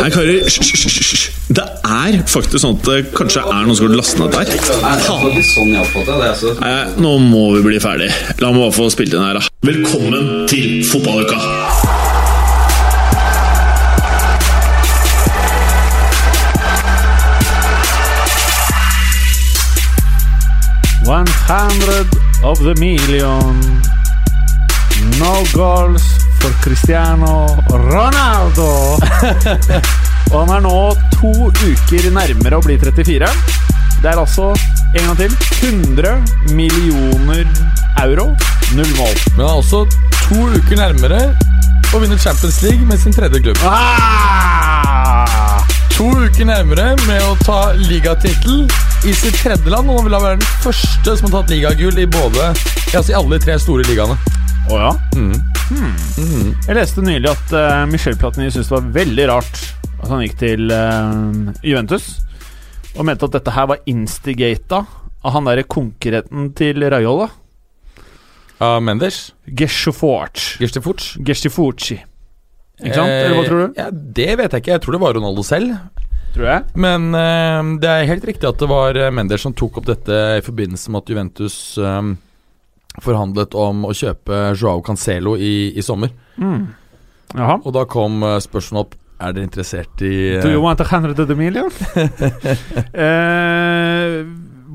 Nei, karer, hysj, hysj, hysj, hysj. Det er faktisk sånn at det kanskje er noen som går til å laste ned dette her. Faen. sånn jeg oppfatter det. Altså. Nei, nå må vi bli ferdig. La meg bare få spilt inn her, da. Velkommen til fotballuka! One hundred of the million. No goals for Cristiano Ronaldo! Og han er nå to uker nærmere å bli 34. Det er altså, en gang til, 100 millioner euro. Null mål. Men han er også to uker nærmere å vinne Champions League med sin tredje klubb. Ah! To uker nærmere med å ta ligatittel i sitt tredje land. Og han vil da være den første som har tatt ligagull i både ja, altså i alle de tre store ligaene. Å ja? Hmm. Jeg leste nylig at eh, Michel Platini syntes det var veldig rart at han gikk til eh, Juventus, og mente at dette her var instigata av han derre konkurrenten til Raiola, Av Ah, Menders. Gesjoforch. Girsty Fuchs. Gesjoforchi. Ikke sant? Eller hva tror du? Eh, Ja, det vet jeg ikke. Jeg tror det var Ronaldo selv. Tror jeg. Men eh, det er helt riktig at det var eh, Mendes som tok opp dette i forbindelse med at Juventus eh, forhandlet om å kjøpe Joao Cancelo i, i sommer. Jaha. Og da kom eh, spørsmålet opp Er dere interessert i eh, Do you want a hundred of the million? eh,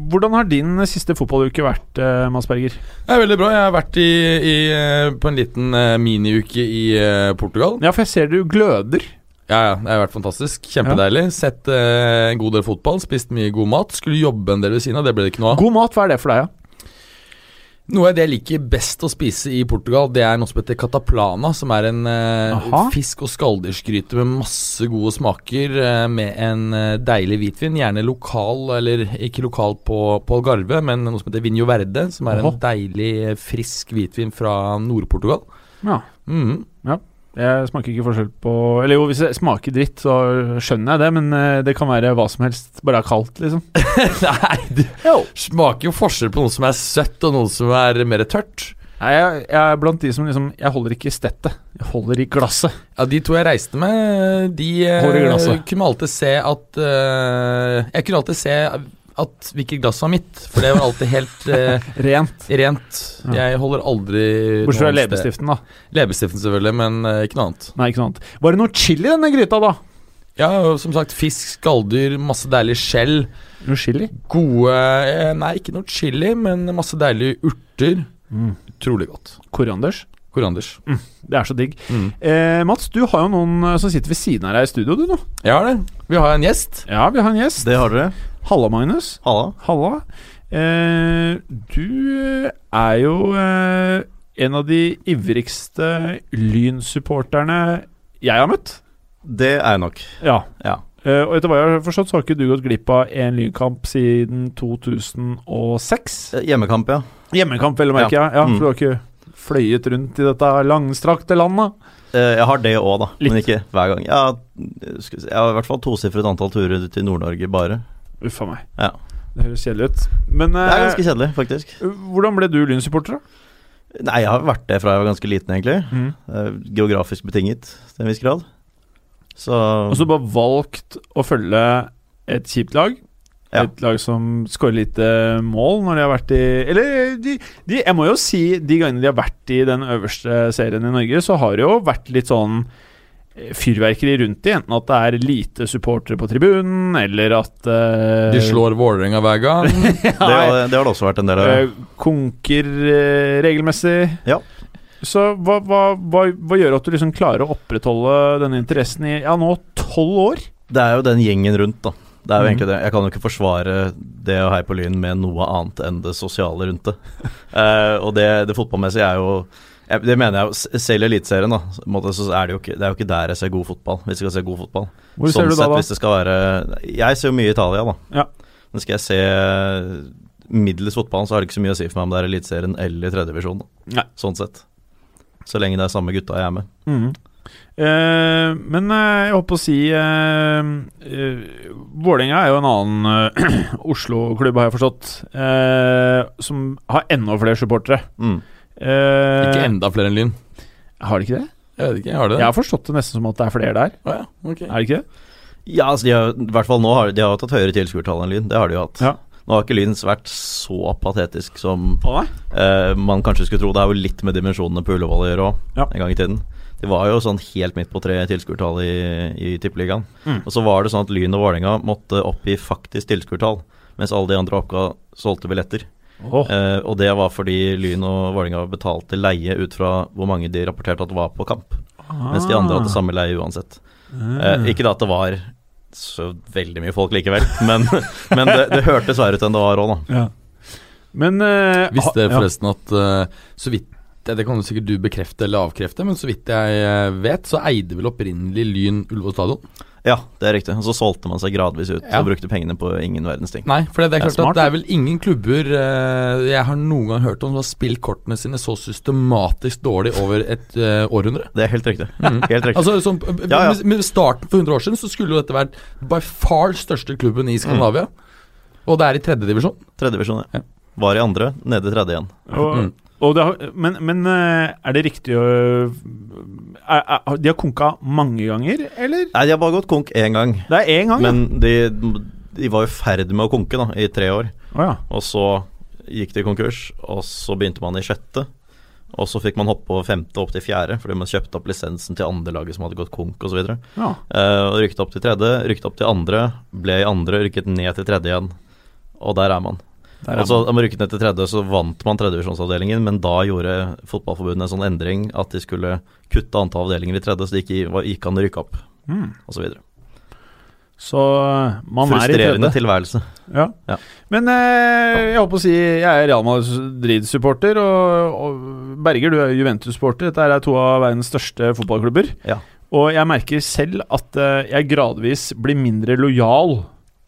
hvordan har din siste fotballuke vært, eh, Mads Berger? Det er veldig bra. Jeg har vært i, i, eh, på en liten eh, miniuke i eh, Portugal. Ja, for jeg ser du gløder. Ja, ja, Det har vært fantastisk. Kjempedeilig. Sett eh, en god del fotball, spist mye god mat. Skulle jobbe en del ved siden av, det ble det ikke noe av. God mat, hva er det for deg, ja? Noe av det jeg liker best å spise i Portugal, det er noe som heter cataplana, som er en eh, Aha. fisk- og skalldyrgryte med masse gode smaker, eh, med en eh, deilig hvitvin. Gjerne lokal, eller ikke lokal på, på Algarve, men noe som heter vinho verde, som er Aha. en deilig, eh, frisk hvitvin fra Nord-Portugal. ja. Mhm. Jeg smaker ikke forskjell på Eller jo, hvis det smaker dritt, så skjønner jeg det, men eh, det kan være hva som helst, bare det er kaldt, liksom. Nei, det smaker jo forskjell på noe som er søtt, og noe som er mer tørt. Nei, jeg, jeg er blant de som liksom Jeg holder ikke i stettet, jeg holder i glasset. Ja, De to jeg reiste med, de eh, Hår i glasset. kunne alltid se at eh, Jeg kunne alltid se at hvilket glass var mitt, for det var alltid helt eh, Rent. rent. Jeg holder aldri Bortsett fra noe annet sted. leppestiften, da. Leppestiften, selvfølgelig, men eh, ikke noe annet. Nei, ikke sant. Var det noe chili i denne gryta, da? Ja, og som sagt, fisk, skalldyr, masse deilig skjell. Noe chili? Gode eh, Nei, ikke noe chili, men masse deilige urter. Mm. Utrolig godt. Korianders. Koranders. Det er så digg. Mm. Eh, Mats, du har jo noen eh, som sitter ved siden av deg i studio, du nå. Ja, det. Vi har en gjest. Ja, vi har en gjest. Det har dere. Halla, Magnus. Halla. Halla. Eh, du er jo eh, en av de ivrigste Lyn-supporterne jeg har møtt. Det er jeg nok. Ja. Ja. Eh, og etter hva jeg har forstått, så har ikke du gått glipp av en Lynkamp siden 2006. Eh, Hjemmekamp, ja. Hjemmekamp, vel å merke. Ja. Ja, Mm. for du har ikke fløyet rundt i dette langstrakte landet. Eh, Jeg har det òg, da. Men Litt. ikke hver gang. Jeg har, skal vi si, jeg har i hvert fall tosifret antall turer til Nord-Norge bare. Uff a meg. Ja. Det høres kjedelig ut. Men Det eh, er ganske kjedelig, faktisk. hvordan ble du Lyn-supporter, da? Nei, jeg har vært det fra jeg var ganske liten, egentlig. Mm. Eh, Geografisk betinget til en viss grad. Så Og så bare valgt å følge et kjipt lag. Ja. Et lag som skårer lite eh, mål når de har vært i Eller de, de, jeg må jo si de gangene de har vært i den øverste serien i Norge, så har det jo vært litt sånn eh, fyrverkeri rundt de. Enten at det er lite supportere på tribunen, eller at eh, De slår Vålerenga hver gang. det, har, det har det også vært en del av. eh, konker eh, regelmessig. Ja. Så hva, hva, hva, hva gjør at du liksom klarer å opprettholde denne interessen i ja, nå tolv år? Det er jo den gjengen rundt, da. Det er jo Mhm. egentlig det. Jeg kan jo ikke forsvare det å heie på Lyn med noe annet enn det sosiale rundt det. Eh, og det, det fotballmessige er jo jeg- Det mener jeg jo s- selv i Eliteserien, da. Så på en måte Så er det, jo ikke, det er jo ikke der jeg ser god fotball, hvis jeg skal se god fotball. Hvor sånn ser du sett, da, da? hvis det skal være Jeg ser jo mye Italia, da. Ja. Men skal jeg se middels fotballen, så har det ikke så mye å si for meg om det er Eliteserien eller tredjedivisjon. Nei. Sånn sett. Så lenge det er samme gutta jeg er med. Mhm. Eh, men eh, jeg holdt på å si uh, Vålerenga er jo en annen eh, Oslo-klubb, har jeg forstått, eh, som har enda flere supportere. Mm. Eh, Ikke enda flere enn Lyn. Har de ikke det? Jeg vet ikke, har de det? Jeg har forstått det nesten som at det er flere der. Å ja, ok. Er det ikke det? Ja, altså de har, i hvert fall nå har de har jo tatt høyere tilskuertall enn Lyn. Det har de jo hatt. Ja. Nå har ikke Lyn vært så patetisk som Å nei. eh, man kanskje skulle tro. Det er jo litt med dimensjonene på Ullevål å gjøre òg, Ja. en gang i tiden. De var jo sånn helt midt på tre tilskuertall i, i Tippeligaen. Mm. Og så var det sånn at Lyn og Vålerenga måtte oppgi faktisk tilskuertall, mens alle de andre oppga solgte billetter. Åh. Eh, og det var fordi Lyn og Vålerenga betalte leie ut fra hvor mange de rapporterte at var på kamp. Mens de andre hadde Ah. samme leie uansett. Eh, ikke da at det var så veldig mye folk likevel, men, men det, det hørtes verre ut enn det var òg, da. Ja. Men eh, Visste ha- ja. forresten at eh, så vidt det kan jo sikkert du bekrefte eller avkrefte, men så vidt jeg eh, vet, så eide vel opprinnelig Lyn Ullevål stadion. Ja, det er riktig. Og så solgte man seg gradvis ut Ja. og brukte pengene på ingen verdens ting. Nei, for det, det er Ja, klart smart, at det er vel ingen klubber eh, jeg har noen gang hørt om som har spilt kortene sine så systematisk dårlig over et eh, århundre. Det er helt riktig. Helt riktig. Altså, sånn, eh, Ja, ja. Med, med starten for 100 år siden så skulle jo dette vært by far største klubben i Skandinavia. Mm. Og det er i tredjedivisjon. Tredjedivisjon, Ja. ja. Var i andre, nede i tredje igjen. Og, Mm. og det har, men, men eh, er det riktig å er, er, De har konka mange ganger, eller? Nei, de har bare gått konk én gang. Det er én gang, Ah, ja. Men de, de var i ferd med å konke da, i tre år. Å ja. Og så gikk det konkurs, og så begynte man i sjette. Og så fikk man hoppe på femte opp til fjerde, fordi man kjøpte opp lisensen til andre laget som hadde gått konk osv. Og, så ja. uh, og rykte opp til tredje, rykte opp til andre, ble i andre, rykket ned til tredje igjen. Og der er man. Der er og så da man rykket ned til tredje, så vant man tredjevisjonsavdelingen, men da gjorde Fotballforbundet en sånn endring at de skulle kutte antall avdelinger i tredje, så det gikk, i- var- gikk an å rykke opp, Mm. osv. Så eh, man er i Frustrerende tredje. tilværelse. Ja. Ja. Men eh, jeg holdt på å si jeg er Real Madrid-supporter, og, og Berger, du er Juventus-supporter. Dette er to av verdens største fotballklubber. Ja. Og jeg merker selv at eh, jeg gradvis blir mindre lojal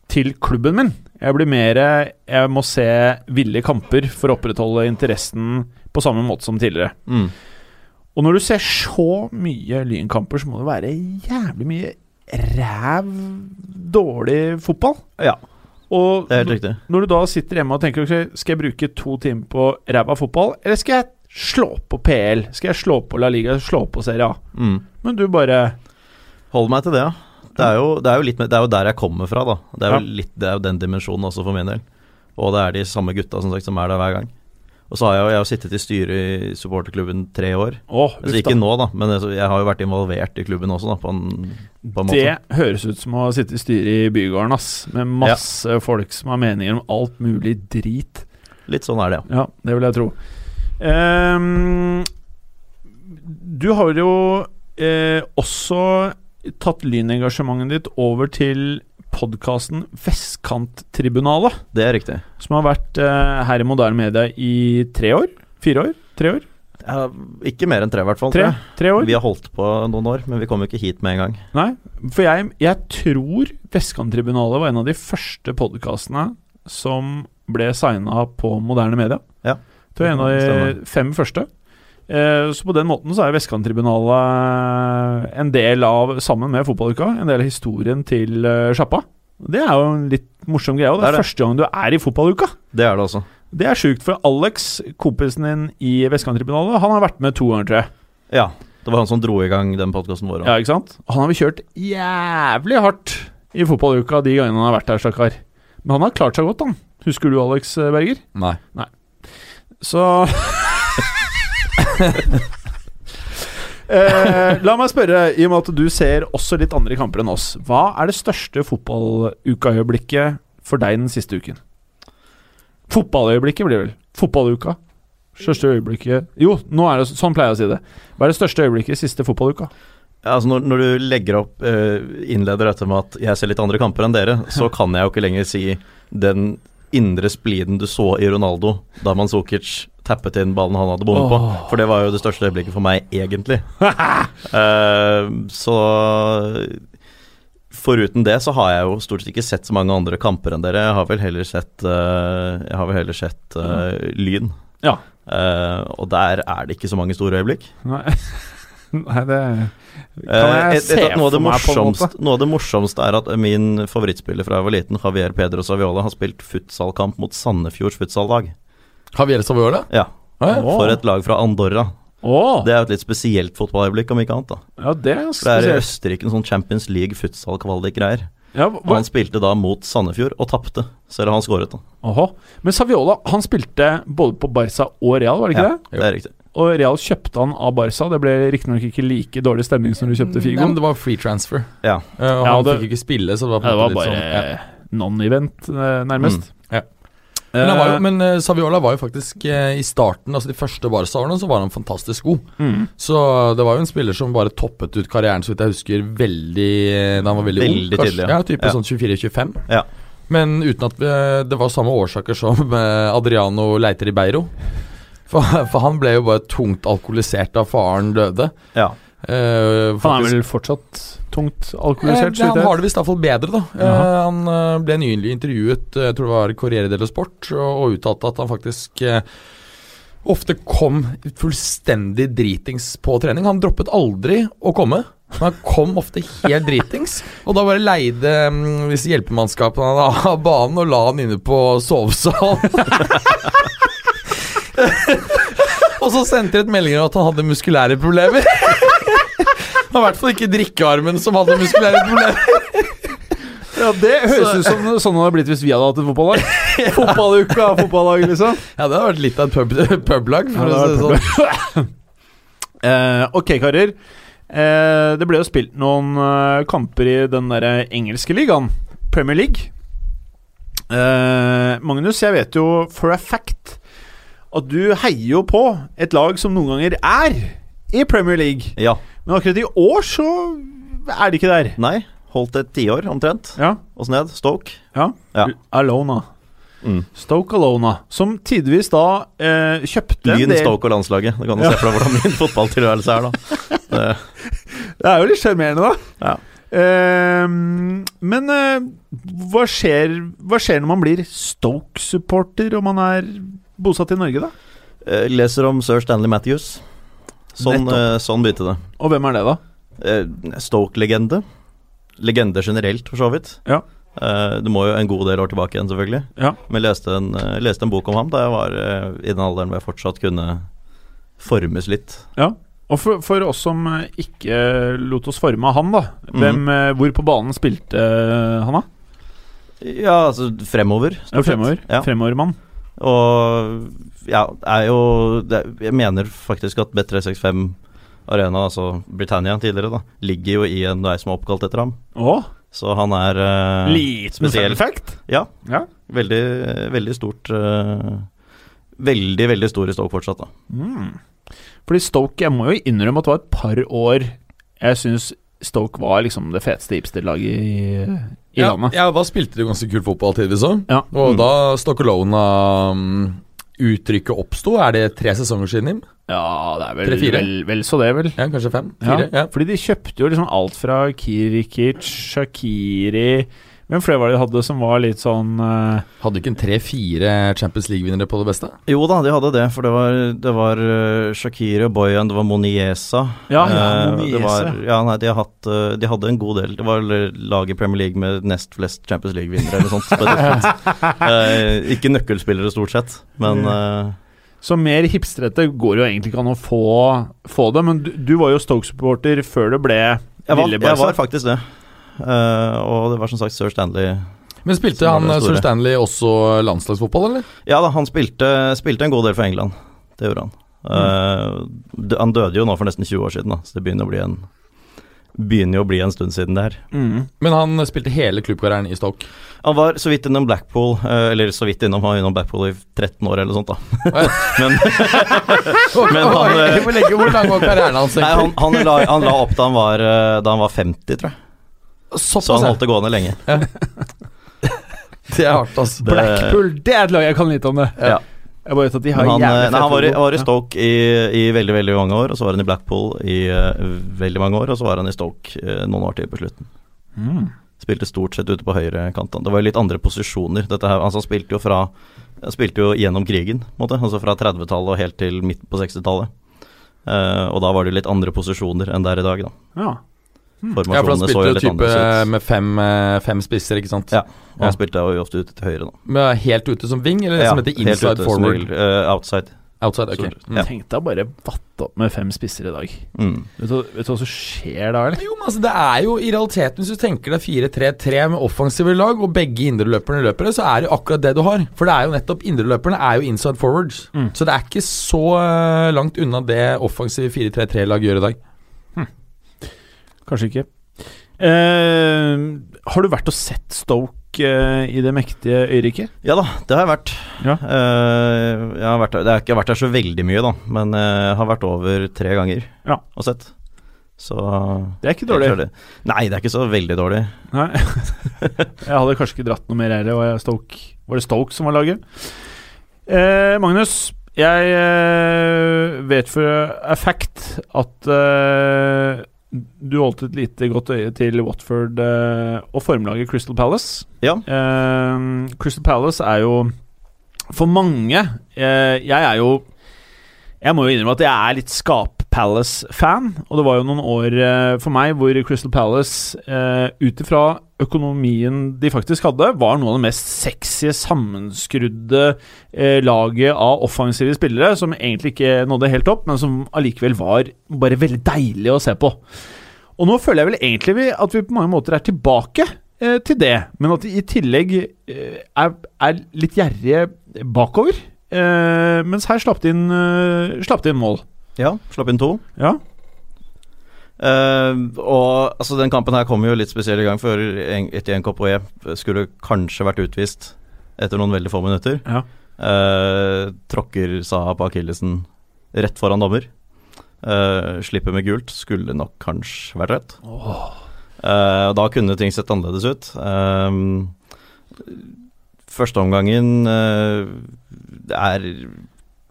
til klubben min. Jeg blir mer eh, Jeg må se ville kamper for å opprettholde interessen på samme måte som tidligere. Mm. Og når du ser så mye Lynkamper, så må det være jævlig mye ræv dårlig fotball. Ja, Og det er helt riktig. når du da sitter hjemme og tenker ok, Skal jeg bruke to timer på ræva fotball, eller skal jeg slå på PL? Skal jeg slå på La Liga, slå på Serie A? Mm. Men du bare Hold meg til det, ja. Det er jo, det er jo, litt, med- det er jo der jeg kommer fra, da. Det er jo, Ja. litt, det er jo den dimensjonen også for min del. Og det er de samme gutta som, sagt, som er der hver gang. Og så har jeg jo jeg har sittet i styret i supporterklubben tre år. Åh, Altså uff da. ikke nå, da, men altså, jeg har jo vært involvert i klubben også, da, på en, på en måte. Det høres ut som å sitte i styret i bygården, ass. Med masse folk som har meninger om alt mulig drit. Litt sånn er det, ja. Ja, det vil jeg tro. Ehm, du har jo eh, også tatt lynengasjementet ditt over til podkasten Vestkanttribunalet, Det er riktig. som har vært eh, her i moderne media i tre år? Fire år? Tre år? Ja, ikke mer enn tre, i hvert fall. Tre, tror jeg. tre år? Vi har holdt på noen år, men vi kom jo ikke hit med en gang. Nei, for jeg, jeg tror Vestkanttribunalet var en av de første podkastene som ble signa på moderne media. Ja. Det var en av de Stemmer. fem første. Eh, Så på den måten så er Vestkanttribunalet en del av, sammen med fotballuka, en del av historien til eh, sjappa. Det er jo en litt morsom greie, og det Det er, er det. første gang du er i fotballuka. Det er det altså. også. Det er sjukt, for Alex, kompisen din i Vestkanttribunalet, han har vært med to ganger, tror jeg. Ja. Det var han som dro i gang den podkasten vår. også. Ja, ikke sant? Han har vi kjørt jævlig hardt i fotballuka de gangene han har vært her, stakkar. Men han har klart seg godt, han. Husker du Alex eh, Berger? Nei. Så eh, La meg spørre, i og med at du ser også litt andre kamper enn oss. Hva er det største fotballukaøyeblikket for deg den siste uken? Fotballøyeblikket blir det vel. Fotballuka. Største øyeblikket Jo, nå er det, sånn pleier jeg å si det. Hva er det største øyeblikket i siste fotballuka? Ja, altså når, når du legger opp eh, innleder dette med at jeg ser litt andre kamper enn dere, så kan jeg jo ikke lenger si den indre spliden du så i Ronaldo da Manzukic tappet inn ballen han hadde bommet på. For det var jo det største øyeblikket for meg, egentlig. Eh, så foruten det så har jeg jo stort sett ikke sett så mange andre kamper enn dere. Jeg har vel heller sett, eh, jeg har vel heller sett eh, Lyn. Ja. Eh, og der er det ikke så mange store øyeblikk. Nei, Nei det Kan Eh, jeg et, et, se noe, av det for meg på en måte? morsomste, noe av det morsomste er at min favorittspiller fra jeg var liten, Javier Pedro Saviola, har spilt futsalkamp mot Sandefjords futsallag. Javier Saviola? Ja, Ja, Åh. for et lag fra Andorra. Å! Det er jo et litt spesielt fotballøyeblikk, om ikke annet. da Ja, det er ganske For Det er i spesielt. Østerrike en sånn Champions League futsal-kvalik-greier. Ja, Og hva- han spilte da mot Sandefjord, og tapte, selv om han skåret. da Åhå. Men Saviola han spilte både på Barca og Real, var det ikke Ja, det? det er riktig. Og Real kjøpte han av Barca. Det ble riktignok ikke like dårlig stemning som du kjøpte Nei, men Figoen. det var free transfer. Ja. Eh, og Ja, han det- fikk ikke spille, så det var, på Ja, det en var måte bare litt sånn, ja. non-event, eh, nærmest. ja. Men, han var jo, Eh, men eh, Saviola var jo faktisk eh, I starten, altså de første Barca-årene, så var han fantastisk god. Mm. Så eh, det var jo en spiller som bare toppet ut karrieren, så vidt jeg husker, veldig eh, da han var veldig, Veldig ung. kanskje. tidlig, ja. ja. Type Ja. sånn 24-25. Ja. Men uten at eh, det var samme årsaker som eh, Adriano leiter i Beiro. For, for han ble jo bare tungt alkoholisert da faren døde. ja. Eh, han faktisk- er vel fortsatt tungt Eh, det- alkoholisert? så vidt han jeg har vet. det visst iallfall bedre, da. Eh, Jaha. han eh, ble nylig intervjuet, eh, jeg tror det var Corriere dello Sport, og, og uttalte at han faktisk eh, ofte kom fullstendig dritings på trening. Han droppet aldri å komme. Men han kom ofte helt dritings, og da bare leide mm, disse hjelpemannskapene han av banen og la han inne på sovesal. og så sendte de et melding om at han hadde muskulære problemer. Det var i hvert fall ikke drikkearmen som hadde muskulære problemer. Ja, det høres ut som noe- sånn det hadde blitt hvis vi hadde hatt et fotballag. Fotballuka, fotballag, liksom. Ja, det hadde vært litt av et pub, publag. For å Ja, si det det var sånn. Eh, ok, karer. Eh, det ble jo spilt noen eh, kamper i den derre engelske ligaen, Premier League. Eh, Magnus, jeg vet jo for a fact at du heier jo på et lag som noen ganger er i Premier League. ja. Men akkurat i år så er de ikke der. Nei. Holdt et tiår, omtrent. Ja, Åssen het Stoke? ja. Ja. Alona. Mm. Stoke Alona, som tidvis da eh, kjøpte en Lyn, del- Stoke og landslaget. Da kan du Ja. se for deg hvordan min fotballtilværelse er, da. Det, Det er jo litt sjarmerende, da. Ja. Ehm, men eh, hva, skjer, hva skjer når man blir Stoke-supporter og man er bosatt i Norge, da? Eh, leser om sir Stanley Matthews. Sånn, Nettopp. eh, sånn begynte det. Og hvem er det, da? Eh, Stoke-legende. Legende generelt, for så vidt. Ja. Eh, det må jo en god del år tilbake igjen, selvfølgelig. Ja. Men jeg leste en, eh, leste en bok om ham da jeg var eh, i den alderen hvor jeg fortsatt kunne formes litt. Og for, for oss som eh, ikke lot oss forme av han, da. Hvem, eh, hvor på banen spilte eh, han, da? Ja, altså fremover. Det er jo fremover. Ja. Fremovermann. Og ja, er jo det, er- Jeg mener faktisk at B365 Arena, altså Britannia tidligere, da ligger jo i en vei som er oppkalt etter ham. Å, Så han er eh, liten spesiell. fun fact. Ja. Ja. Veldig, veldig stort eh, Veldig, veldig stor i Stoke fortsatt, da. Mm. Fordi Stoke, jeg må jo innrømme at det var et par år jeg syns Stoke var liksom det feteste hipsterlaget i, i ja, landet. ja, da spilte de jo ganske kul fotball tidvis òg. Ja. Og da Stoccolona-uttrykket oppsto, er det tre sesonger siden, Jim? Ja, det er vel, Tre-fire? vel, vel så det, vel. Ja, kanskje fem? Ja. Fire? Ja. Fordi de kjøpte jo liksom alt fra Kirikic, Shakiri Hvem flere var det de hadde som var litt sånn eh, Hadde ikke en tre-fire Champions League-vinnere på det beste? Jo da, de hadde det, for det var, det var eh, Shakiri og Boyan, det var Moniesa. Ja, Eh, Moniese. det var, ja nei, de, har hatt, eh, de hadde en god del. Det var vel lag i Premier League med nest flest Champions League-vinnere eller sånt. på et tidspunkt. Eh, ikke nøkkelspillere, stort sett, men eh, Så mer hipstrete går jo egentlig ikke an å få, få det. Men du, du var jo Stoke-supporter før det ble jeg, var, Lille jeg Barca. var faktisk det. Eh, og det var som sagt Sir Stanley Men spilte Som var han det eh, Sir store. Stanley også landslagsfotball, eller? Ja da, han spilte, spilte en god del for England. Det gjorde han. Eh, d- han døde jo nå for nesten 20 år siden, da, så det begynner å bli en Begynner jo å bli en stund siden det her. Mm. Men han spilte hele klubbkarrieren i Stoke. Han var så vidt innom Blackpool, eh, eller så vidt innom, han var innom Blackpool i 13 år eller sånt, da. Men Men han, eh, Vi må legge Hvor lang var karrieren hans? nei, han, egentlig? han, la, han la opp da han var, eh, da han var 50, tror jeg. Så Såpass, han ja. holdt det gående lenge. Det er hardt, altså. Det- Blackpool, det er et lag jeg kan litt om det. Ja. Jeg bare vet at de Men har Han, eh, jævlig nei, han var, i, logo. han var i Stoke i, i veldig veldig mange år, og så var han i Blackpool i eh, veldig mange år, og så var han i Stoke eh, noen år til på slutten. Mm. Spilte stort sett ute på høyrekanten. Det var jo litt andre posisjoner. Dette her, altså, han spilte jo fra han spilte jo gjennom krigen, på en måte. altså fra 30-tallet og helt til midt på 60-tallet. Eh, og da var det jo litt andre posisjoner enn der i dag, da. Ja. Hmm. Ja, for han Formasjonene så jo spilte jo litt type annerledes ut. med fem, eh, fem spisser, ikke sant? Ja. Og Ja. han spilte jo ofte ute til høyre, da. Men helt ute som wing, eller det som Ja, heter helt inside ute, som forward? regel, eh, outside. Outside, ok. Så- Mm. ja. Tenk deg bare vatte opp med fem spisser i dag. Mm. Vet du, hva- vet du hva som skjer da, eller? Jo, men altså Det er jo i realiteten, hvis du tenker deg 4-3-3 med offensive lag, og begge indreløperne løpere, så er det jo akkurat det du har. For det er jo nettopp indreløperne er jo inside forwards. Så det er ikke så eh, langt unna det offensive 4-3-3-lag gjør i dag. Kanskje ikke. Eh, har du vært og sett Stoke eh, i det mektige øyriket? Ja da, det har jeg vært. Ja. Eh, jeg har vært der, det har ikke vært der så veldig mye, da, men eh, jeg har vært over tre ganger Ja. og sett. Så Det er ikke dårlig. Ellers er det- Nei, det er ikke så veldig dårlig. Nei. Jeg hadde kanskje ikke dratt noe mer ære. Var, jeg Stoke, var det Stoke som var laget? Eh, Magnus, jeg eh, vet for a fact at eh, du holdt et lite godt øye til Watford eh, og formlaget Crystal Palace. Ja. Eh, Crystal Palace er jo for mange eh, Jeg er jo Jeg må jo innrømme at jeg er litt Skap Palace-fan. Og det var jo noen år eh, for meg hvor Crystal Palace, eh, ut ifra økonomien de faktisk hadde, var noe av det mest sexy, sammenskrudde eh, laget av offensive spillere, som egentlig ikke nådde helt opp, men som allikevel var bare veldig deilig å se på. Og nå føler jeg vel egentlig vi- at vi på mange måter er tilbake eh, til det, men at de i tillegg eh, er, er litt gjerrige bakover. Eh, mens her slapp de inn, eh, slapp de inn mål. ja. Slapp inn to. Ja. Eh, og altså, den kampen her kom jo litt spesiell i gang, for Etienne Kopoe skulle kanskje vært utvist etter noen veldig få minutter. Ja. Eh, tråkker Saha på akillesen rett foran dommer. Eh, slipper med gult. Skulle nok kanskje vært rødt. Eh, og da kunne ting sett annerledes ut. Um, første omgangen eh, det er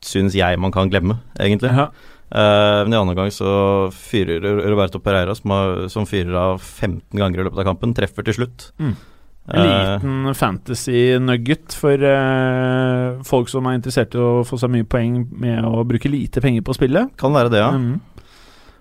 Syns jeg man kan glemme, egentlig. Ja. Eh, men i andre gang så fyrer Roberto Pereira, som, har, som fyrer av 15 ganger i løpet av kampen, treffer til slutt. Mm. En Eh, liten fantasy nugget for eh, folk som er interessert i å få seg mye poeng med å bruke lite penger på spillet. kan være det, ja. Mhm.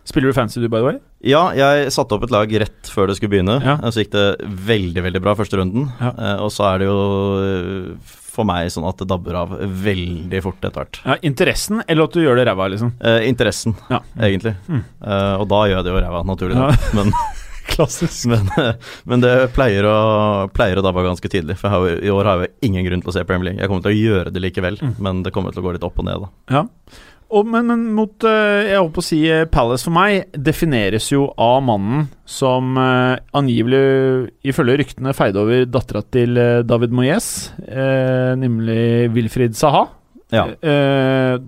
Spiller du fancy du, by the way? Ja, jeg satte opp et lag rett før det skulle begynne. Ja. Eh, Så gikk det veldig, veldig bra første runden. Ja. Eh, og så er det jo eh, for meg sånn at det dabber av veldig fort etter hvert. Ja, Interessen, eller at du gjør det ræva, liksom? Eh, interessen, Ja. egentlig. Mm. Eh, og da gjør jeg det jo ræva, naturlig Ja. nok. Men, men, eh, men det pleier å, pleier å dabbe av ganske tidlig. For jeg har, jo- i år har jeg jo ingen grunn til å se Premier League. Jeg kommer til å gjøre det likevel, Mm. men det kommer til å gå litt opp og ned, da. Ja. Og, men, men mot eh, Jeg holdt på å si eh, Palace for meg defineres jo av mannen som eh, angivelig, ifølge ryktene, feide over dattera til eh, David Moyes, eh, nemlig Wilfried Saha. Ja. Eh,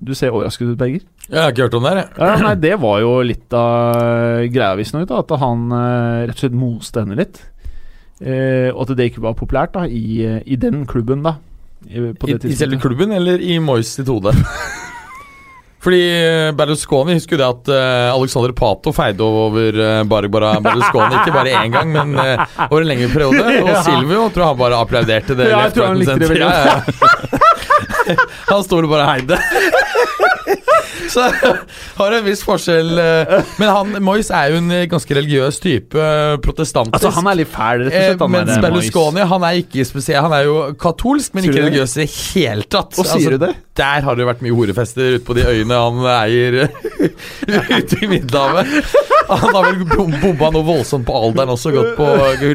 du ser overrasket ut, Berger. Jeg har ikke hørt om det her, jeg. Ja, nei, det var jo litt av greia, visstnok, da, at han eh, rett og slett moste henne litt. Eh, og at det ikke var populært da, i, eh, i den klubben, da. I, på I, det I selve tidspunktet. klubben eller i Moyes sitt hode? Fordi eh, Berlusconi husker jo det at eh, Alexander Pato feide over eh, Barbara Berlusconi. Ikke bare én gang, men eh, over en lengre periode. Og Ja. Silvio tror jeg han bare applauderte det. Ja, jeg left, right tror han and likte det center. veldig Ja, ja. Han sto vel bare og heide. Så har en viss forskjell. eh, Men han, Moyes er jo en eh, ganske religiøs type. eh, Protestantisk. Altså, han er litt fæl, rett Eh, og slett. han mens der Berlusconi han er ikke spesiell Han er jo katolsk, men Sier ikke du det? religiøs i det hele tatt. Altså, Og sier du det? Der har det vært mye horefester ute på de øyene han eier eh, ute i Middelhavet. Han har vel bom- bomba noe voldsomt på alderen også, gått på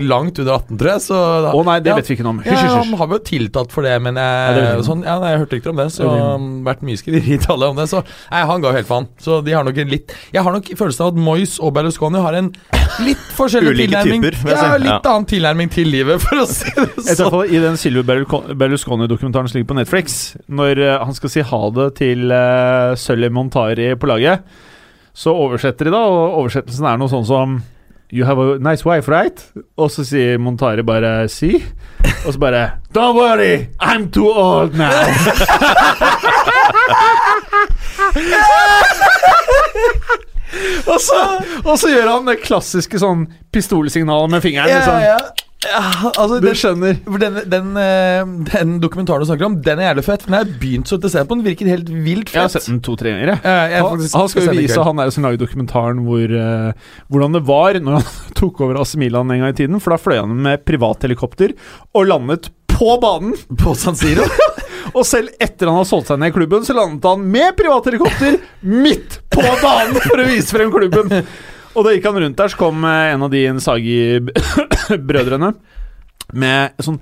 langt under 18, tror jeg. Så da, Å nei, det Ja. vet vi ikke noe om. ja, Hysj, hysj, han hysj. har blitt tiltatt for det, men det jeg, vet jeg ikke. sånn, ja, nei, jeg hørte ikke om det. Så Det vet jeg um, vært mye skriverier i Italia om det. Så nei, han ga jo helt faen. Så de har nok en litt Jeg har nok følelsen av at Moyes og Berlusconi har en litt forskjellig Ulike tilnærming. typer, vil jeg ja, si. litt Ja. annen tilnærming til livet, for å si det I hvert sånn. fall I den Silvio Berluco- Berlusconi-dokumentaren som ligger på Netflix, når eh, han skal si ha det til uh, Sully Montari på laget, så oversetter de, da, og oversettelsen er noe sånn som You have a nice wife, right? Og så sier Montari bare si. Og så bare Don't worry, I'm too old now. og så Og så gjør han det klassiske sånn pistolsignalet med fingeren. ja, liksom. ja. Ja, altså, Du den, skjønner. for den, den, eh, den dokumentaren du snakker om, den er jævlig fett. For den har jeg begynt så å se på. Den virker helt vilt Jeg har fett. sett den to-tre ganger, jeg. Ja, jeg har Han, faktisk- han skal jeg jo ser den i vise kveld. han der som lager dokumentaren hvor, eh, hvordan det var når han tok over AC Milan en gang i tiden. For da fløy han med privathelikopter og landet på banen. på San Siro. Og selv etter han har solgt seg ned i klubben, så landet han med privathelikopter midt på banen for å vise frem klubben. Og da gikk han rundt der, så kom eh, en av de Insagi-brødrene med sånn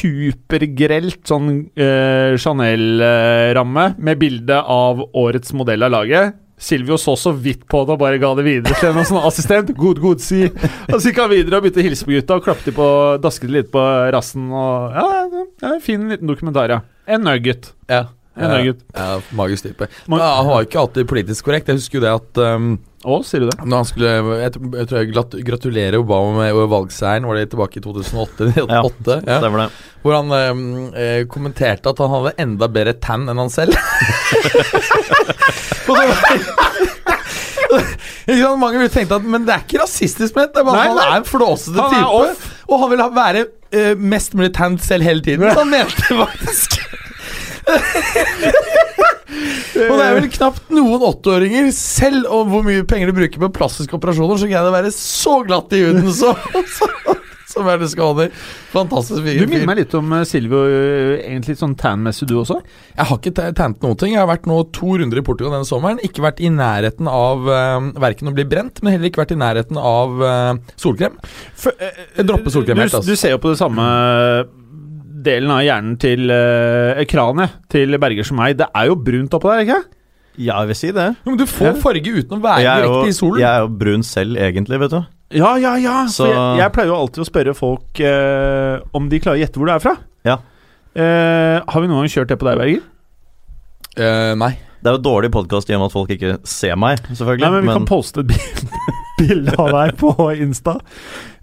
supergrelt sånn eh, Chanel-ramme med bilde av årets modell av laget. Silvio så så vidt på det og bare ga det videre til en sånn assistent. Good, good, si. Og så gikk han videre og begynte å hilse på gutta og klapte de på, dasket litt på rassen. Og, ja, det er en fin liten dokumentar, ja. En nugget. ja. En nugget. Ja, magisk type. Ma- ja, han var jo ikke alltid politisk korrekt. Jeg husker jo det at um, Å, sier du det? når han skulle Jeg, tr- jeg tror jeg glatt, gratulerer Obama med valgseieren, var det tilbake i 2008? Ja. 2008 ja. Stemmer det. Hvor han ehm, eh, kommenterte at han hadde enda bedre tann enn han selv. Og det var- Ikke sant, Mange ville tenkt at Men det er ikke rasistisk ment. Det er bare Nei, at han nei. er en flåsete Han er type. og han vil ha, være eh, mest mulig tan selv hele tiden. Så han mente faktisk Og det er vel knapt noen åtteåringer, selv om hvor mye penger de bruker på plastiske operasjoner, så greier de å være så glatt i huden så, så, som er det skader. Fantastisk Du fyr. minner meg litt om eh, Silvio, eh, egentlig litt sånn tan-messig du også. Jeg har ikke ta- tegnet noen ting. Jeg har vært nå to runder i Portugal denne sommeren. Ikke vært i nærheten av eh, verken å bli brent, men heller ikke vært i nærheten av eh, solkrem. Jeg dropper solkrem du, helt, altså. du ser jo på det samme eh, delen av hjernen til eh, kranet til Berger som meg. Det er jo brunt oppå der, ikke Ja, jeg vil si det. Jo, men du får farge uten å være Jeg er, direkte i jo, solen. jeg er jo brun selv, egentlig, vet du. Ja, ja, ja. Så- For jeg, jeg pleier jo alltid å spørre folk eh, om de klarer å gjette hvor du er fra. Ja. Eh, har vi noen gang kjørt det på deg, Berger? Eh, nei. Det er jo dårlig podkast i og med at folk ikke ser meg, selvfølgelig. Nei, men vi kan poste et bil- bilde av deg på Insta.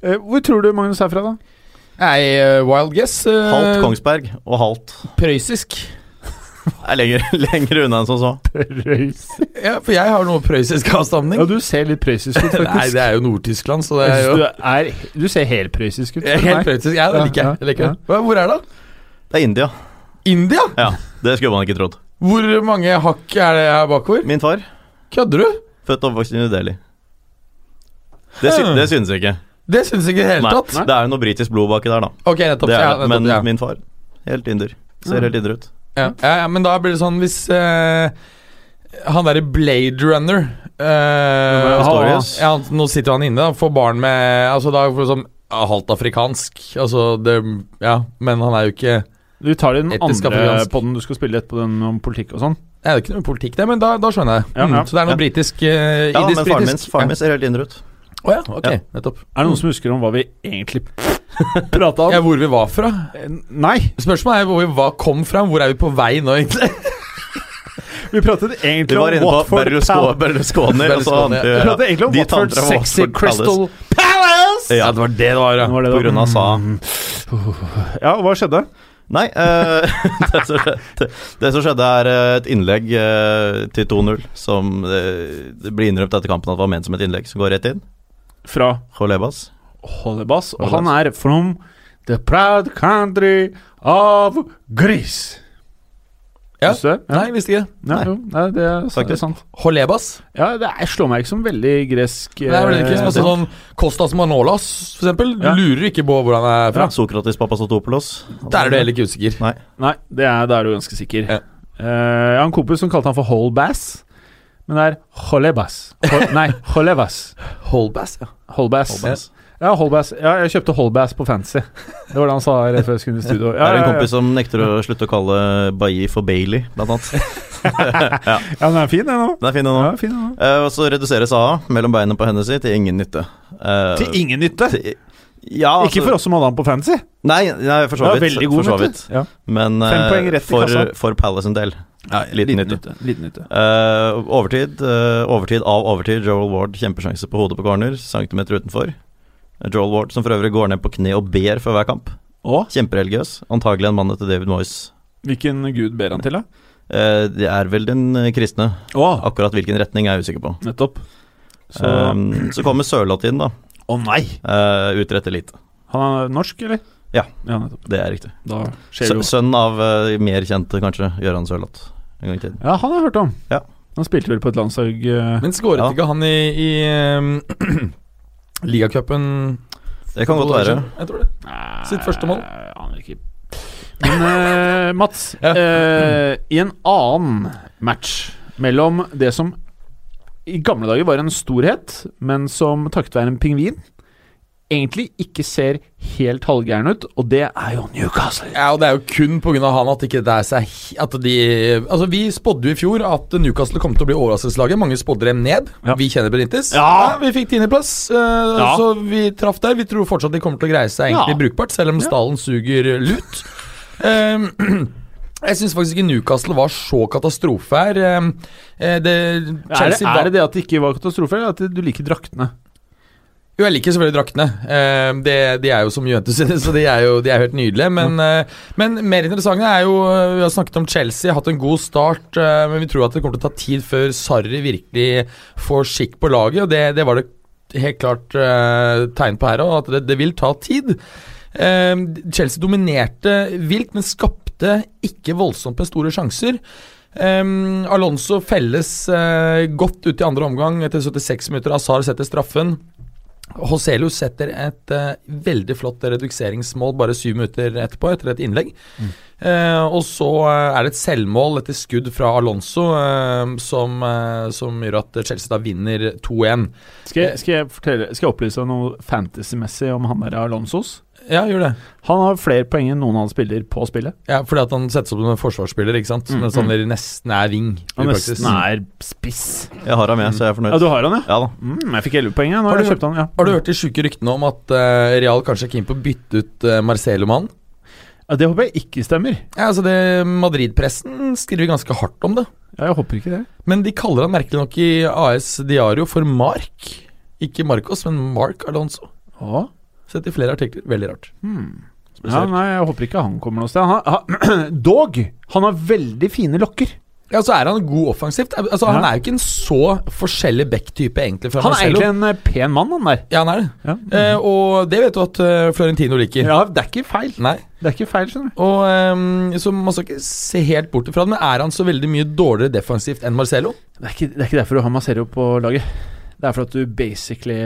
Eh, hvor tror du Magnus er fra, da? Nei, eh, wild guess. eh, halvt Kongsberg og halvt Prøysisk. er lenger, lenger unna enn som så. Prøysen. Ja, for jeg har noe prøyssisk avstamning. Ja, du ser litt prøyssisk ut, faktisk. Nei, det er jo Nord-Tyskland, så det Jeg er synes jo du, er, du ser helt prøyssisk ut. Jeg er spør du Helt meg. prøyssisk. Ja, det liker jeg. jeg liker det. Hva- Hvor er det? da? Det er India. India? Ja, Det skulle man ikke trodd. Hvor mange hakk er det her bakover? Min far, Kødder du? født og oppvokst i New Delhi. Det, sy det synes jeg ikke. Det syns jeg ikke i det hele Nei, tatt. det er jo noe britisk blod baki der, da. Ok, nettopp. Det ja, er, det, nettopp, men ja. min far, helt inder. Ser helt inder ut. Ja, ja, ja, men da blir det sånn hvis eh, Han derre Blade Runner eh, Pistorius. ja, han, Nå sitter han inne, da. Får barn med Altså, da får du sånn ja, halvt afrikansk. Altså, det Ja, men han er jo ikke Du tar den Etisk andre afrikansk. podden du skal spille etterpå, den om politikk og sånn. Det er jo ikke noe politikk der, men da, da skjønner jeg. Ja, ja. Mm, så det er noe Ja. britisk eh, Ja, men indisk-britisk. faren min, faren min ser helt inder ut. Ja. Å ja, ok, Ja. nettopp. Er Mm. det noen som husker om hva vi egentlig prata Ja, om? hvor vi var fra? Eh, Nei, Spørsmålet er hvor vi var, kom fra. Hvor er vi på vei nå, egentlig? vi pratet Vi egentlig var om inne på Watford Berlusco- Palace. Berlusconi. og så- Berlusconi, ja. Vi ja. pratet egentlig om eh, De Watford tantra om Sexy Watford Crystal Palace. Palace! Ja, det var det det var, Det var på det da. Mm. grunn av SA. Ja, hva skjedde? Nei, eh, det, som skjedde, det som skjedde er eh, et innlegg eh, til 2-0 som eh, det blir innrømt etter kampen at det var ment som et innlegg som går rett inn. Fra Jolebas. Holebas, og han er from the proud country of Greece. Ja. Husker du det? Nei, visste ikke. det. Nei, jo, nei, det er Faktisk. sant. Holebas. Ja, det er, slår meg ikke som veldig gresk Det er vel ikke eh, som sånn Kostas Manolas, for eksempel. Du Ja. lurer ikke på hvor han er fra. Fra Sokrates Papasotopoulos. Der er du heller ikke usikker. Nei. Nei, det er, da er du ganske sikker. Ja. Eh, jeg har en kompis som kalte han for Holbass, men det er Holebas. Hol, nei, Holebas. Holbass, ja. Holbass. Holbass. Ja, Holbass. Ja, jeg kjøpte Holbass på Fancy. Det var det han sa rett før jeg skulle inn i studio. Ja, er det en ja, ja. kompis som nekter å slutte å kalle Bailly for Bailey, blant annet. Ja, den er fin, den òg. Den er fin, den Ja, òg. fin, den også. Eh, og så reduseres AA mellom beina på henne si til ingen nytte. Eh, Til ingen nytte! til- ja, altså, Ikke for oss som hadde han på Fancy. Nei, nei for så Ja, vidt. veldig god for så nytte. vidt. Ja. Men Fem eh, poeng rett i for, kassa. for Palace en del. liten, nytte. Liten nytte. Eh, overtid, eh, overtid av overtid. Joel Ward kjempesjanse på hodet på corner, centimeter utenfor. Joel Ward som for øvrig går ned på kne og ber før hver kamp. Og Kjempereligiøs. Antagelig en mann etter David Moyes. hvilken gud ber han til, da? Eh, det er vel den eh, kristne. Å, Akkurat hvilken retning er jeg usikker på. nettopp. Så, Ehm. um, så kommer Sørloth inn, da. Å nei! eh, utretter lite. Han er norsk, eller? Ja. ja nettopp. Det er riktig. Da skjer det Sø jo sønn av eh, mer kjente, kanskje, Gøran Sørloth. En gang i tiden. Ja, han har jeg hørt om. Ja. Han spilte vel på et landslag eh, Men skåret Ja. ikke han i, i um, ligacupen Det kan godt være. Jeg tror det. Sitt første mål. Nei, Aner ikke. Men eh, Mats, Ja. eh, i en annen match mellom det som i gamle dager var en storhet, men som takket være en pingvin egentlig ikke ser helt halvgæren ut, og det er jo Newcastle. Ja, og Det er jo kun pga. han at ikke det er seg he- at de, altså Vi spådde jo i fjor at Newcastle kom til å bli overraskelseslaget. Mange spådde dem ned. Ja. Vi kjenner Benintis. Ja. vi fikk tiendeplass, eh, Ja. så vi traff der. Vi tror fortsatt de kommer til å greie seg egentlig Ja. brukbart, selv om stallen suger lut. Ehm, jeg syns faktisk ikke Newcastle var så katastrofe her. Ehm, eh, det, Er det, Chelsea er var- det det at det ikke var katastrofe, eller at du liker draktene? Jo, jeg liker selvfølgelig draktene. Eh, det, de er jo som Juventus sine, så de er jo de er jo helt nydelige. Men, eh, men mer interessante er jo eh, Vi har snakket om Chelsea, hatt en god start. eh, men vi tror at det kommer til å ta tid før Sarri virkelig får skikk på laget. Og det, det var det helt klart eh, tegn på her òg, at det, det vil ta tid. Eh, Chelsea dominerte vilt, men skapte ikke voldsomt med store sjanser. Ehm, Alonso felles eh, godt ut i andre omgang etter 76 minutter. Azar setter straffen. Hoselius setter et eh, veldig flott reduseringsmål bare syv minutter etterpå, etter et innlegg. Mm. Eh, og så eh, er det et selvmål etter skudd fra Alonso eh, som, eh, som gjør at Chelsea da vinner 2-1. Skal jeg, skal jeg, fortelle, skal jeg opplyse deg noe fantasy-messig om han der Alonsos? Ja, gjør det. Han har flere poeng enn noen annen spiller på spillet. Ja, fordi at han settes opp som en forsvarsspiller, ikke sant? Mm, mens han nesten er wing. i Han praksis. nesten er spiss. Jeg har ham med, så jeg er fornøyd. Ja, du har han, ja? Ja da. Mm, jeg fikk 11 poeng. Ja. Nå Har har du jeg kjøpt han, ja. Har du hørt de sjuke ryktene om at eh, Real kanskje er keen på å bytte ut eh, Marcelo-mannen? ja, Det håper jeg ikke stemmer. Ja, altså det- Madrid-pressen skriver ganske hardt om det. Ja, jeg håper ikke det. Men de kaller han merkelig nok i AS Diario for Mark. Ikke Marcos, men Mark Alonso. Ja. Sett i flere artikler. Veldig rart. Hmm. ja, Spesielt. nei, jeg håper ikke han kommer noe sted. Han, han, dog, han har veldig fine lokker. Ja, så er han god offensivt. Altså, Ja. Han er jo ikke en så forskjellig back-type, egentlig, fra Han er Marcelo. egentlig en eh, pen mann, han der. Ja, han er det. Ja. Eh, og det vet du at eh, Florentino liker. Ja, det er ikke feil. Nei. Det er ikke feil, skjønner du. Og ehm, Så man skal ikke se helt bort ifra det, men er han så veldig mye dårligere defensivt enn Marcelo? Det er ikke, det er ikke derfor du har Masero på laget. Det er for at du basically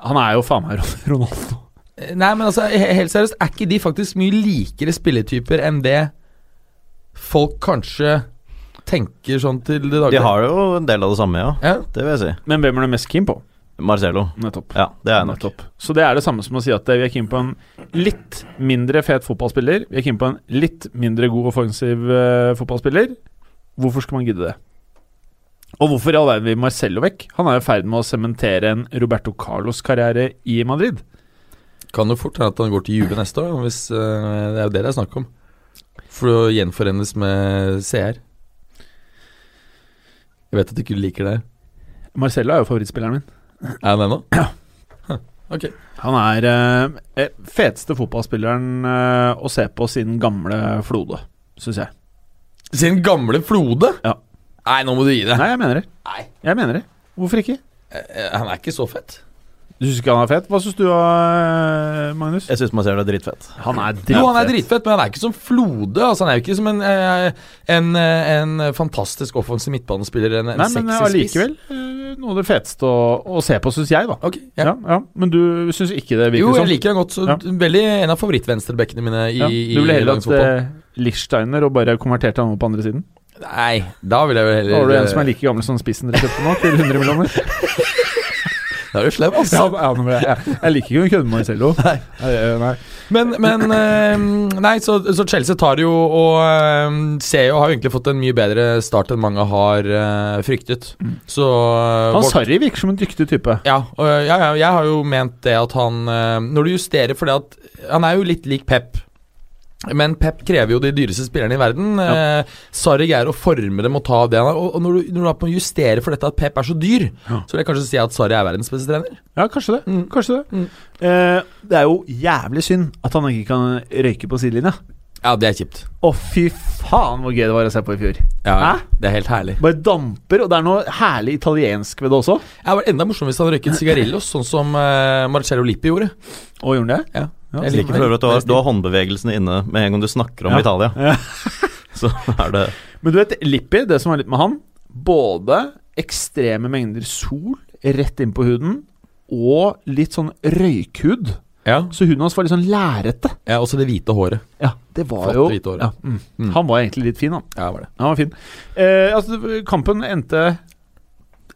Han er jo faen meg Ron- Ronaldo. Eh, Nei, men altså, he- helt seriøst, er ikke de faktisk mye likere spilletyper enn det folk kanskje tenker sånn til det De daglige? har jo en del av det samme, ja. Ja. Det vil jeg si. Men hvem er du mest keen på? Marcelo. Nettopp. Ja, det er jeg nok. Nettopp. Så det er det samme som å si at eh, vi er keen på en litt mindre fet fotballspiller. Vi er keen på en litt mindre god offensiv eh, fotballspiller. Hvorfor skal man gidde det? Og hvorfor i all verden vil Marcello vekk? Han er i ferd med å sementere en Roberto Carlos-karriere i Madrid. Kan jo fort hende at han går til Juve neste år, hvis, eh, det er jo det det er snakk om. For å gjenforenes med CR. Jeg vet at du ikke liker det. Marcello er jo favorittspilleren min. Er han det nå? Han er eh, eh, feteste fotballspilleren eh, å se på siden gamle Flode, syns jeg. Sin gamle Flode? Ja. Nei, nå må du gi deg. Nei, jeg mener det. Nei. Jeg mener det. Hvorfor ikke? Eh, Han er ikke så fett. Du syns ikke han er fet? Hva syns du, eh, Magnus? Jeg syns Marcelo er dritfett. Han er Jo, han er dritfett, men han er ikke som Flode. Altså, han er jo ikke som en, eh, en, eh, en fantastisk offensiv midtbanespiller. En, en Nei, men eh, sexy spiss. allikevel eh, noe av det feteste å, å se på, syns jeg, da. Ok, Ja. ja. Ja, Men du syns ikke Jo, det virker jeg sånn? liker han godt. Så Ja. Veldig en av favorittvenstrebekkene mine i, Ja. Du i ville heller landets hatt fotball. eh, Lichsteiner og bare konvertert han over på andre siden? Nei, da vil jeg jo heller eh, Da har du en som er like gammel som spissen dere kjøpte nå, til 100 millioner? Da er du slem, altså. Ja, ja, men jeg, jeg liker ikke å kødde med Marcello. Nei. Nei. Men, men eh, Nei, så, så Chelsea tar jo og eh, ser jo har jo egentlig fått en mye bedre start enn mange har eh, fryktet. Så eh, Mm. Han vårt- Sarri virker som en dyktig type. ja, og, ja, ja, jeg har jo ment det at han eh, Når du justerer for det at Han er jo litt lik Pep. Men Pep krever jo de dyreste spillerne i verden. Ja. Eh, Sarri greier å forme dem og ta av det han er. Og, og når du, når du da må justere for dette at Pep er så dyr, Ja. så vil jeg kanskje si at Sarri er verdens beste trener. Ja, kanskje det. Mm. Kanskje det. Mm. Eh, det er jo jævlig synd at han ikke kan røyke på sidelinja. Ja, det er kjipt. Å, fy faen hvor gøy det var å se på i fjor. Ja, Hæ? det er helt herlig. Bare damper, og det er noe herlig italiensk ved det også. Det hadde vært enda morsommere hvis han røyket sigarillos, sånn som eh, Marcello Lippi gjorde. Og gjorde han det? Ja, Jeg Jeg liker for øvrig at du har, du har håndbevegelsene inne med en gang du snakker om Ja. Italia. Ja. Så er det Men du vet, Lippi, det som er litt med han Både ekstreme mengder sol rett inn på huden, og litt sånn røykhud. Ja, Så huden hans var litt sånn lærete. ja også det hvite håret. Ja, det var Flotte jo hvite håret. ja, mm. Han var egentlig litt fin, han. Ja, var det. Han var fin. Eh, altså, kampen endte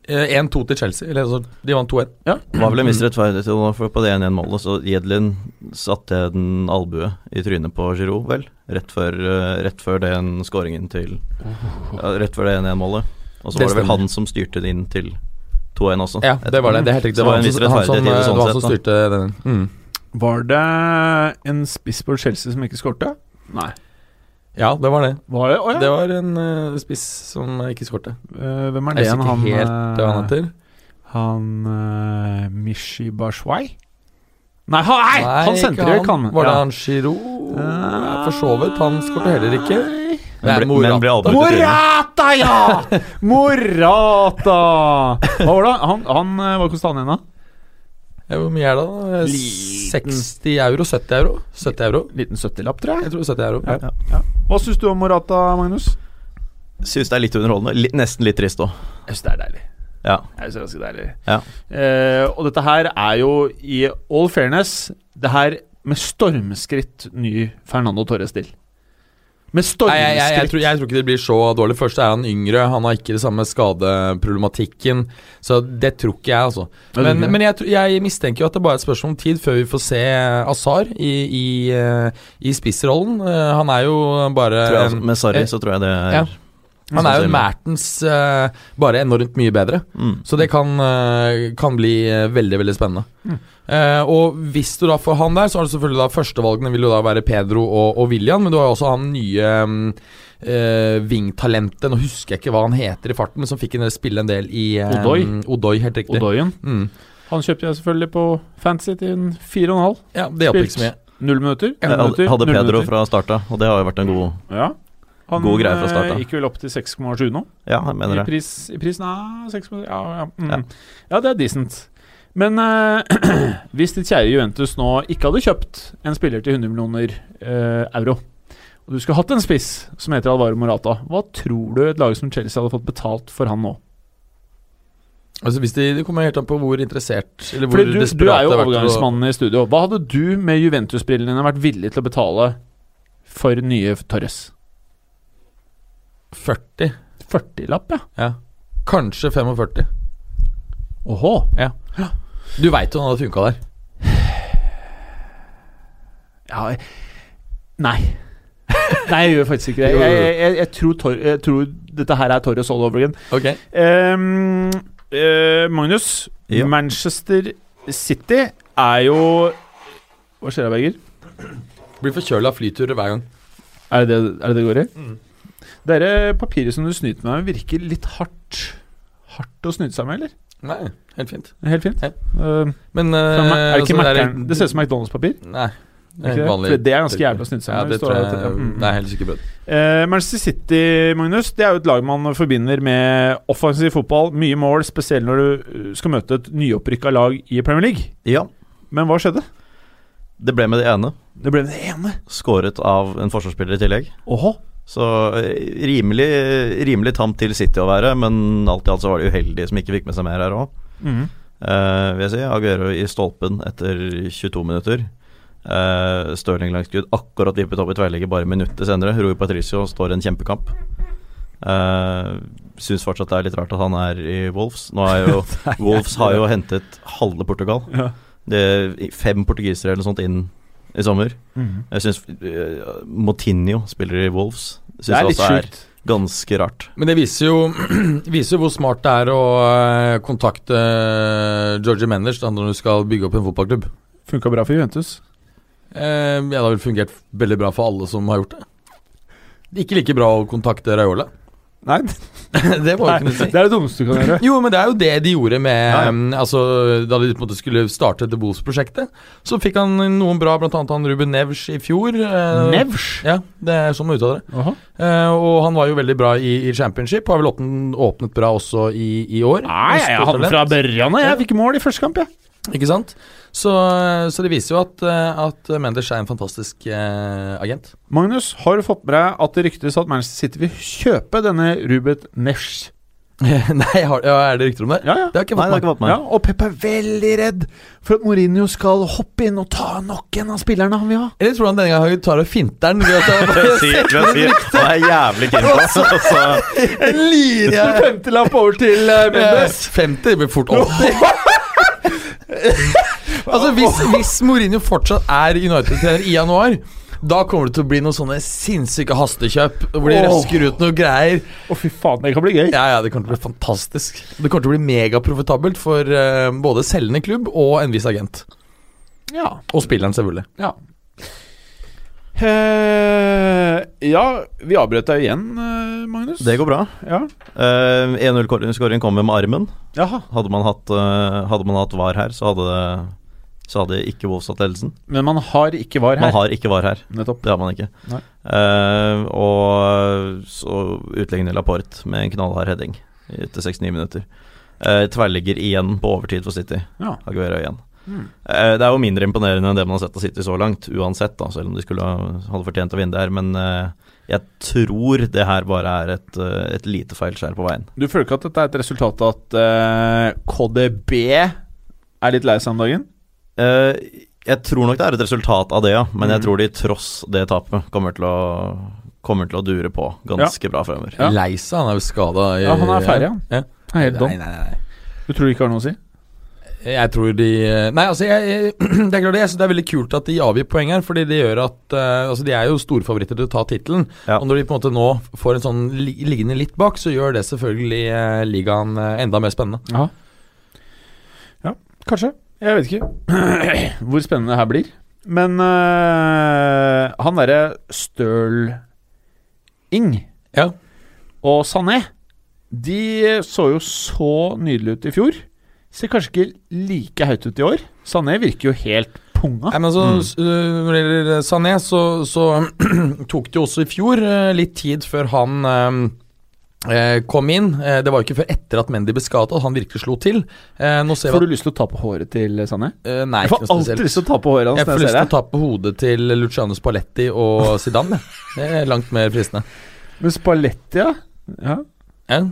Eh, 1-2 til Chelsea. Eller altså, de vant 2-1. var vel en viss rettferdighet til nå, for på det 1-1-målet. Så Jedlin satte en albue i trynet på Giroud, vel. Rett før, eh, rett før den skåringen til ja, Rett før det 1-1-målet. Og så Det var det vel stemmer. han som styrte det inn til 2-1 også. Ja, det var det. Det er helt riktig. Så Det var en han viss som, han som, rettferdighet i eh, det det sånn var sett, han som da. styrte den. Mm. Var det en spiss på Chelsea som ikke skårte? Nei. Ja, det var det. Var det? Å ja. Det var en eh, spiss som ikke skårte. Eh, hvem er Jeg det husker igjen? ikke Han, helt hva han eh, heter. han eh, Mishi Bashwai? Nei, ha, nei, han ikke sentrer kan Var det ja. Eh. han Giro? Ja, for så vidt. Han skårte heller ikke. Nei. Det er Men ble, men ble albuet i trynet. Morata, ja! Morata! Hva var det? Han, han eh, var kosta han igjen, da? Ja, Hvor mye er det, da? Eh, Liten. 60 euro? 70 euro? 70 euro? Liten 70-lapp, tror jeg. Jeg tror 70 euro. Ja. Hva syns du om Morata, Magnus? Syns det er litt underholdende. Litt, nesten litt trist òg. Jeg syns det er deilig. Ja. Jeg synes det er ganske deilig. Ja. Eh, og dette her er jo, i all fairness, det her med stormskritt ny Fernando Torres-stil. Med Nei, jeg, jeg, jeg, stormskritt. tror, jeg tror ikke det blir så dårlig. Først er han yngre, han har ikke det samme skadeproblematikken. Så det tror ikke jeg, altså. tror Men, ikke det. men jeg, tror- jeg mistenker jo at det bare er et spørsmål om tid før vi får se Azar i, i, eh, i spissrollen. Eh, Han er jo bare Tror jeg, altså, en, med eh, sorry, så tror jeg det er ja. Han er jo sannsynlig. en Mertens eh, bare enormt mye bedre. Mm. Så det kan, eh, kan bli eh, veldig, veldig spennende. Mm. Eh, og hvis du da får han der, så har du selvfølgelig da førstevalgene vil jo da være Pedro og, og William, men du har jo også han nye mm, eh, vingtalentet, nå husker jeg ikke hva han heter i farten, men som fikk en del spille en del i eh, Odoi. Odoi, helt riktig. Odoien. Mm. Han kjøpte jeg selvfølgelig på Fancy til en 4,5. Ja, det hjalp ikke så mye. Null minutter. Ja, Jeg minutter, hadde- hadde null Pedro minutter. fra starta, og det har jo vært en god Ja. Han God greie fra eh, start, da. gikk vel opp til 6,7 nå. Ja, jeg mener I det. pris, i pris nei, 6, ja, ja. Mm. Ja. ja. det er decent. Men eh, hvis ditt kjære Juventus nå ikke hadde kjøpt en spiller til 100 millioner eh, euro, og du skulle hatt en spiss som heter Alvaro Morata, hva tror du et lag som Chelsea hadde fått betalt for han nå? Altså, hvis de, det kommer helt an på hvor interessert Eller hvor Fordi du, du desperat er jo det har vært til å- overgangsmannen i studio. Hva hadde du med Juventus-brillene dine vært villig til å betale for nye Torres? 40. 40-lapp, ja. Ja. Kanskje 45. Åhå. Du veit jo han hadde funka der. Ja jeg- Nei. Nei, jeg gjør faktisk ikke det. Jeg, jeg, jeg, jeg, tror, Tor, jeg tror dette her er Torres all over again. Ok Ehm, eh, Magnus, Ja. Manchester City er jo Hva skjer da, Berger? Blir forkjøla av flyturer hver gang. Er det det er det, det går i? Mm. Dere papiret som du snyter meg med, virker litt hardt. Hardt å snyte seg med, eller? Nei, helt fint. Helt fint. Ja. Ehm, Men eh, fra, er det, ikke altså, er- Mac'eren- det ser ut som McDonald's-papir. Nei. Er ikke det? vanlig- For det er ganske jævlig å snyte seg Ja, med, det står tror det jeg at- ja, mm. Det er helt sikkert. Eh, Manchester City Magnus, det er jo et lag man forbinder med offensiv fotball, mye mål, spesielt når du eh, skal møte et nyopprykka lag i Premier League. Ja, Men hva skjedde? det ble med det ene. Det ble det ene. Skåret av en forsvarsspiller i tillegg. Åhå. Så eh, rimelig, rimelig tamt til City å være, men alt i alt så var det uheldige som ikke fikk med seg mer her òg. Mhm. Eh, vil jeg si. Aguero i stolpen etter 22 minutter. Uh, Stirling langs skudd akkurat vippet opp i tverrligger bare minutter senere. Rui Patricio står en kjempekamp. Uh, Syns fortsatt det er litt rart at han er i Wolves. Nå er jo, Wolves har jo hentet halve Portugal. Ja. Det er fem portugisere eller noe sånt inn i sommer. Mhm. Jeg syns uh, Motinho spiller i Wolves. Synes Det er litt også er sjukt. ganske rart. Men det viser jo, viser jo hvor smart det er å eh, kontakte eh, Georgie Menders da, når du skal bygge opp en fotballklubb. Funka bra for Juventus. Eh, ja, det har vel fungert veldig bra for alle som har gjort det. Det er Ikke like bra å kontakte Raiola. Nei, det var jo ikke noe å si. det er det dummeste du kan gjøre. Jo, men det er jo det de gjorde med ja. um, Altså, Da de på en måte skulle starte The Bulls-prosjektet, så fikk han noen bra, blant annet han Ruben Nevs i fjor. eh, Nevsj? Ja, det er sånn man uttaler det. Aha. Eh, og han var jo veldig bra i, i championship, og har vel åpnet, åpnet bra også i, i år. Nei, Med jeg stort hadde talent. fra Børjan, og jeg fikk mål i første kamp, jeg. Ikke sant? Så, så det viser jo at, eh, at Mendes er en fantastisk eh, agent. Magnus, har du fått med deg at det ryktes at Manchester City vil kjøpe denne Rubet Nevsj? Nei, har, ja, er det rykter om det? Ja, ja. Det har ikke jeg Nei, det har fått med ikke fått med Ja, og Pep er veldig redd for at Mourinho skal hoppe inn og ta nok en av spillerne han vil ha. Eller tror du han denne gangen tar og finter den? Ved at meg. han Si, jeg sier, han er jævlig keen på det. Altså, en lirer Femtelapp over til eh, Mendes. 50 det blir fort 80. altså, hvis, hvis Mourinho fortsatt er United-trener i januar da kommer det til å bli noen sånne sinnssyke hastekjøp hvor de Åh. røsker ut noe greier. Å, fy faen, det kan bli gøy. Ja, ja, Det kommer til å bli fantastisk. Det kommer til å bli megaprofitabelt for eh, både selgende klubb og en viss agent. Ja. Og spilleren, selvfølgelig. Ja. Eh, ja, vi avbrøt deg igjen, eh, Magnus. det går bra. Ja. Eh, 1-0-skåringen kommer med armen. Jaha. Hadde man hatt, eh, hadde man hatt VAR her, så hadde, det, så hadde ikke Wolves hatt ledelsen. Men man har ikke var her. Man har ikke VAR her. Nettopp. Det har man ikke. Nei. Eh, og så utligner Laporte med en knallhard heading etter 69 minutter. Eh, tverrligger igjen på overtid for City. Ja. Aguero igjen. Mm. Eh, det er jo mindre imponerende enn det man har sett av City så langt, uansett, da, selv om de skulle ha, hadde fortjent å vinne det her. Men eh, jeg tror det her bare er et, eh, et lite feilskjær på veien. Du føler ikke at dette er et resultat av at eh, KDB er litt lei seg om dagen? Eh, jeg tror nok det er et resultat av det, ja. Men jeg Mm. tror de tross det tapet kommer til å, kommer til å dure på ganske bra fremover. Ja. Lei seg, han er jo skada. Ja, han er ferdig, han. Ja. Han er helt Nei, dom. nei, nei. Du tror det ikke har noe å si? Jeg tror de Nei, altså, jeg, jeg, det er klart det, jeg synes det er veldig kult at de avgir poeng her, fordi det gjør at eh, Altså, de er jo storfavoritter til å ta tittelen, Ja. og når de på en måte nå får en sånn li, liggende litt bak, så gjør det selvfølgelig eh, ligaen eh, enda mer spennende. Ja. ja, kanskje. Jeg vet ikke hvor spennende det her blir. Men eh, han derre Stirling Ja. og Sané, de så jo så nydelige ut i fjor. Ser kanskje ikke like høyt ut i år. Sané virker jo helt punga. Nei, men altså, s- øh, Når det gjelder Sané, så, så tok det jo også i fjor eh, litt tid før han eh, kom inn. Eh, Det var jo ikke før etter at Mendy ble skadet at han virkelig slo til. Eh, Nå ser Får vi du lyst til å ta på håret til Sané? at eh, Nei, Jeg ikke får noe alltid spesielt. lyst til å ta på håret hans. Jeg får når lyst ser til å det. ta på hodet til Luciano Spalletti og Zidane. jeg. Det er langt mer fristende. Men Spalletti, ja. ja. Ja.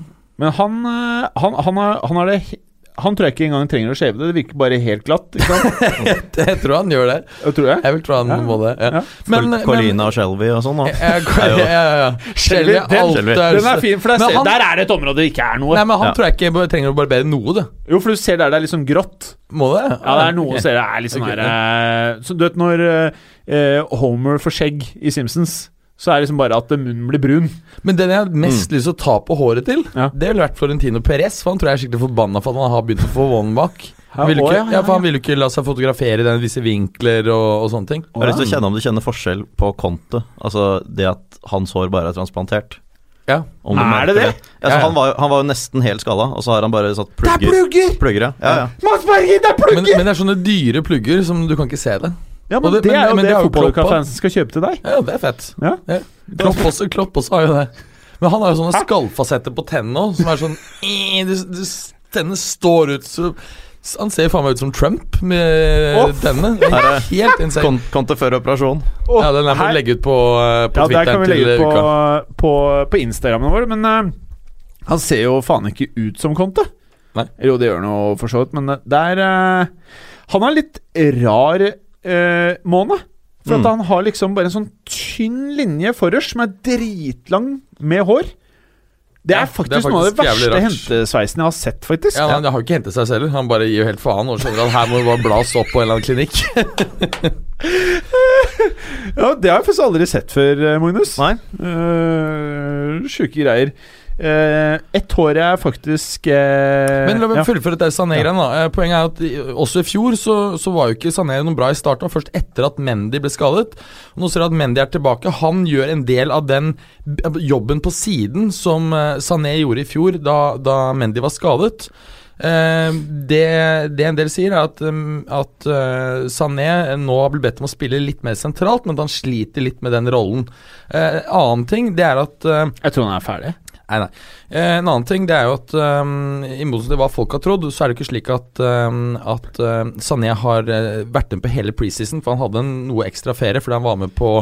Men han, eh, han, han, har, han har det he- Han tror jeg ikke engang trenger å shave det. Det virker bare helt glatt. Ikke sant? Jeg tror han gjør det. Det tror jeg. Jeg vil tro han Ja. må det. Ja. Ja. Men, Col- Colina og Shelby og sånn. da. men Eh, jeg, jeg, jeg, Shelby, den- Den er fin, for der, Men ser, han- der er det et område det ikke er noe. Nei, men han Ja. tror jeg ikke bare trenger å barbere noe, det. jo, for du ser der det er litt sånn grått. Må det? Ja, det er noe Ok. ser det er litt sånn Ok, her eh, Så du vet når eh, eh, Homer får skjegg i Simpsons, så er det liksom bare at eh, munnen blir brun. Men den jeg har mest lyst til å ta på håret til, Mm. Ja. det ville vært Florentino Perez. For han tror jeg er skikkelig forbanna for at han har begynt å få one back. Han ville å, ikke, ja, ja, ja, for han ville ikke la seg fotografere i den visse vinkler og, og sånne ting. Jeg har lyst til å kjenne om du kjenner forskjell på Conte. Altså det at hans hår bare er transplantert. Ja. Om du Er merker det det? Ja, Ja, så ja. Altså, han, var, han var jo nesten helt skalla, og så har han bare satt plugger. plugger! Plugger, ja. ja, ja. Mads Berger, det er Men, men det er sånne dyre plugger som du kan ikke se det. Ja, Og men det- det, men- er jo men det det har jo Klopp fotballkafansen skal kjøpe til deg. Ja, det er fett. Ja. Klopp også, Klopp også har jo det. Men han har jo sånne skallfasetter på tennene òg, som er sånn eh, du, du, Tennene står ut så Han ser faen meg ut som Trump med Å, f- tennene. Det Her er er- Helt insane. Con- Conte før operasjon. Ja, den er for Her- å legge ut på, eh, på Ja, der kan Twitteren vi legge til ut uka. på, på, på Instagrammen vår, men eh, han ser jo faen ikke ut som Conte. Nei. Jo, det gjør han jo for så vidt, men eh, der eh, Han har litt rar eh, måne. For Mm. at han har liksom bare en sånn tynn linje forrest som er dritlang med hår. Det Ja, det er er faktisk, noe av det faktisk jævlig verste rart. hentesveisen jeg har sett, faktisk. Ja, Han har jo ikke hentet seg selv. Han bare gir jo helt faen og skjønner at her må du bare blas opp på en eller annen klinikk. Ja, det har jeg faktisk aldri sett før, eh, Magnus. Nei. Uh, Sjuke greier. Eh, ett hår jeg faktisk eh, Men la meg ja. fullføre dette Sané-greiene. da. Eh, Poenget er at i- også i fjor så, så var jo ikke Sané noe bra i starten. og Først etter at Mendy ble skadet. Og nå ser du at Mendy er tilbake. Han gjør en del av den b- jobben på siden som eh, Sané gjorde i fjor, da, da Mendy var skadet. Eh, det, det en del sier, er at, um, at eh, Sané nå har blitt bedt om å spille litt mer sentralt, men at han sliter litt med den rollen. Eh, annen ting, det er at eh, Jeg tror han er ferdig. Nei, nei. Eh, en annen ting det er jo at um, i motsetning til hva folk har trodd, så er det ikke slik at, ehm, at ehm, Sané har eh, vært med på hele preseason, for han hadde en noe ekstra ferie fordi han var med på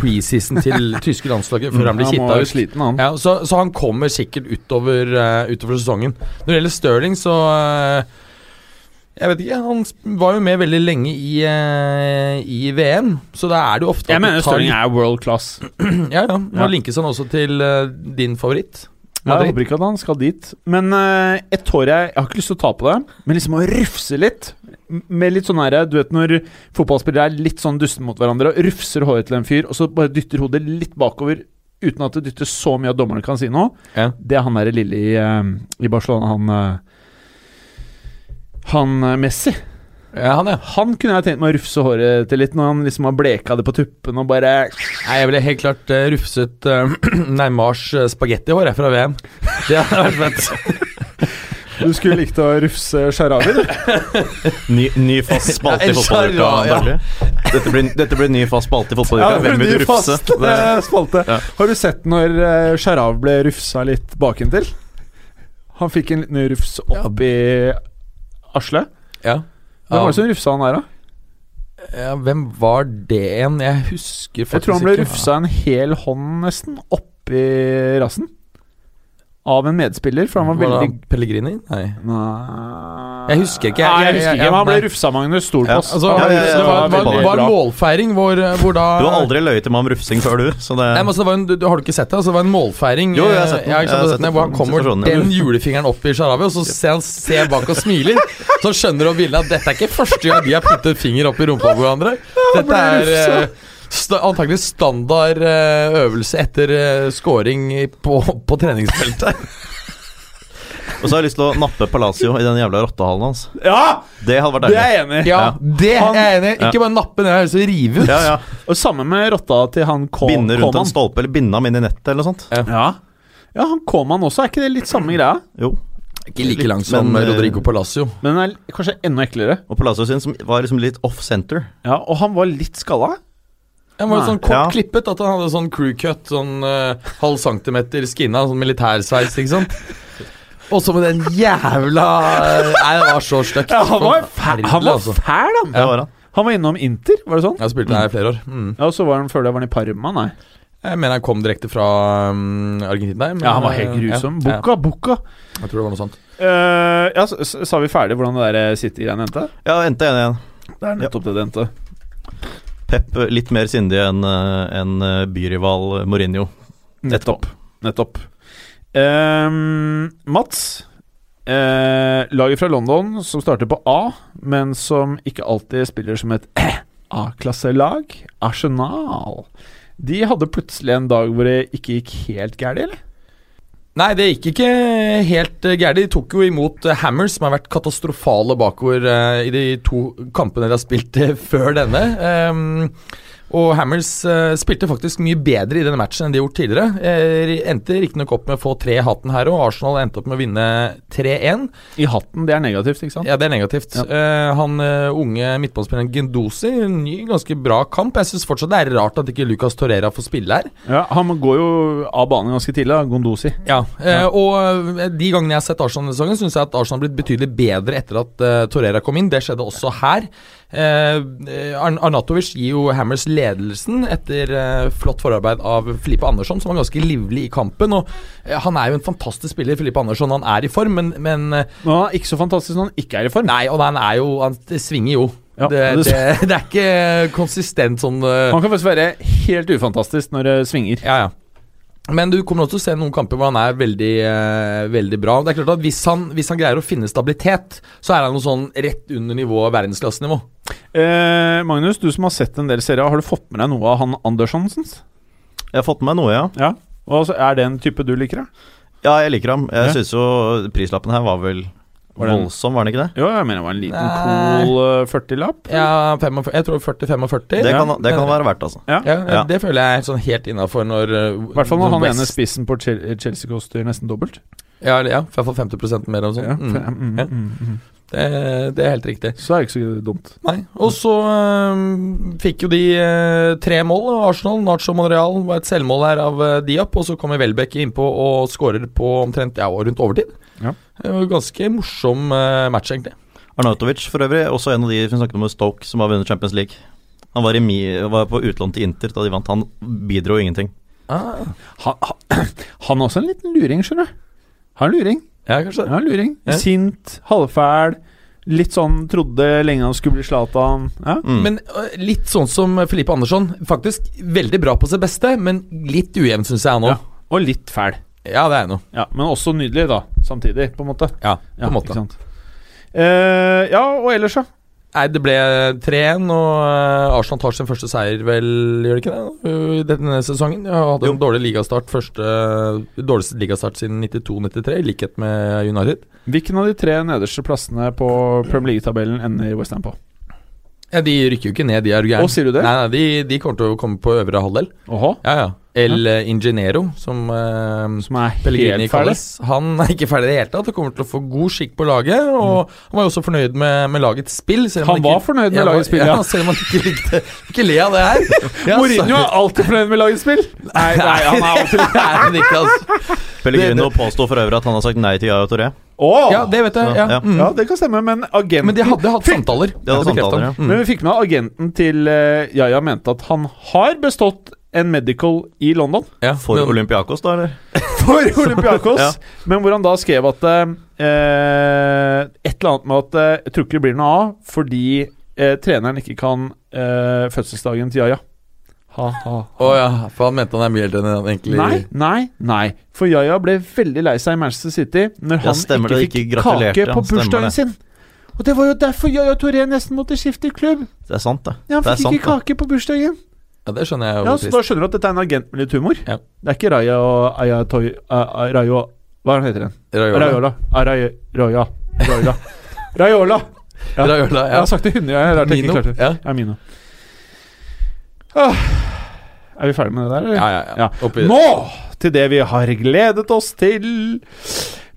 preseason til tyske landslaget før han ble Mm, Han må kitta være ut. sliten, han. Ja, så, så han kommer sikkert utover, eh, utover sesongen. Når det gjelder Stirling, så eh, Jeg vet ikke. Han sp- var jo med veldig lenge i, eh, i VM, så da er det jo ofte at du Jeg mener tar Stirling litt- er world class. Ja, ja. Nå Ja. linkes han også til eh, din favoritt. Ja, jeg Madrid. håper ikke at han skal dit. Men eh, ett hår jeg Jeg har ikke lyst til å ta på det, men liksom å rufse litt. M- Med litt sånn her, Du vet når fotballspillere er litt sånn dusten mot hverandre og rufser håret til en fyr, og så bare dytter hodet litt bakover uten at det dytter så mye at dommerne kan si noe. Ja. Det er han derre lille i, eh, i Barcelona, han eh, Han eh, Messi. Ja, han, ja. Han kunne jeg tenkt meg å rufse håret til litt, når han liksom har bleka det på tuppen og bare Nei, jeg ville helt klart eh, rufset eh, Neymars eh, spagettihår jeg, fra VM. Det hadde vært fett. Du skulle likt å rufse Sharawi, du. Ny, ny fast spalte i Ja, fotballuka. ja, ja. Daglig. Dette, blir- dette blir ny fast spalte i fotballuka. Hvem vil du rufse? Det, spalte. Ja. Har du sett når eh, Sharawi ble rufsa litt bakentil? Han fikk en liten rufs opp i Asle. Ja. Hvem var det som rufsa han der, da? ja, hvem var det igjen? Jeg husker Jeg faktisk tror han ble ikke. rufsa en hel hånd, nesten, oppi rassen. Av en medspiller, for han var Var det veldig Pellegrini? Nei. Nei Jeg husker ikke, jeg- Nei, jeg- jeg husker jeg- ikke men han ble nei. rufsa, Magnus. Stol på Ja, oss. Altså, Han ja, ble ja, ja, det var, rufsa var, veldig var bra. målfeiring hvor, eh, hvor da du har aldri løyet til meg om rufsing før, du. Så det, Nei, men altså, det var en, du, du har du ikke sett det? Altså, det var en målfeiring Jo, jo, jeg har sett den. eh, Jeg har ja, ikke sant, du har sett sett den, den. hvor han kommer Situasjonen, ja. den julefingeren opp i Sharawi, og så ser han ser bak og smiler. Så han skjønner han bildet at dette er ikke første gang de har puttet finger opp i rumpa på hverandre. Dette er eh, sta- antakelig standard eh, øvelse etter eh, scoring i- på, på treningsfeltet. Og så har jeg lyst til å nappe Palacio i den jævla rottehalen hans. Ja! Det hadde vært Det er deilig. jeg enig i. Ja, Ja. det er jeg enig i. Ja. Ikke bare nappe ned, så rive ut. Ja, ja. Og samme med rotta til han K- Binde rundt en Kåman. stolpe, eller binde ham inn i nettet, eller noe sånt. Ja. ja, han Kåman også. Er ikke det litt samme greia? Jo. Ikke like langt Men, som eh, Rodrigo Palacio. Men den er kanskje enda eklere. Og Palacio sin som var liksom litt off center. Ja, Og han var litt skalla. Han var jo Nei. sånn kort Ja. klippet at han hadde sånn crew cut, sånn eh, halv centimeter skinna, sånn militærsveis, ikke sant. Og så med den jævla Nei, det var så stygt. fæl, Forferdelig, han, var altså. fæl han. Det var han. han var innom Inter, var det sånn? Jeg har spilt der i flere år. Mm. Ja, og så var han før det var han i Parma, nei. Jeg mener han kom direkte fra mm, Argentina. men, Ja, han var eh, helt grusom. Ja, Bukka, bukka. ja, jeg tror det var noe sånt. Eh, ja, så, så sa vi ferdig hvordan det der eh, City-greiene endte? Ja, endte igjen igjen. Det er nettopp det det endte. Pep eh, litt mer sindig enn eh, enn, eh, byrival eh, Mourinho. Nettopp. Nettopp. Ehm, Mats. Eh, laget fra London som starter på A, men som ikke alltid spiller som et A-klasselag. Arsenal. De hadde plutselig en dag hvor det ikke gikk helt gærent, eller? Nei, det gikk ikke helt uh, gærent. De tok jo imot eh, Hammers, som har vært katastrofale bakover eh, i de to kampene de har spilt eh, før denne. Ehm, og Hammers eh, spilte faktisk mye bedre i denne matchen enn de har gjort tidligere. Uh, endte riktignok opp med å få tre i hatten her, og Arsenal endte opp med å vinne 3-1. I hatten, det er negativt, ikke sant? Ja, det er negativt. Ja. Eh, han eh, unge midtbanespilleren Gendosi, en ny, ganske bra kamp. Jeg syns fortsatt det er rart at ikke Lucas Torreira får spille her. Ja, han går jo av banen ganske tidlig, da, Gondosi. Ja, eh, og eh, de gangene jeg har sett Arsenal denne sesongen, syns jeg at Arsenal har blitt betydelig bedre etter at eh, Torreira kom inn. Det skjedde også her. Eh, eh, Arn- Arnatovic gir jo Hammers ledelsen etter eh, flott forarbeid av Filippe Andersson, som var ganske livlig i kampen. Og eh, han er jo en fantastisk spiller, Filippe Andersson. Han er i form, men, men eh, Men han er ikke så fantastisk når han ikke er i form. Nei, og han er jo Han svinger jo. Ja, det, det- det, det er ikke konsistent sånn eh, Han kan faktisk være helt ufantastisk når det svinger. Ja, ja. Men du kommer også til å se noen kamper hvor han er veldig, eh, veldig bra. Det er klart at hvis han, hvis han greier å finne stabilitet, så er han noe sånn rett under nivået verdensklassenivå. Eh, Magnus, du som har sett en del serier, har du fått med deg noe av han Andersonsens? Jeg har fått med meg noe, ja. Ja, og altså, Er det en type du liker? da? Ja, jeg liker ham. Jeg Ja. synes syns jo prislappen her var vel Var den- voldsom, var den ikke det? Jo, jeg mener det var en liten Nei. cool eh, 40-lapp. Ja, 45, jeg tror 40-45. Det Ja, kan, det kan være verdt, altså. Ja. Det føler jeg er sånn helt innafor når I I hvert fall når han ene spissen på Chel- Chelsea koster nesten dobbelt. Ja, eller- ja, i hvert fall 50 mer og sånn. Ja, for- Mm. mm, Ja. mm, mm. Det, det er helt riktig. Så er det ikke så dumt. Nei. Og så øhm, fikk jo de øh, tre mål, og Arsenal, Nacho Monreal var et selvmål her av øh, Diop, og så kommer Welbeck innpå og skårer på omtrent ja, rundt overtid. Ja. Det var ganske morsom øh, match, egentlig. Arnautovic for øvrig, også en av de vi snakket om med Stoke, som har vunnet Champions League. Han var, i, mi- var på utlån til Inter da de vant. Han bidro ingenting. Han, han, han er også en liten luring, skjønner du. Han er en luring. Ja, kanskje det. Ja, en luring. Ja. Sint, halvfæl, litt sånn trodde lenge han skulle bli Zlatan. Ja. Mm. Men øh, litt sånn som Filippe Andersson. Faktisk veldig bra på sitt beste, men litt ujevn, syns jeg nå. Ja. Og litt fæl. Ja, det er jeg nå. Ja, men også nydelig, da. Samtidig, på en måte. Ja, på en Ja, måte. ikke sant? Eh, ja, og ellers, da? Nei, det ble 3-1, og eh, Arsenal tar sin første seier, vel, gjør det ikke det? I denne sesongen. Ja, hadde en dårlig ligastart, første dårligste ligastart siden 92-93, i likhet med United. Hvilken av de tre nederste plassene på Premier League-tabellen ender West Ham på? Ja, De rykker jo ikke ned, de er jo Å, sier du det? Nei, nei, de, de kommer til å komme på øvre halvdel. Åhå, Ja, ja. El eh, Ingeniero, som eh, som er Pellegrini helt ferdig? kalles. Han er ikke ferdig i det hele tatt og kommer til å få god skikk på laget. Og han var jo også fornøyd med, med lagets spill. selv om Mm. Han var ikke, fornøyd med Ja, lagets spill, ja. Selv om han ikke likte Ikke le av det her. Ja, Mourinho er alltid fornøyd med lagets spill! Nei, nei, han er alltid Det er han ikke, altså. Pellegrino påsto for øvrig at han har sagt nei til Yaya Toré. Åh! Ja, det vet jeg. Så, Ja. ja. Mm. Ja, det kan stemme, men agenten Men de hadde hatt samtaler. Det hadde Det bekreftet samtaler, ja. han. Men Mm. vi fikk med agenten til uh, Yaya mente at han har bestått en medical i London Ja, For men- Olympiakos, da, eller? for Olympiakos, Ja. men hvor han da skrev at eh, Et eller annet med at eh, jeg tror ikke det blir noe av fordi eh, treneren ikke kan eh, fødselsdagen til Yaya. Ha, ha. Å ja, for han mente han er mye eldre enn han egentlig Nei, nei, nei. For Yaya ble veldig lei seg i Manchester City når Ja, han stemmer ikke det, fikk ikke gratulerte, kake ja, på stemmer bursdagen det. sin. Og det var jo derfor Yaya Toré nesten måtte skifte klubb. Det er sant, det. Ja, han det fikk er sant, ikke kake på bursdagen. Ja, det skjønner jeg jo. Ja, hvor så trist. da skjønner du at dette er en agent med litt humor. Ja. Det er ikke Raja og Aya Toy... A- A- Rayo Hva er han heter den? Raiola. Raiola. Raja Raja. Raiola. Raiola. Ja. Raiola, Jeg ja. har sagt det hundre ganger. rart jeg ikke Mino. klarte det. Ja. Ja, Mino. Ah. Er vi ferdige med det der, eller? Ja, ja, ja. Ja. Oppi Nå til det vi har gledet oss til.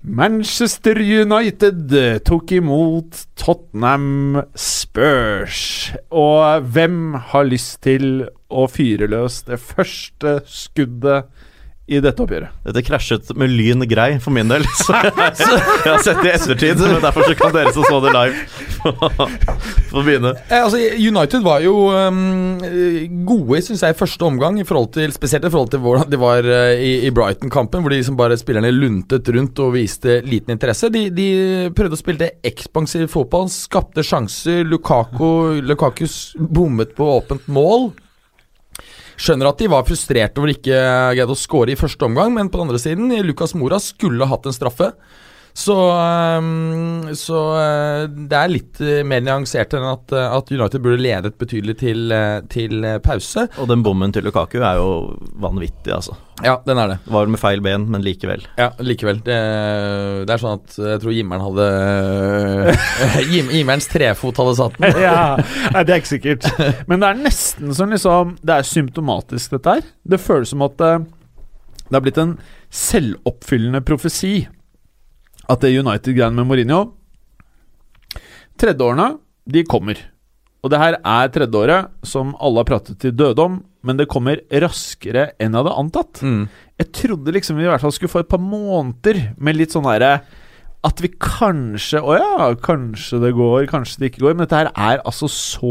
Manchester United tok imot Tottenham Spurs. Og hvem har lyst til å fyre løs det første skuddet i dette oppgjøret? Dette krasjet med lyn grei for min del. Så så jeg har sett det i ettertid, men derfor så kan dere som så det live, få- få begynne. Eh, Altså, United var jo ehm, eh, gode synes jeg, i første omgang, i forhold til, spesielt i forhold til hvordan de var eh, i, i Brighton-kampen, hvor de liksom bare spillerne luntet rundt og viste liten interesse. De, de prøvde å spille ekspansiv fotball, skapte sjanser. Lukaku, Lukakus bommet på åpent mål. Skjønner at de var frustrert over ikke greide å skåre i første omgang, men på den andre siden, Lucas Mora skulle hatt en straffe. Så, ehm, så eh, det er litt eh, mer nyansert enn at, eh, at United burde ledet betydelig til, eh, til eh, pause. Og den bommen til Lukaku er jo vanvittig, altså. Ja, den er det. Det var med feil ben, men likevel. Ja, Likevel. Det, det er sånn at eh, jeg tror Jimmeren hadde eh, Jim, Jimmerens trefot hadde satt den. ja, nei, det er ikke sikkert. Men det er nesten som liksom Det er symptomatisk, dette her. Det føles som at eh, det har blitt en selvoppfyllende profesi at det United-greiene med Mourinho Tredjeårene, de kommer. Og det her er tredjeåret som alle har pratet til døde om, men det kommer raskere enn jeg hadde antatt. Mm. Jeg trodde liksom vi i hvert fall skulle få et par måneder med litt sånn derre At vi kanskje Å ja, kanskje det går, kanskje det ikke går. Men dette her er altså så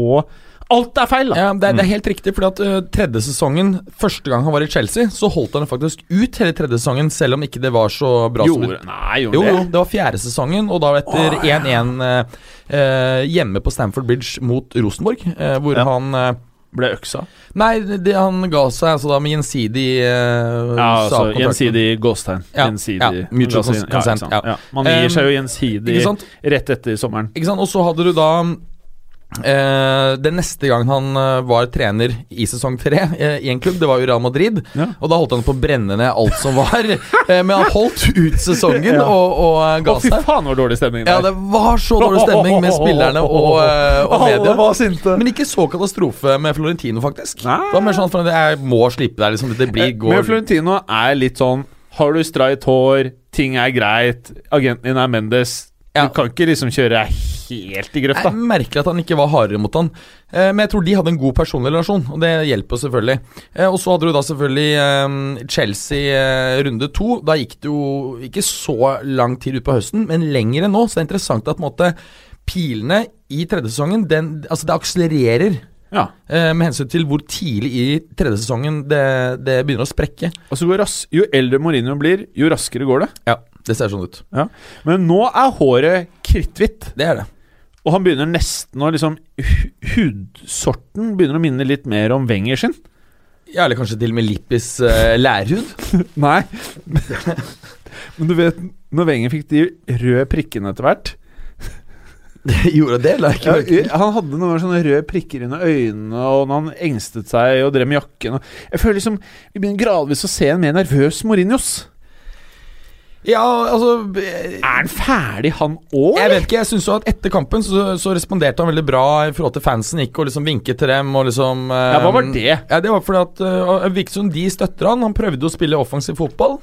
Alt er feil, da! Ja, det, er, det er helt riktig, fordi at ø, tredje sesongen Første gang han var i Chelsea, så holdt han faktisk ut hele tredje sesongen, selv om ikke det var så bra som Gjorde, nei, gjorde Jo, det? jo, det var fjerde sesongen, og da etter 1-1 eh, eh, hjemme på Stamford Bridge mot Rosenborg, eh, hvor Ja. han eh, Ble øksa. Nei, det, han ga seg altså da med gjensidig eh, Ja, sa altså kontrakten. gjensidig gåstegn. Ja, Gjensidig. ja, mutual Altså, ja, consent, ikke sant? ja. Man gir Um, seg jo Ikke gjensidig sant? rett etter sommeren. Ikke sant? Og så hadde du da Eh, den neste gangen han eh, var trener i sesong tre eh, i en klubb, det var jo Real Madrid. Ja. Og da holdt han på å brenne ned alt som var. eh, men han holdt ut sesongen og, og eh, Å, ga fy seg. faen, hvor dårlig stemning det Ja, er. det var så dårlig stemning med spillerne og, eh, og media. var sinte. Men ikke så katastrofe med Florentino, faktisk. Nei. Det var mer sånn at jeg må slippe deg, liksom. Det blir Eh, Men går Florentino er litt sånn Har du streit hår, ting er greit, agenten din er Mendes Ja. Du kan ikke liksom kjøre deg helt i grøfta. Jeg merker at han ikke var hardere mot han. Eh, men jeg tror de hadde en god personlig relasjon, og det hjelper jo selvfølgelig. Eh, og så hadde du da selvfølgelig eh, Chelsea eh, runde to. Da gikk det jo ikke så lang tid ut på høsten, men lenger enn nå. Så det er interessant at på en måte, pilene i tredje sesongen, den, altså det akselererer. Ja. eh, Med hensyn til hvor tidlig i tredje sesongen det, det begynner å sprekke. Og så går ras Jo eldre Mourinho blir, jo raskere går det. Ja, Det ser sånn ut. Men nå er håret kritthvitt, Det er det. og han begynner nesten å liksom hu- Hudsorten begynner å minne litt mer om Wenger sin. Ja, Eller kanskje til og med Lippis eh, lærhud. Nei. Men du vet, når Wenger fikk de røde prikkene etter hvert Gjorde det, eller? Ja, han hadde noen ganger sånne røde prikker under øynene, og når han engstet seg og drev med jakken og Jeg føler liksom Vi begynner gradvis å se en mer nervøs Mourinhos. Ja, altså eh, Er han ferdig, han òg? Jeg vet ikke, jeg synes jo at etter kampen så, så responderte han veldig bra i forhold til fansen. Gikk og liksom vinket til dem og liksom eh, Ja, hva var det? Ja, Det var fordi at eh, det virket som de støtter han. Han prøvde å spille offensiv fotball.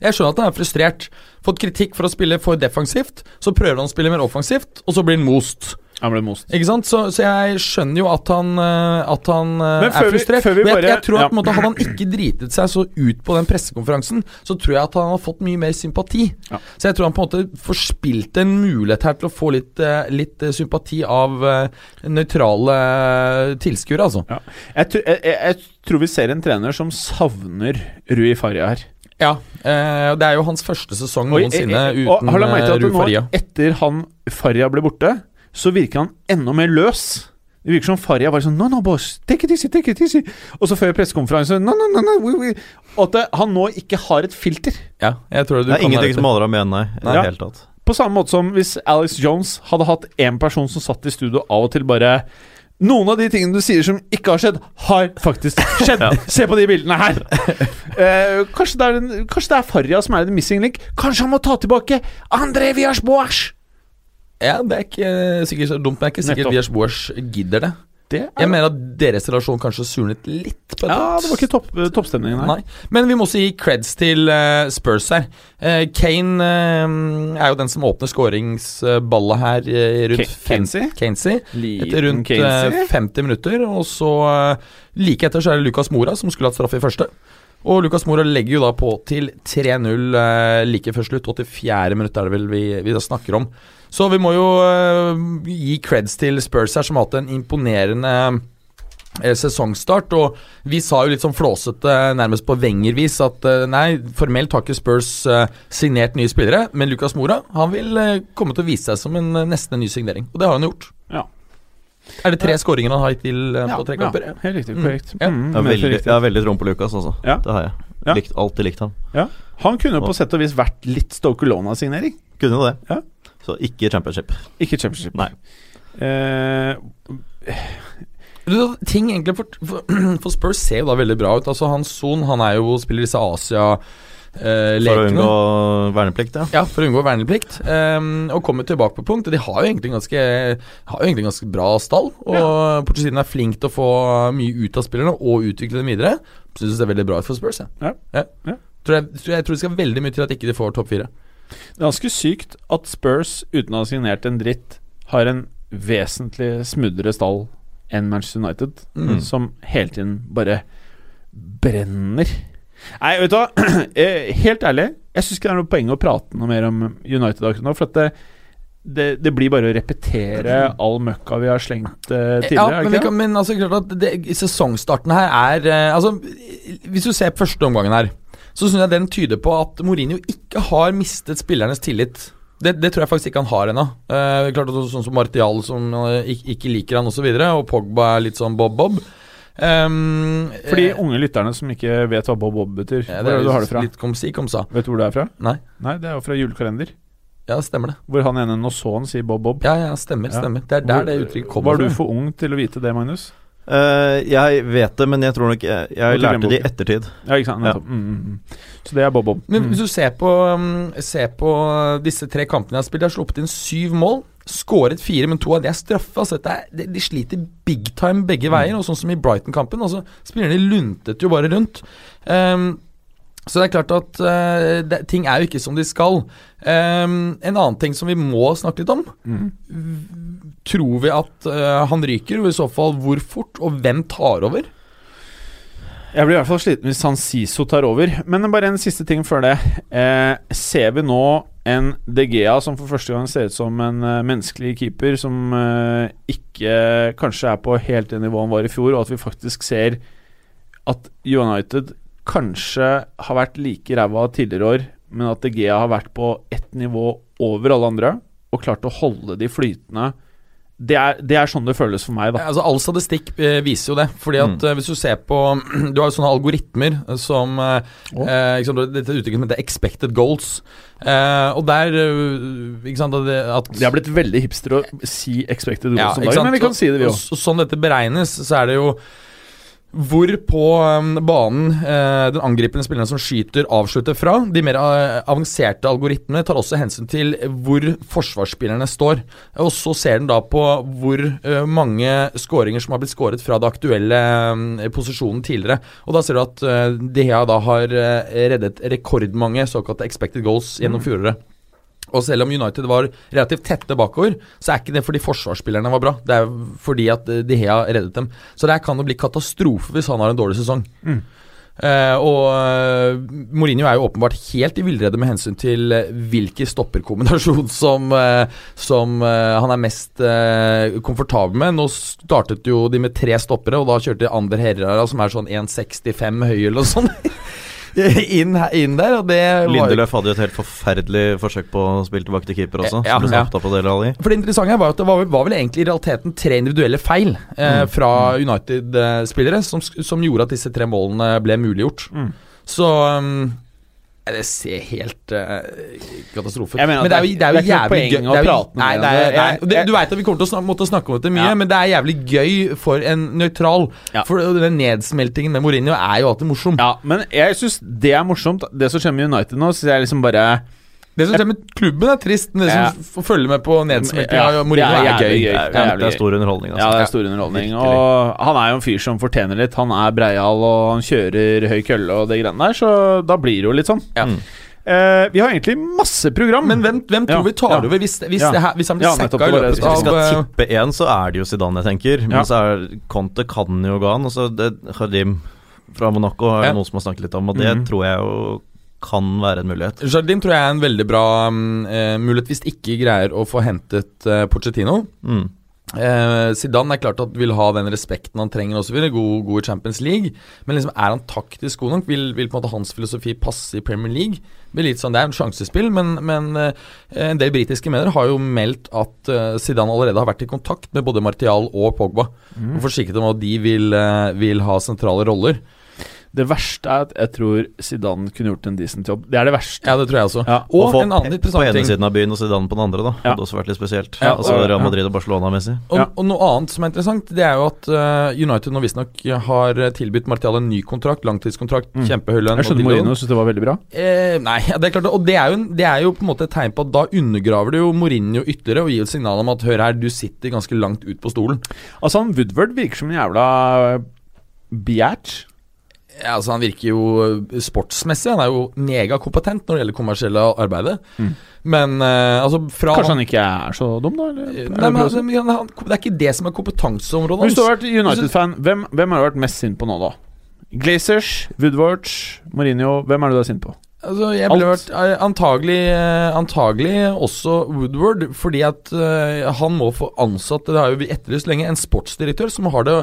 Jeg skjønner at han er frustrert. Fått kritikk for å spille for defensivt. Så prøver han å spille mer offensivt, og så blir han most. Han ble most. Ikke sant? Så, så jeg skjønner jo at han, eh, at han eh, Men er før vi- frustrert. før vi Men jeg, bare- jeg tror at ja. på en måte, Hadde han ikke dritet seg så ut på den pressekonferansen, så tror jeg at han har fått mye mer sympati. Ja. Så jeg tror han på en måte forspilte en mulighet her til å få litt, eh, litt eh, sympati av eh, nøytrale eh, tilskuere, altså. Ja. Jeg, tror- jeg, jeg, jeg tror vi ser en trener som savner Rui Faria her. Ja, eh, og Det er jo hans første sesong Og- noensinne og- og uten har du merket eh, at Ruud Faria. nå, etter han Faria ble borte, så virker han enda mer løs. Det virker som Faria var sånn No, no, boss. Take it easy, take it easy. Og så før pressekonferansen No, no, no, no. We, we. Og at det- han nå ikke har et filter. Ja, jeg tror du Det er kan ha ingenting rett i. som holder ham igjen, nei. i Ja. det hele tatt. På samme måte som hvis Alex Jones hadde hatt én person som satt i studio av og til bare noen av de tingene du sier som ikke har skjedd, har faktisk skjedd! Se på de bildene her! Eh, kanskje, det er den, kanskje det er Faria som er the missing link? Kanskje han må ta tilbake André Vias Boas! Ja, Det er ikke eh, sikkert så dumt, men jeg er ikke Nettopp. sikkert Viers Boers gidder det. Det Jeg mener at deres relasjon kanskje surnet litt. på et Ja, punkt. det var ikke topp, eh, toppstemningen her. Nei. Men vi må også gi creds til eh, Spurs her. Eh, Kane eh, er jo den som åpner skåringsballet her eh, rundt Ke- Keynesy? fem- Keynesy. Etter rundt Keynes. eh, 50 minutter. Og så eh, like etter så er det Lucas Mora som skulle hatt straffe i første. Og Lucas Mora legger jo da på til 3-0 eh, like før slutt. 84. minutt er det vel vi, vi da snakker om. Så vi må jo eh, gi creds til Spurs her, som har hatt en imponerende eh, sesongstart. Og vi sa jo litt sånn flåsete, nærmest på Wenger-vis, at eh, nei, formelt har ikke Spurs eh, signert nye spillere, men Lucas Mora han vil eh, komme til å vise seg som en eh, nesten ny signering. Og det har han gjort. Ja. Er det tre skåringer han har hittil eh, på tre kamper? Ja, helt riktig. Mm. Korrekt. Ja. Mm, Jeg har helt veldig, riktig. jeg har veldig troen på Lucas, altså. Ja. Det har jeg. Ja. Likt, alltid likt han. Han kunne jo på sett og vis vært litt Stoke Lona-signering. Kunne jo det. Ja. Så ikke championship. Ikke championship. Nei. Eh, Du, ting egentlig for, for, for Spurs ser jo da veldig bra ut. Altså Han Son han er jo spiller disse For å Asia-lekene. unngå verneplikt, ja. ja, for å unngå verneplikt. ehm, og kommer tilbake på punkt. De har jo egentlig en ganske, har jo egentlig en ganske bra stall. Og Portugisen er flink til å få mye ut av spillerne og utvikle dem videre. Syns det ser veldig bra ut for Spurs. Jeg, Ja. Ja. Tror, jeg, tror, jeg tror det skal veldig mye til at ikke de får topp fire. det er ganske sykt at Spurs, uten å ha signert en dritt, har en vesentlig smuddere stall enn Manchester United, Mm. som hele tiden bare brenner. Nei, vet du hva. Eh, Helt ærlig, jeg syns ikke det er noe poeng å prate noe mer om United akkurat nå. For at det, det, det blir bare å repetere all møkka vi har slengt eh, tidligere. Ja, er det men, ikke vi det? kan, men altså, klart at det, sesongstarten her er eh, Altså, Hvis du ser første omgangen her, så syns jeg den tyder på at Mourinho ikke har mistet spillernes tillit. Det, det tror jeg faktisk ikke han har ennå. Eh, klart at Sånn som Martial, som eh, ikke, ikke liker han osv., og, så videre, og Pogba er litt sånn bob-bob. Um, For de unge lytterne som ikke vet hva Bob Bob betyr, eh, hvor er det du har det fra? Litt komsi, komsa. Vet du hvor det er fra? Nei. Nei, det er jo fra julekalender. Ja, stemmer det. Hvor han ene Nosson sier Bob Bob. Ja, ja, stemmer, Ja. stemmer. Det er der det uttrykket kommer Var du fra. for ung til å vite det, Magnus? Eh, jeg vet det, men jeg tror nok Jeg, jeg Gå til lærte det i Grønnboken. ettertid. Ja, ikke sant. Ja. nettopp. Mm, mm, mm. Så det er Bob Bob. Men Mm. hvis du ser på, um, ser på disse tre kampene jeg har spilt, jeg har sluppet inn syv mål. Skåret fire, men to av de er straffe. Altså, dette er, de, de sliter big time begge veier. Og sånn som i Brighton-kampen. Altså, Spillerne luntet jo bare rundt. Ehm, så det er klart at eh, det, ting er jo ikke som de skal. Ehm, en annen ting som vi må snakke litt om. Tror vi at eh, han ryker, og i så fall hvor fort, og hvem tar over? Jeg blir i hvert fall sliten hvis San Siso tar over. Men bare en siste ting før det. Eh, ser vi nå en De Gea som for første gang ser ut som en eh, menneskelig keeper, som eh, ikke kanskje er på helt det nivået han var i fjor, og at vi faktisk ser at United kanskje har vært like ræva tidligere år, men at De Gea har vært på ett nivå over alle andre, og klart å holde de flytende. Det er, det er sånn det føles for meg, da. Mm. Altså, all statistikk eh, viser jo det. Fordi at eh, Hvis du ser på Du har jo sånne algoritmer eh, som eh, eh, ikke sant, Dette uttrykket som heter 'expected goals'. Eh, og der eh, ikke sant, at, det- at Det er blitt veldig hipster å si expected goals Ja, om ikke dagen, sant? men vi kan si det, vi òg. Så, sånn dette beregnes, så er det jo hvor på um, banen eh, den angripende spilleren som skyter, avslutter fra. De mer eh, avanserte avanserte tar også hensyn til hvor forsvarsspillerne står. Og så ser den da på hvor eh, mange skåringer som har blitt skåret fra det aktuelle eh, posisjonen tidligere. Og da ser du at eh, De Gea da har eh, reddet rekordmange såkalte expected goals Mm. gjennom fjoråret. Og selv om United var relativt tette bakover, så er ikke det fordi forsvarsspillerne var bra. Det er fordi at eh, De Gea reddet dem. Så det her kan jo bli katastrofe hvis han har en dårlig sesong. Eh, og eh, Mourinho er jo åpenbart helt i villrede med hensyn til eh, hvilken stopperkombinasjon som, eh, som eh, han er mest eh, komfortabel med. Nå startet jo de med tre stoppere, og da kjørte Ander Herrera, som er sånn 1,65 høy eller noe sånt, inn, her- inn der. Og det var jo- Lindeløf hadde jo et helt forferdelig forsøk på å spille tilbake til keeper også. Ja, som ble ja. stoppet av på Dele Alli. For det interessante her var jo at det var, var vel egentlig i realiteten tre individuelle feil eh, Mm. fra United-spillere som, sk- som gjorde at disse tre målene ble muliggjort. Mm. Så um, nei, det ser helt eh, katastrofe ut. Jeg mener at Men det er jo, det det er er- jo det er ikke noe jævlig gøy poeng å det er jo- prate Nei, mer om det er, det. nei, Jeg- og det, du veit at vi kommer til å snak, måtte snakke om dette mye, Ja. men det er jævlig gøy for en nøytral. Ja. For den nedsmeltingen med Mourinho er jo alltid morsom. Ja, men jeg syns det er morsomt. Det som skjer med United nå, syns jeg liksom bare Det som skjer med klubben, er trist, men det Ja. som f- følger med på nedsmeltinga Ja, av Mourinho, det er er jævlig gøy. gøy. Det Ja, er, det jævlig er stor underholdning, Ja, altså. det er stor underholdning. virkelig. Og han er jo en fyr som fortjener litt. Han er breial, og han kjører høy kølle og det greiene der, så da blir det jo litt sånn. Ja. Eh, vi har egentlig masse program. Men hvem, hvem tror Ja, vi tar ja. over hvis, hvis, Ja. det her, hvis han blir Ja, nettopp, sekka i det var det jeg løpet Hvis vi av skal eh, tippe én, så er det jo Zidane jeg tenker. Men Ja. så er Conte kan jo gå an. Og så det, Khadim fra Monaco er Ja. noen som har snakket litt om, og det Mhm. tror jeg jo kan være en mulighet. Jardim tror jeg er en veldig bra mm, eh, mulighet hvis ikke greier å få hentet eh, Pochettino. Mm. Eh, Zidane er klart at vil ha den respekten han trenger osv. God, god i Champions League. Men liksom er han taktisk god nok? Vil, vil på en måte hans filosofi passe i Premier League? Det blir litt sånn, Det er en sjansespill, men, men eh, en del britiske medier har jo meldt at eh, Zidane allerede har vært i kontakt med både Martial og Pogba. Mm. Og forsikret om at de vil, eh, vil ha sentrale roller. Det verste er at jeg tror Zidane kunne gjort en decent jobb. Det er det verste. Ja, det tror jeg også. Ja, Å og få en annen Pep på interessant ene ting. siden av byen og Zidane på den andre, da. Ja. Hadde også vært litt spesielt. Ja, altså og- Real Madrid og Barcelona-messig. Og, Ja. og noe annet som er interessant, det er jo at eh, United nå visstnok har eh, tilbudt Martial en ny kontrakt, langtidskontrakt, Mm. kjempehøy lønn. Jeg og skjønner dildo. Mourinho syns det var veldig bra. Eh, nei, ja, det er klart det. Og det er, jo, en- det er jo på en måte et tegn på at da undergraver det jo Mourinho ytterligere og gir et signal om at hør her, du sitter ganske langt ut på stolen. Altså, han Woodward virker som en jævla eh, Biatch. Ja, altså Han virker jo eh, sportsmessig, han er jo megakompetent når det gjelder kommersielle arbeidet. Mm. Men eh, altså fra Kanskje han ikke er så dum, da? Eller? Eh, Er det Nei, men, bra å si? altså, men han, Det er ikke det som er kompetanseområdet Hvis hans. du har vært United-fan, hvem, hvem har du vært mest sint på nå, da? Glazers, Woodward, Mourinho Hvem er det du er sint på? Altså, jeg Alt. ville vært eh, antagelig, eh, antagelig også Woodward, fordi at eh, han må få ansatt Det har jo vi etterlyst lenge. En sportsdirektør som har det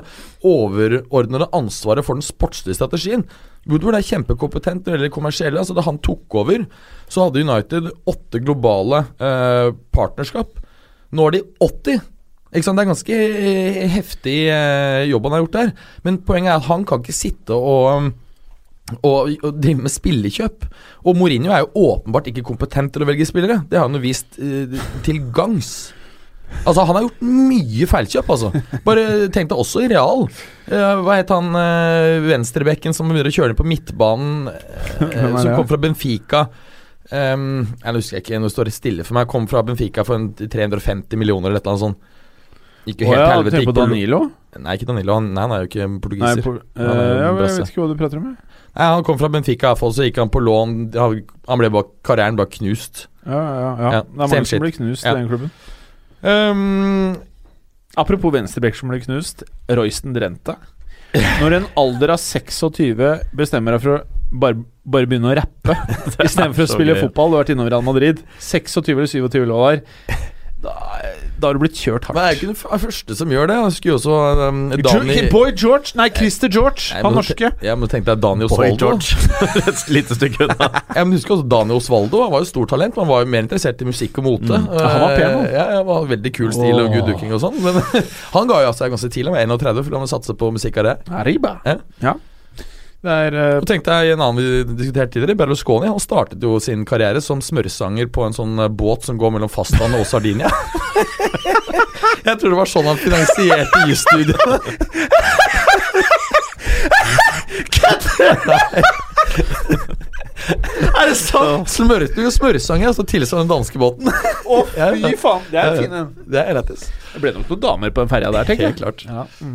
overordnede ansvaret for den sportslige strategien. Woodward er kjempekompetent når det gjelder det kommersielle. Altså, da han tok over, så hadde United åtte globale eh, partnerskap. Nå har de 80. Ikke sant? Det er ganske eh, heftig eh, jobb han har gjort der. Men poenget er at han kan ikke sitte og um, og, og drive med spillekjøp. Og Mourinho er jo åpenbart ikke kompetent til å velge spillere. Det har han jo vist eh, til gangs. Altså, han har gjort mye feilkjøp, altså. Bare tenk deg også i real. Eh, hva het han eh, venstrebekken som begynner å kjøre på midtbanen, eh, Hvem er som det? kom fra Benfica? Um, jeg husker ikke, nå står det stille for meg. Kom fra Benfica for en 350 millioner eller et eller annet sånt. Gikk jo Å helt ja, til helvete. tenker Gikk på Danilo? På, nei, ikke Danilo. Han, nei, han er jo ikke Nei, portugiser. på, eh, Han er jo ja, men jeg brasse. vet ikke hva du prater om. jeg. Nei, han kom fra Benfica, og så gikk han på lån. Han han ble bare, karrieren ble knust. Ja, ja, ja. Ja, Det er same shit. mange som blir knust Ja. i den klubben. Um, Apropos venstreback som ble knust. Royston Drenthe. Når en alder av 26 bestemmer deg for å bare, bare begynne å rappe istedenfor å så spille gøy. fotball Du har vært innom Real Madrid. 26 eller 27 år. Da, da har du blitt kjørt men er hardt. ikke den f- første som gjør det. Jeg husker jo også um, Dani Dani... Boy George Nei, Christer George, Nei, han men- norske. Ja, men tenk deg Dani Boy Osvaldo. George. Et lite stykke unna. Ja, men husker også Dani Osvaldo. Han var jo stort talent, men han var jo mer interessert i musikk og mote. Ja, han var pen, Eh, Mm. Ja, ja, var veldig kul stil og Åh. good looking og sånn. Men han ga jo altså, av seg ganske tidlig, han var 31, for han ville satse på musikk av det. Arriba. Ja. Ja. Det er eh, Og tenkte jeg en annen vi diskuterte tidligere, Berlusconi. Han startet jo sin karriere som smørsanger på en sånn eh, båt som går mellom fastlandet og Sardinia. Jeg tror det var sånn han finansierte jusstudiene. Er det sant? Smørte jo smørsanger, altså tilsvarende den danske båten. Å, fy faen! Det er en fin en. Det er lættis. Det ble nok noen damer på den ferja der, tenker jeg. Helt klart. Ja.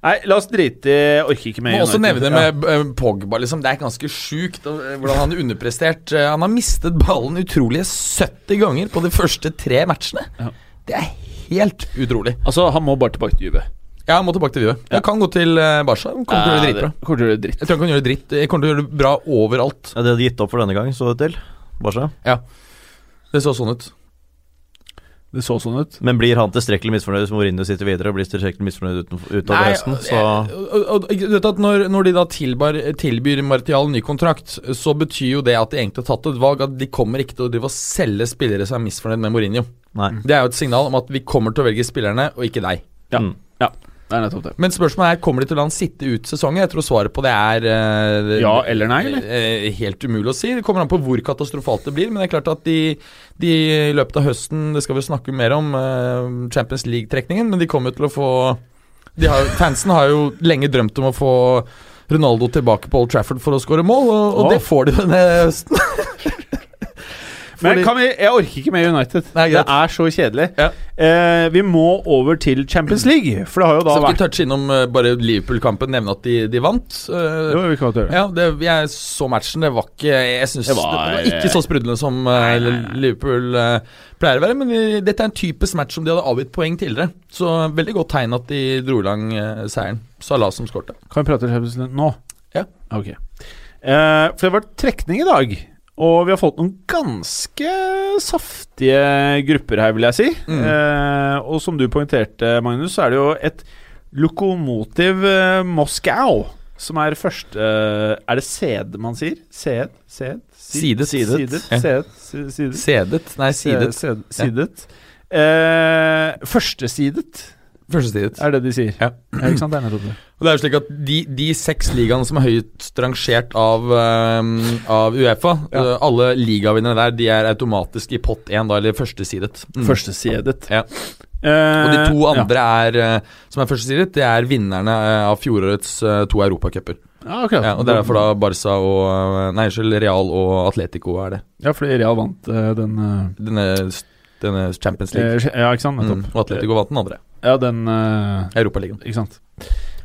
Nei, la oss drite i jeg Orker ikke mer. Må også United. nevne Ja. med eh, Pogba, liksom. Det er ganske sjukt og, eh, hvordan han har underprestert. Eh, Han har mistet ballen utrolige 70 ganger på de første tre matchene. Ja. Det er helt utrolig. Altså, han må bare tilbake til Juve. Ja, Jeg må tilbake til Vive. Jeg kan gå til eh, Barca. Han kommer til å gjøre det dritbra. Kommer til å gjøre det dritt. Jeg tror han kan gjøre det dritt. Jeg kommer til å gjøre det bra overalt. Ja, de hadde gitt opp for denne gang, så det til. Barca. Det så sånn ut. Det så sånn ut. Men blir han tilstrekkelig misfornøyd hvis Mourinho sitter videre og blir tilstrekkelig misfornøyd uten, utover høsten, så eh, og- og- og- du vet at når, når de da tilbar, tilbyr Martial ny kontrakt, så betyr jo det at de egentlig har tatt et valg. At de kommer ikke til å drive og selge spillere som er misfornøyd med Mourinho. Nei. Det er jo et signal om at vi kommer til å velge spillerne, og ikke deg. Ja. Mm. Det er nettopp det. Men spørsmålet er, kommer de til å la han sitte ut sesongen? Jeg tror svaret på det er eh, Ja eller nei, eller? eh, helt umulig å si. Det kommer an på hvor katastrofalt det blir. Men det er klart at de, de i løpet av høsten, det skal vi snakke mer om, eh, Champions League-trekningen, men de kommer jo til å få de har, jo- Fansen har jo lenge drømt om å få Ronaldo tilbake på Old Trafford for å skåre mål, og, og Åh. det får de denne høsten. Men Fordi- kan vi Jeg orker ikke mer United. Nei, greit. det er så kjedelig. Ja. Eh, vi må over til Champions League, for det har jo da Skal vi vært touche innom eh, bare Liverpool-kampen, nevne at de, de vant? eh, Det var vi ikke hva til å gjøre. Ja, det, jeg så matchen. Det var ikke Jeg synes det, Det var, var- ikke så sprudlende som eh, Liverpool eh, pleier å være. Men eh, dette er en typisk match som de hadde avgitt poeng tidligere. Så veldig godt tegn at de dro i lang eh, seieren. Salah som skårte. Kan vi prate om Champions League nå? Ja. Ok. Eh, for det har vært trekning i dag, og vi har fått noen ganske saftige grupper her, vil jeg si. Mm. Eh, og som du poengterte, Magnus, så er det jo et lokomotiv eh, Moskau som er første eh, Er det sed man sier? Sed? Sed? Sidet. Sidet. Ja. Sed, si- sidet. Sedet. Nei, sidet. Sed, sidet. Eh, førstesidet, Førstesidet. er det de sier. Ja. Ikke sant? Det er nettopp det. Og det er jo slik at De, de seks ligaene som er høyest rangert av, eh, av Uefa, Ja. eh, alle ligavinnerne der, de er automatisk i pott én, da, eller førstesidet. Mm. Førstesidet. Ja. Eh, Og de to ja. andre er, eh, som er førstesidet, det er vinnerne eh, av fjorårets eh, to europacuper. Ja, akkurat. Ja, og det er derfor da Barca og eh, Nei, unnskyld, Real og Atletico er det. Ja, fordi Real vant eh, den eh, Denne, denne Champions League. eh, Ja, ikke sant? Mm. Nettopp. Og Atletico vant den andre. Ja, den eh, Europaligaen. Ikke sant.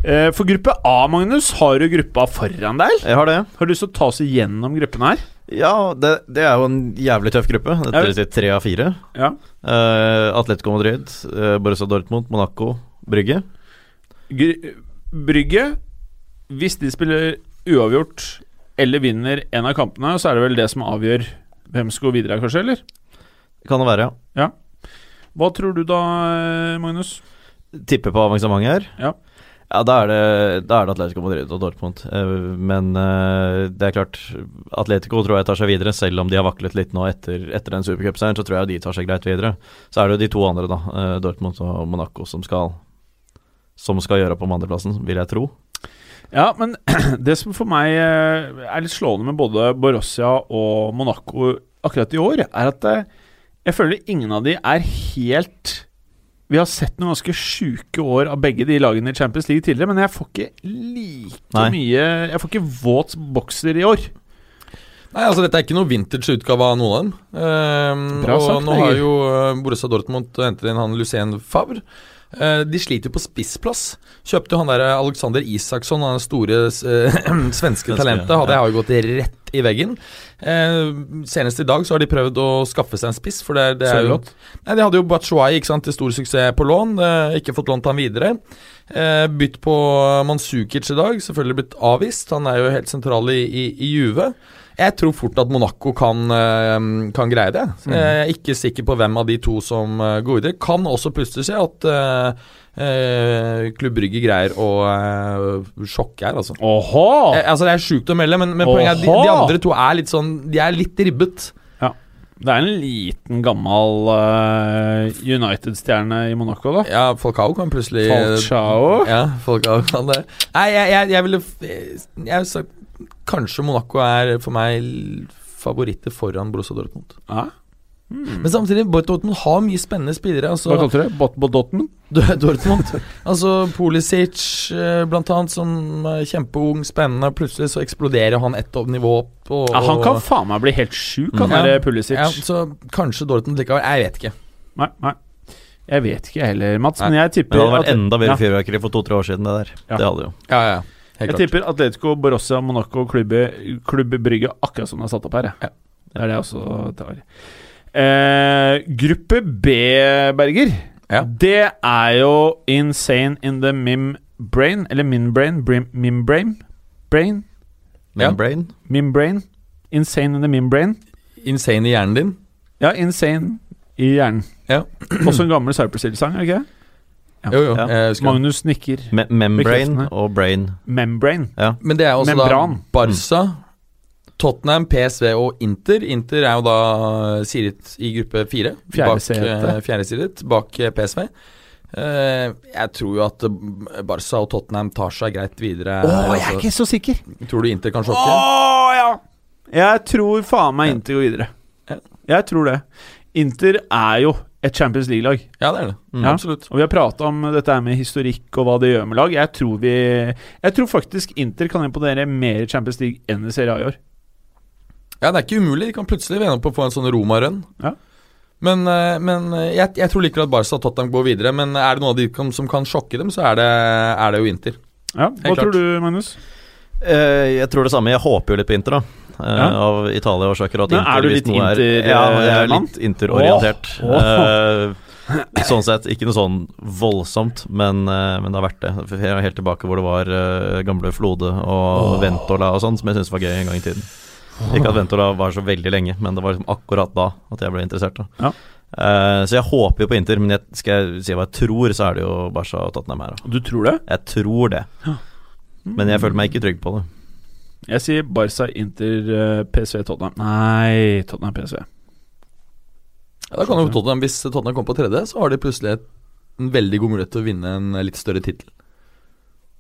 Eh, For gruppe A, Magnus, har du gruppa foran deg? Jeg har det. Har du lyst til å ta oss igjennom gruppen her? Ja, det, det er jo en jævlig tøff gruppe. Dette Ja. vil si tre av fire. Ja. Eh, Atletico Madrid, eh, Borussia Dortmund, Monaco, Brygge. Gr Brygge, hvis de spiller uavgjort eller vinner en av kampene, så er det vel det som avgjør hvem som går videre, kanskje? eller? Kan det være, ja. Hva tror du da, eh, Magnus? Tipper på avansementet her. Ja. Ja, da er, det, da er det Atletico Madrid og Dortmund. Eh, men eh, det er klart, Atletico tror jeg tar seg videre, selv om de har vaklet litt nå etter, etter den supercupseieren. Så tror jeg de tar seg greit videre. Så er det jo de to andre, da, eh, Dortmund og Monaco, som skal som skal gjøre opp om andreplassen, vil jeg tro. Ja, men det som for meg eh, er litt slående med både Borussia og Monaco akkurat i år, er at eh, jeg føler ingen av de er helt Vi har sett noen ganske sjuke år av begge de lagene i Champions League tidligere, men jeg får ikke like Nei. mye Jeg får ikke våt bokser i år. Nei, altså Dette er ikke noe vintage utgave av noen av dem. Ehm, Bra og sagt, nå har Egil. jo eh, Borussia Dortmund hentet inn han Lucien Favre. Eh, de sliter jo på spissplass. Kjøpte jo han der eh, Alexander Isaksson, han store eh, svenske Svenske, talentet. ja. Hadde jeg har jo gått rett i veggen. Eh, senest i dag så har de prøvd å skaffe seg en spiss, for det, det er jo Sørloth. Nei, De hadde jo Batshuayi ikke sant, til stor suksess på lån. Eh, ikke fått lånt han videre. Eh, bytt på Mansukic i dag. Selvfølgelig blitt avvist. Han er jo helt sentral i, i, i Juve. Jeg tror fort at Monaco kan, eh, kan greie det. Så Jeg er ikke sikker på hvem av de to som eh, går videre. Kan også plutselig skje at eh, eh, Klubb Brygge greier å eh, sjokke her, altså. Åhå! Eh, altså. Det er sjukt å melde, men, men poenget er at de, de Oha! andre to er litt sånn De er litt ribbet. Det er en liten, gammel eh, United-stjerne i Monaco, da. Ja, Falcao kan plutselig Falchao. Ja, folk har kan det. Nei, jeg, jeg, jeg ville f- eh, Jeg ville sagt Kanskje Monaco er for meg l- favoritter foran Borussia Dortmund. Ja. Men samtidig, Borussia Dortmund har mye spennende spillere. Hva Altså, kalte du det? Bot Bot Dortmund? D- Dortmund. altså Pulisic, eh, blant annet, som er kjempeung, spennende. Plutselig så eksploderer han ett opp- nivå opp. Og, Ja, han kan og- faen meg bli helt sjuk, han Mm. Ja. der Pulisic. ja, Så kanskje Dortmund likevel. Jeg vet ikke. Nei, nei. Jeg vet ikke jeg heller, Mats, men jeg tipper Men det hadde vært enda mer ja. fyrverkeri for to-tre år siden, det der. Ja. Det hadde jo. Ja, ja, ja. Helt Jeg klart. tipper Atletico, Borussia, Monaco, klubbe, Klubb Brygge akkurat som det er satt opp her. jeg. Ja. Det er det jeg også tar. Eh, gruppe B, Berger, Ja. det er jo insane in the mim brain, eller min brain, brim, mim brain, brain, Ja. Membrane. mim brain, insane in the mim brain. Insane i hjernen din. Ja, insane i hjernen. Ja. også en gammel Cypress Hill-sang, er det ikke? det? Ja. Jo, jo. Ja. Jeg husker det. Magnus nikker. Me membrane Bekreftende. og brain. Membrane. Men det er også Membran. da Barca, Tottenham, PSV og Inter. Inter er jo da sidet i gruppe fire. Fjerde bak, setet. eh, Fjerde sidet bak eh, PSV. Eh, jeg tror jo at eh, Barca og Tottenham tar seg greit videre. Å, her, jeg er altså. ikke så sikker! Tror du Inter kan sjokke? Eh, Åh, ja. Jeg tror faen meg Inter går videre. Ja. Jeg tror det. Inter er jo et Champions League-lag. Ja, det er det. Mm. Ja. Absolutt. Og vi har prata om dette her med historikk og hva det gjør med lag. Jeg tror, vi, jeg tror faktisk Inter kan imponere mer i Champions League enn i Serie A i år. Ja, det er ikke umulig. De kan plutselig vende opp og få en sånn Roma-rønn. Ja. Men, eh, men eh, jeg, jeg tror likevel at Barca og Tottenham går videre. Men er det noen av de kan, som kan sjokke dem, så er det, er det jo Inter. Ja, Hva klart. tror du, Magnus? Eh, jeg tror det samme. Jeg håper jo litt på Inter, da. Eh, Ja. Av Italia-årsaker. at Men Inter, er du hvis litt noe Inter, eh, Ja, jeg er mann? litt Inter-orientert. Åh, Eh, sånn sett ikke noe sånn voldsomt, men, eh, men det har vært det. For Jeg er helt tilbake hvor det var eh, gamle Flode og Ventola og sånn, som jeg syntes var gøy en gang i tiden. Ikke at Ventola var så veldig lenge, men det var liksom akkurat da at jeg ble interessert. Da. Ja. Eh, så jeg håper jo på Inter, men jeg, skal jeg si hva jeg tror, så er det jo Barca og Tottenham her. da. Du tror det? Jeg tror det. Men jeg følte meg ikke trygg på det. Jeg sier Barca, Inter, eh, PSV, Tottenham. Nei, Tottenham, PSV. Ja, da kan jo Tottenham, Hvis Tottenham kommer på tredje, så har de plutselig et, en veldig god mulighet til å vinne en litt større tittel.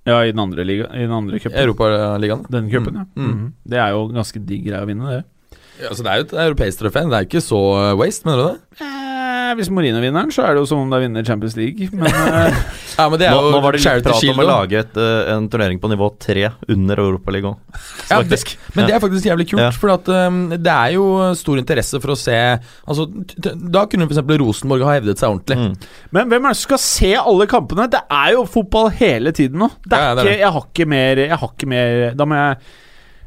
Ja, i den andre liga- i den andre I cupen. Europaligaen. Denne cupen, ja. Mm. Mhm. Det er jo ganske digg greie å vinne, det. Ja, så det er jo et europeisk trofé. Det er jo ikke så eh, waste, mener du det? Eh, hvis Mourinho vinner den, så er det jo som om de vinner Champions League. Men eh, Ja, men det Nå, er jo nå var det litt Charity prat Shield om å da. lage et, eh, en turnering på nivå tre under Europaligaen. Ja, det, faktisk. men det er faktisk jævlig kult, Ja. for at, um, det er jo stor interesse for å se Altså, t- t- Da kunne f.eks. Rosenborg ha hevdet seg ordentlig. Mm. Men hvem er det som skal se alle kampene? Det er jo fotball hele tiden nå. Det er Ja, det er ikke, det. jeg har ikke mer Jeg har ikke mer Da må jeg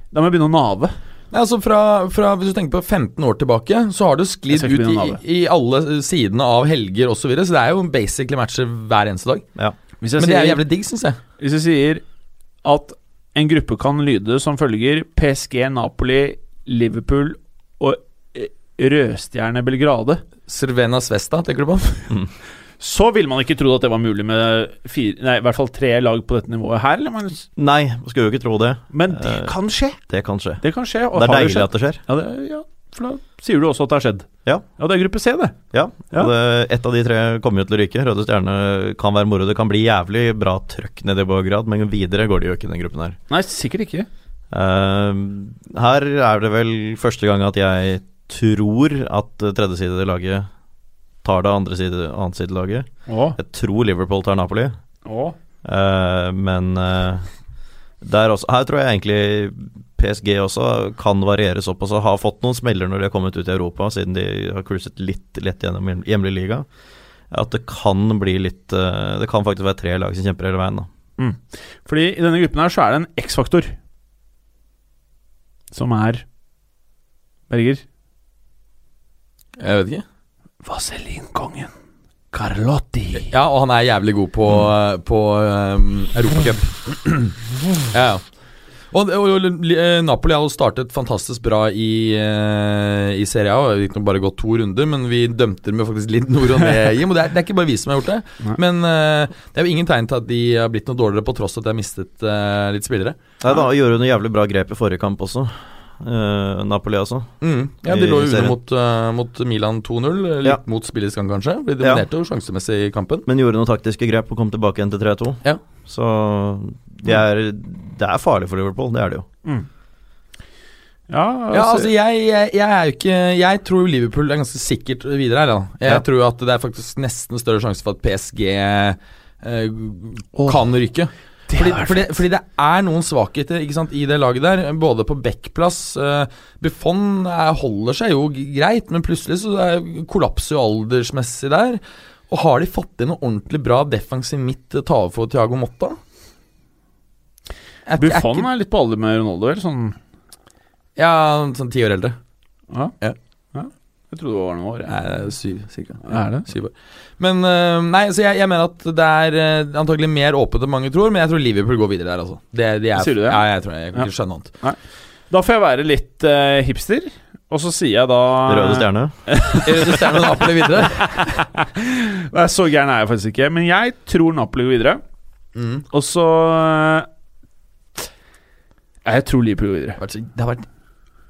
da må jeg begynne å nave. Nei, altså fra, fra, Hvis du tenker på 15 år tilbake, så har det jo Jeg sklidd skal ut i, ikke begynne å nave. i alle sidene av helger osv., så, videre, så det er jo basically matcher hver eneste dag. Ja. Hvis jeg, Men det er jo sier, jævlig digg, syns jeg. hvis jeg sier at en gruppe kan lyde som følger PSG, Napoli, Liverpool og eh, Rødstjerne Belgrade, Servena Svesta, tenker du på? så ville man ikke trodd at det var mulig med fire, nei, i hvert fall tre lag på dette nivået her. eller, Magnus? Nei, skulle jo ikke tro det. Men det Eh, kan skje! Det kan skje. Det kan skje. og Det er har jo deilig skjedd. at det skjer. Ja, det, ja. for da sier du også at det har skjedd. Ja. ja det er gruppe C, det. Ja, Ja. og Det, ett av de tre kommer jo til å ryke. Røde Stjerne kan være moro. Det kan bli jævlig bra trøkk nede i Beograd, men videre går det jo ikke i den gruppen her. Nei, sikkert ikke. Eh, her er det vel første gang at jeg tror at tredjesidelaget tar det andre side, annet sidelaget. Å, Jeg tror Liverpool tar Napoli, å. eh, men eh, der også, her tror jeg egentlig PSG også kan variere såpass og har fått noen smeller når de har kommet ut i Europa, siden de har cruiset litt lett gjennom hjem- hjemlig liga. At det kan bli litt eh, Det kan faktisk være tre lag som kjemper hele veien, da. Fordi i denne gruppen her så er det en X-faktor. Som er Berger. Jeg vet ikke. Vaselinkongen. Carlotti. Ja, og han er jævlig god på, på um, Europacup. ja, ja. Og, og, og eh, Napoli har jo startet fantastisk bra i, eh, i Serie A. Det gikk nå bare gått to runder, men vi dømte dem jo faktisk litt nord og ned. Jim, og det er, det er ikke bare vi som har gjort det. Nei. Men eh, det er jo ingen tegn til at de har blitt noe dårligere, på tross av at de har mistet eh, litt spillere. Nei, da gjorde hun noe jævlig bra grep i forrige kamp også. Eh, Napoli, altså. Mm. Ja, I De lå jo serien. under mot, eh, mot Milan 2-0. eh, Litt Ja. mot spillets gang, kanskje. De Ja. dominerte jo sjansemessig i kampen. Men gjorde noen taktiske grep og kom tilbake igjen til 3-2. Ja. Så det er, det er farlig for Liverpool, det er det jo. Ja, Ja, altså jeg, jeg, jeg er jo ikke Jeg tror Liverpool er ganske sikkert videre her. Da. Jeg Ja. tror at det er faktisk nesten større sjanse for at PSG eh, kan rykke. Fordi, fordi, fordi det er noen svakheter ikke sant, i det laget der, både på backplass eh, Buffon eh, holder seg jo g- greit, men plutselig så er, kollapser jo aldersmessig der. Og har de fått inn noe ordentlig bra defensiv midt til å ta over for Thiago Motta? Jeg- jeg er Buffon ikke- er litt på alder med Ronaldo, eller sånn Ja, sånn ti år eldre. Ja. Ja. Ja. Jeg trodde det var noen år. jeg. Nei, det er Eh, syv, cirka. Er det? Syv år. Men eh, Nei, så jeg, jeg mener at det er eh, antagelig mer åpent enn mange tror, men jeg tror Liverpool går videre der, altså. Det, de er, Sier du det? Ja, jeg tror det. Jeg kan ikke skjønne annet. Da får jeg være litt eh, hipster, og så sier jeg da Røde stjerne. Røde Stjerne og Napoli videre. Nei, så gæren er jeg faktisk ikke. Men jeg tror Napoli går videre. Mm. Og så eh, Nei, Jeg tror Liverpool går Det videre. har vært så- Det har vært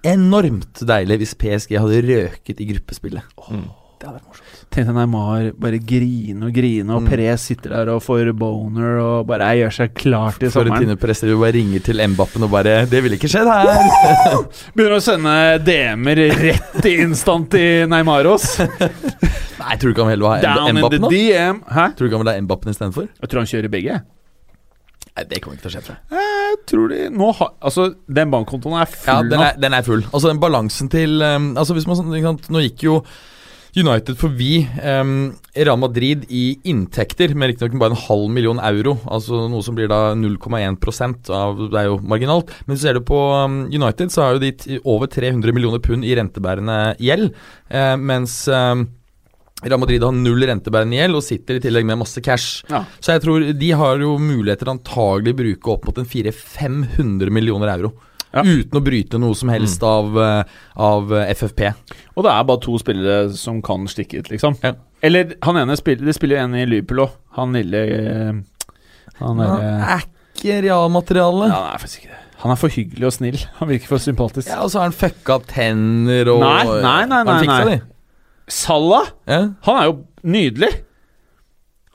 enormt deilig hvis PSG hadde røket i gruppespillet. Mm. Det hadde vært morsomt. Tenkte Neymar bare grine og grine, og Mm. Perez sitter der og får boner og bare gjør seg klar til sommeren. Florentine Perez driver og bare ringer til Mbappen og bare 'Det ville ikke skjedd her'. Begynner å sende DM-er rett i instant i Neymaros. Nei, tror du ikke han heller vil ha Down in the Mbappen, da? DM. Hæ? Tror du ikke han vil ha Mbappen istedenfor? Jeg tror han kjører begge. Nei, det kommer ikke til å skje, tror jeg. Jeg tror de nå har Altså, den bankkontoen er Ja, full den nå. er, den er full. Altså den balansen til um, Altså hvis man sånn, ikke sant, Nå gikk jo United forbi um, Real Madrid i inntekter, med riktignok bare en halv million euro. Altså noe som blir da 0,1 av Det er jo marginalt. Men ser du på um, United, så har jo de t over 300 millioner pund i rentebærende gjeld. eh, mens um, Real Madrid har null rentebærende gjeld og sitter i tillegg med masse cash. Ja. Så jeg tror de har jo muligheter til antagelig å bruke opp mot en 400-500 millioner euro. Ja. Mm. Uten å bryte noe som helst av, eh, av eh, FFP. Og det er bare to spillere som kan stikke ut, liksom. Ja. Eller han ene spiller, Det spiller jo en i Liverpool òg. Han lille eh, Han er, ja, er ikke realmateriale. Ja. han er faktisk ikke det. Han er for hyggelig og snill. Han virker for sympatisk. og så har han fucka tenner og Nei, nei, nei, Har han nei, fiksa nei. de? Salah! Ja. Han er jo nydelig.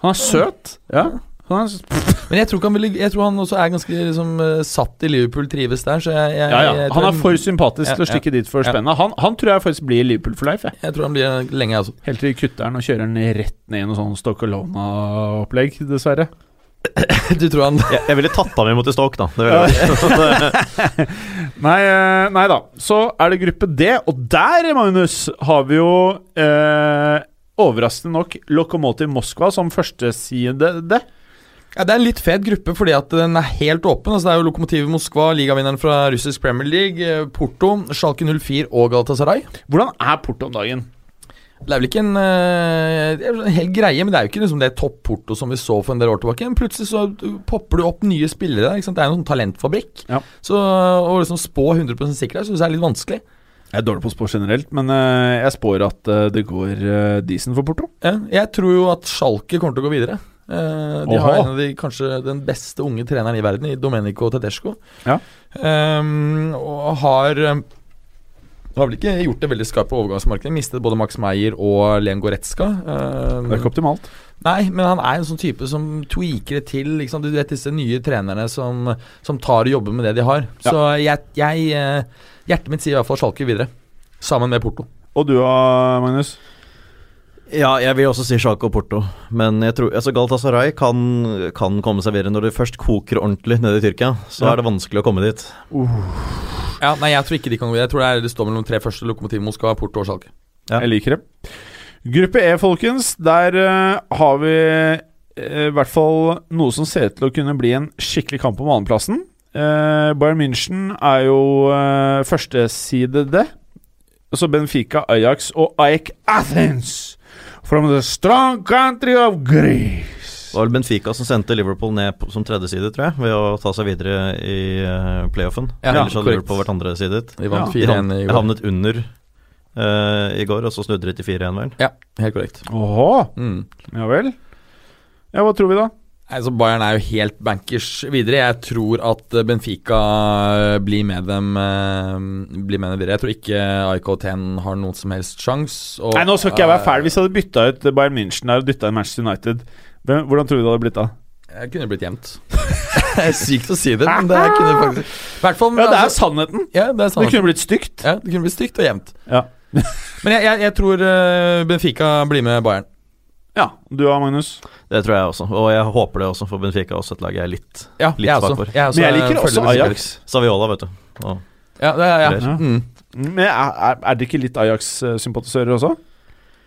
Han er søt. Ja. Han er, Men jeg tror, ikke han ville, jeg tror han også er ganske liksom, eh, satt i Liverpool, trives der, så jeg, jeg, ja, ja. jeg, tror han er for sympatisk Ja, til å stikke dit for ja. spennet. Han, han tror jeg faktisk blir Liverpool for life. Jeg. jeg tror han blir lenge, altså. jeg også. Helt til de kutter han og kjører han rett ned i noe sånn Stoccolona-opplegg, dessverre. Du tror han Jeg, jeg ville tatt ham imot i stokk, da. Det ville jeg gjort. Nei, eh, nei da. Så er det gruppe D, og der, Magnus, har vi jo eh, overraskende nok Lokomotiv Moskva som førstesidede. Ja, Det er en litt fet gruppe, fordi at den er helt åpen. Altså, det er jo Lokomotivet Moskva, ligavinneren fra russisk Premier League, eh, Porto, Schalke 04 og Galatasaray. Hvordan er Porto om dagen? Det er vel ikke en, eh, det er vel en hel greie, men det er jo ikke liksom det topp-Porto som vi så for en del år tilbake. Men plutselig så popper det opp nye spillere der. ikke sant? Det er en sånn talentfabrikk. Ja. Så Å liksom spå 100 sikkerhet syns jeg er litt vanskelig. Jeg er dårlig på å spå generelt, men eh, jeg spår at eh, det går eh, decent for Porto. Ja, jeg tror jo at Schalke kommer til å gå videre. Eh, de har Oha. en av de kanskje den beste unge treneren i verden, i Domenico Tedesco. Ja. Ehm, og har eh, Du har vel ikke gjort det veldig skarpt på overgangsmarkedet. Mistet både Max Meyer og Len Goretzka. Eh, Det er ikke optimalt. Nei, men han er en sånn type som tweaker det til. Ikke sant? Du vet disse nye trenerne som, som tar og jobber med det de har. Så jeg, jeg eh, Hjertet mitt sier i hvert fall Schalke videre. Sammen med Porto. Og du da, Magnus? Ja, jeg vil også si Sjako og Porto, men jeg tror, altså Galatasaray kan, kan komme seg videre. Når det først koker ordentlig nede i Tyrkia, så Ja. er det vanskelig å komme dit. Ja, Nei, jeg tror ikke de kan gå videre. Jeg tror det, er, det står mellom tre første Lokomotiv Moskva, Porto og Schalke. Ja. Jeg liker det. Gruppe E, folkens. Der eh, har vi eh, i hvert fall noe som ser ut til å kunne bli en skikkelig kamp om annenplassen. Eh, Bayern München er jo uh, førstesidede. Så Benfica, Ajax og Aik Athens from the strong country of Greece. Det var vel Benfica som sendte Liverpool ned på- som tredje side, tror jeg, ved å ta seg videre i eh, playoffen. Ja, Ellers hadde korrekt. Liverpool vært andre sidet. De vant Ja. 4-1 i Jeg går. havnet under eh, i går, og så snudde de til 4-1, vel. Ja, helt korrekt. Åhå, Mm. ja vel. Ja, hva tror vi da? Altså Bayern er jo helt bankers videre. Jeg tror at eh, Benfica eh, blir med dem eh, Blir med dem videre. Jeg tror ikke IK10 har noen som helst sjanse. og- Nei, nå skal ikke jeg være Eh, fæl. Hvis jeg hadde bytta ut Bayern München der og dytta inn Manchester United, hvem, hvordan tror du det hadde blitt da? Jeg kunne blitt jevnt. det er sykt å si det, men det kunne faktisk hvert fall, Ja, det er altså- sannheten. Ja, det er Det sant. kunne blitt stygt. ja, det kunne blitt stygt og jevnt. Ja. Men jeg, jeg, jeg tror eh, Benfica blir med Bayern. Ja, du og Magnus. Det tror jeg også, og jeg håper det også, for Benfica er også et lag jeg er litt Ja, Litt jeg svak også. for. Jeg også Men eh, jeg liker følger også Benfica. Ajax. Saviola, vet du. Og Ja, det er, ja. Ja. Mm. Men er, er- er det ikke litt Ajax-sympatisører også?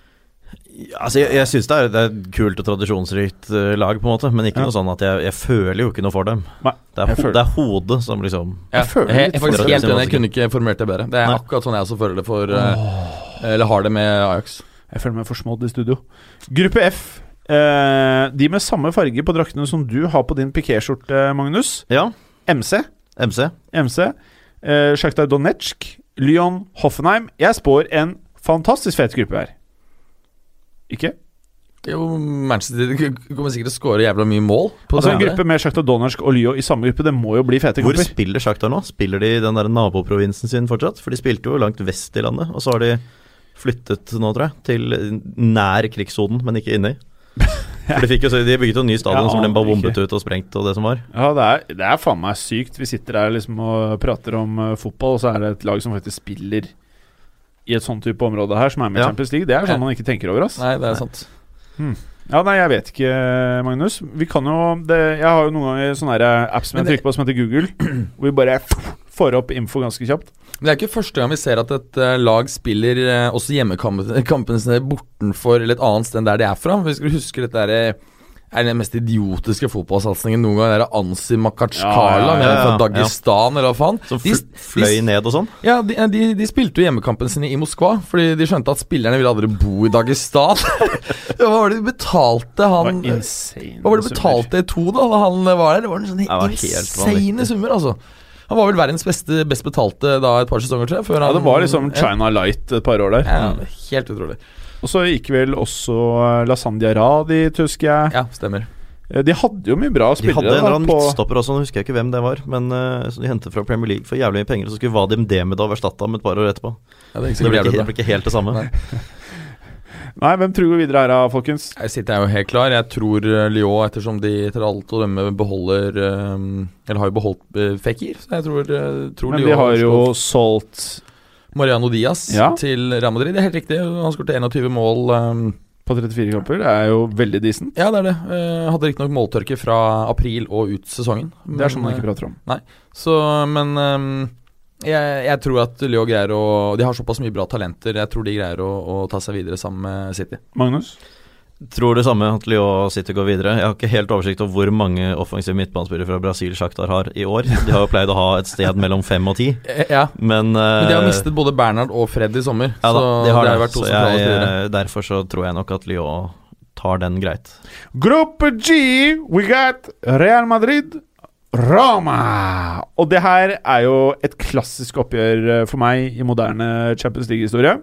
Ja, Altså, jeg jeg syns det, er- det er et kult og tradisjonsrikt eh, lag, på en måte, men ikke Ja. noe sånn at jeg, jeg føler jo ikke noe for dem. Nei, det, er jeg ho føler- det er hodet som liksom Ja. Jeg føler Jeg, litt er faktisk for- helt enig, jeg kunne ikke formulert det bedre. Det er Nei. akkurat sånn jeg også føler det for eh, Eller har det med Ajax. Jeg føler meg forsmådd i studio. Gruppe F. Eh, de med samme farge på draktene som du har på din pikéskjorte, Magnus. Ja, MC. MC. MC. Eh, Shakhtar Donetsk. Lyon Hoffenheim. Jeg spår en fantastisk fet gruppe her. Ikke? Jo, Manchester City kommer sikkert til å skåre jævla mye mål. På Altså En det her. gruppe med Shakhtar Donetsk og Lyon i samme gruppe, det må jo bli fete Hvor kamper. spiller Shakhtar nå? Spiller de i den der naboprovinsen sin fortsatt? For de spilte jo langt vest i landet, og så har de flyttet nå, tror jeg, til nær krigssonen, men ikke inni. For de, fikk jo, så de bygget jo en ny stadion Jeg som ble bare aner ikke. bombet ut og sprengt og det som var. Ja, det er, det er faen meg sykt. Vi sitter her liksom og prater om eh, fotball, og så er det et lag som faktisk spiller i et sånn type område her, som er med i Ja. Champions League. Det er Ja. sånn man ikke tenker over, ass. Nei, det er sant. Ja, nei, jeg vet ikke, Magnus. Vi kan jo det, Jeg har jo noen ganger sånne her eh, apps som Men jeg det- trykker på, som heter Google, hvor vi bare får opp info ganske kjapt. Men Det er ikke første gang vi ser at et eh, lag spiller eh, også hjemmekampene sine bortenfor eller et annet sted enn der de er fra. Hvis du husker dette er, er den mest idiotiske fotballsatsingen noen gang. Det er Ansi Makachkala Ja, ja, ja, mener jeg, ja. fra Dagestan, eller hva faen. Som De- fl fløy de- ned og sånn. Ja, de, eh, de, de spilte jo hjemmekampen sine i Moskva fordi de skjønte at spillerne ville aldri bo i Dagestan. Hva var det de betalte Det var han eh, insane. Hva var det betalt det to da da han var der? Det var en sånn det var helt insane vanvittig. summer, altså. Han var vel verdens beste, best betalte da et par sesonger, tror jeg. Før Ja, han, det var liksom Ja. China Light et par år der. Ja, helt utrolig. Og så gikk vel også eh, Lasandia Radi, husker jeg. Ja, stemmer. Eh, De hadde jo mye bra De spillere. hadde en da, eller annen på- midtstopper også, nå husker jeg ikke hvem det var, men eh, som de hentet fra Premier League for jævlig mye penger, og så skulle Vadim Demidov erstatte ham et par år etterpå. Ja, Så det gikk det ble sikkert ikke, jævlig det bra. ble ikke helt det samme. Nei. Nei, hvem tror vi videre her, da, folkens? Jeg sitter jo helt klar. Jeg tror eh, Lyon, ettersom de etter alt å dømme beholder eh, Eller har jo beholdt eh, Fekir, så jeg tror, eh, tror Men Lyon de har slår jo solgt Mariano Diaz Ja. til Real Madrid. Det er helt riktig. Han skåret 21 mål. eh, på 34 kamper. Det er jo veldig decent. ja, det er det. Uh, hadde riktignok måltørke fra april og ut sesongen. Det er sånn man eh, ikke prater om. Så, men ehm, jeg, jeg tror at Leo greier å De har såpass mye bra talenter. Jeg tror de greier å, å ta seg videre sammen med City. Magnus? Tror det samme at Lyon og City går videre. Jeg har ikke helt oversikt over hvor mange offensive midtbanespillere fra Brasil Shakhtar har i år. De har jo pleid å ha et sted mellom fem og ti, Eh, Ja, men men de har eh, mistet både Bernhard og Fred i sommer. ja, da, så de har det det. har vært to så sentrale jeg, spillere. eh, Derfor så tror jeg nok at Lyon tar den greit. Gruppe G, we got Real Madrid, Roma. Og det her er jo et klassisk oppgjør eh, for meg i moderne Champions League-historie.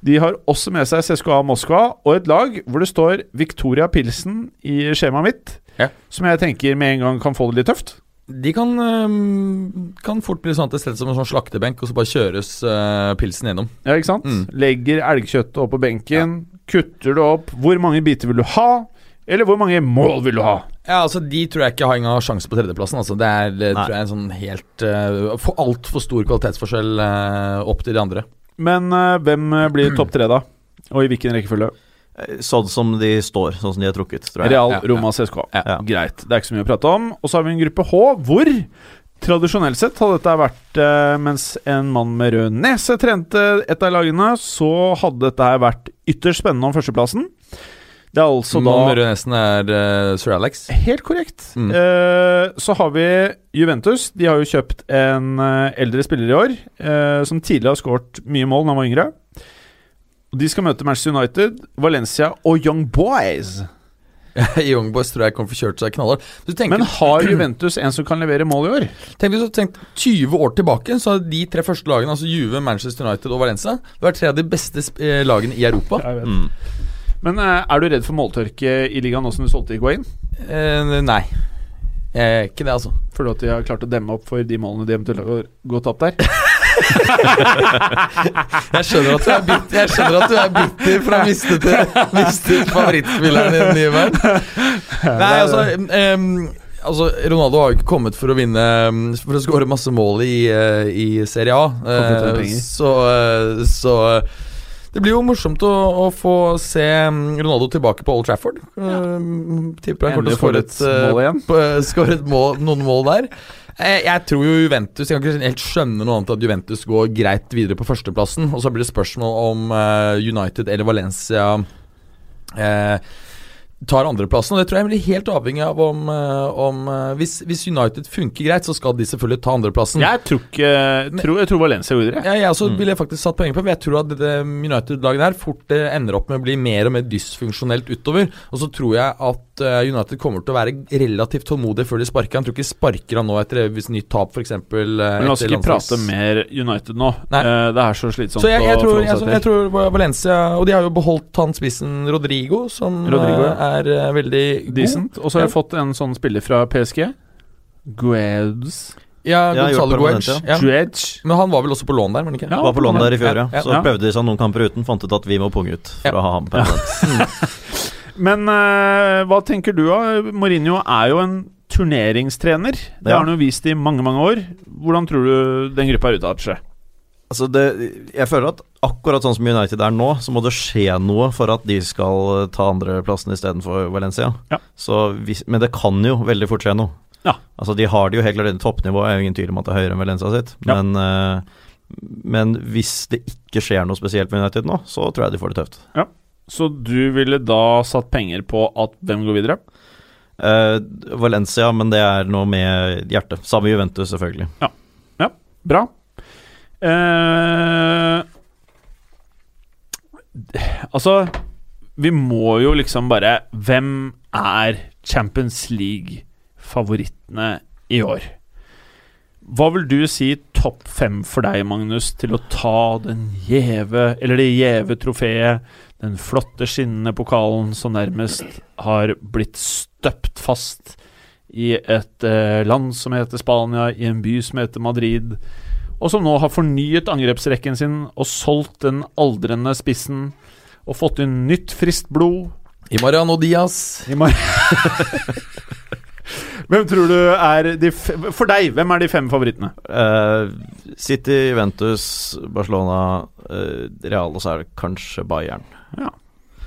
De har også med seg CSKA Moskva og et lag hvor det står Victoria Pilsen i skjemaet mitt, Ja. som jeg tenker med en gang kan få det litt tøft. De kan, øhm, kan fort bli sånn at det settes som en sånn slaktebenk, og så bare kjøres øh, pilsen gjennom. Ja, ikke sant? Mm. Legger elgkjøttet opp på benken, kutter det opp. Hvor mange biter vil du ha? Eller hvor mange mål vil du ha? Ja, altså De tror jeg ikke har engang sjanse på tredjeplassen. altså Det er det Nei. tror jeg er en sånn helt uh, for altfor stor kvalitetsforskjell øh, opp til de andre. Men eh, hvem eh, blir topp tre, da? Og i hvilken rekkefølge? Eh, Sånn som de står, sånn som de er trukket, tror jeg. Real Ja, ja. Roma CSK. Ja. Ja. Greit. Det er ikke så mye å prate om. Og så har vi en gruppe H, hvor tradisjonelt sett hadde dette vært eh, Mens en mann med rød nese trente et av lagene, så hadde dette her vært ytterst spennende om førsteplassen. Det er altså Så da da nesten er øh, Sir Alex. Helt korrekt. Mm. Eh, så har vi Juventus. De har jo kjøpt en eh, eldre spiller i år, eh, som tidligere har skåret mye mål da han var yngre. De skal møte Manchester United, Valencia og Young Boys. Young Boys tror jeg kommer til å få kjørt seg knallhardt. Du tenker- Men har Juventus en som kan levere mål i år? Tenk hvis du hadde tenkt 20 år tilbake, så hadde de tre første lagene, altså Juve, Manchester United og Valencia, det var tre av de beste sp- eh, lagene i Europa. Mm. Men eh, er du redd for måltørke i ligaen nå som du solgte Higuain? Eh, nei. Jeg er ikke det, altså. Føler du at de har klart å demme opp for de målene de eventuelt har gått opp der? Jeg skjønner at du er bitter, jeg skjønner at du er bitter for å ha mistet, mistet favorittspilleren din i verden. Nei, altså em, Altså, Ronaldo har jo ikke kommet for å vinne em, For å skåre masse mål i, eh, i Serie A. tjene Eh, penger. Så, eh, så eh, det blir jo morsomt å, å få se em, Ronaldo tilbake på Old Trafford. Em, Tipper han kommer til å får skåre et et eh, mål igjen. på- skåret mål, noen mål der. Eh, Jeg tror jo Juventus Jeg kan ikke helt skjønne noe annet enn at Juventus går greit videre på førsteplassen. Og så blir det spørsmål om eh, United eller Valencia eh, tar andreplassen. Og det tror jeg blir helt avhengig av om, eh, om eh, hvis, hvis United funker greit, så skal de selvfølgelig ta andreplassen. Jeg tror, ikke, tror, jeg tror Valencia går videre. Ja, jeg også ville faktisk satt penger på, for jeg tror at dette United-laget her fort eh, ender opp med å bli mer og mer dysfunksjonelt utover. Og så tror jeg at eh, United kommer til å være relativt tålmodig før de sparker han. Tror ikke de sparker han nå etter hvis nytt tap, eh, f.eks. Men la oss ikke prate mer United nå. Nei. Eh, det er så slitsomt Så jeg, jeg, å tror, forholde jeg, seg jeg tror Valencia Og de har jo beholdt han spissen Rodrigo, som eh, Rodrigo, ja. er eh, veldig til. god. Decent. Og så har jeg fått en sånn spiller fra PSG. Guedes. Ja, Ja, gjort Gonzalo permanent, Guedes. Ja. Ja. Men han var vel også på lån der, men ikke? Ja. Var på lån der i fjor, ja. Ja, Så ja. prøvde de seg noen kamper uten, fant ut at vi må punge ut for å Ja. ha ham permanent. Men eh, hva tenker du av Mourinho er jo en turneringstrener. Det Ja. har han jo vist i mange, mange år. Hvordan tror du den gruppa har uttatt seg? Altså det, jeg føler at akkurat sånn som United er nå, så må det skje noe for at de skal eh, ta andreplassen istedenfor Valencia. Ja. Så hvis, men det kan jo veldig fort skje noe. Ja. Altså De har det jo helt klart i toppnivået, er jo ingen tvil om at det er høyere enn Valencia sitt. Ja. Men, eh, men hvis det ikke skjer noe spesielt med United nå, så tror jeg de får det tøft. Så du ville da satt penger på at hvem går videre? Eh, Valencia, men det er noe med hjertet. Samme Juventus, selvfølgelig. Bra. Eh, altså Vi må jo liksom bare Hvem er Champions League-favorittene i år? Hva vil du si topp fem for deg, Magnus, til å ta den gjeve Eller det gjeve trofeet, den flotte, skinnende pokalen som nærmest har blitt støpt fast i et eh, land som heter Spania, i en by som heter Madrid, og som nå har fornyet angrepsrekken sin og solgt den aldrende spissen og fått inn nytt, friskt blod. I Mariano Diaz. Hvem tror du er de f For deg, hvem er de fem favorittene? Eh, City, Juventus, Barcelona, eh, Real og så er det kanskje Bayern.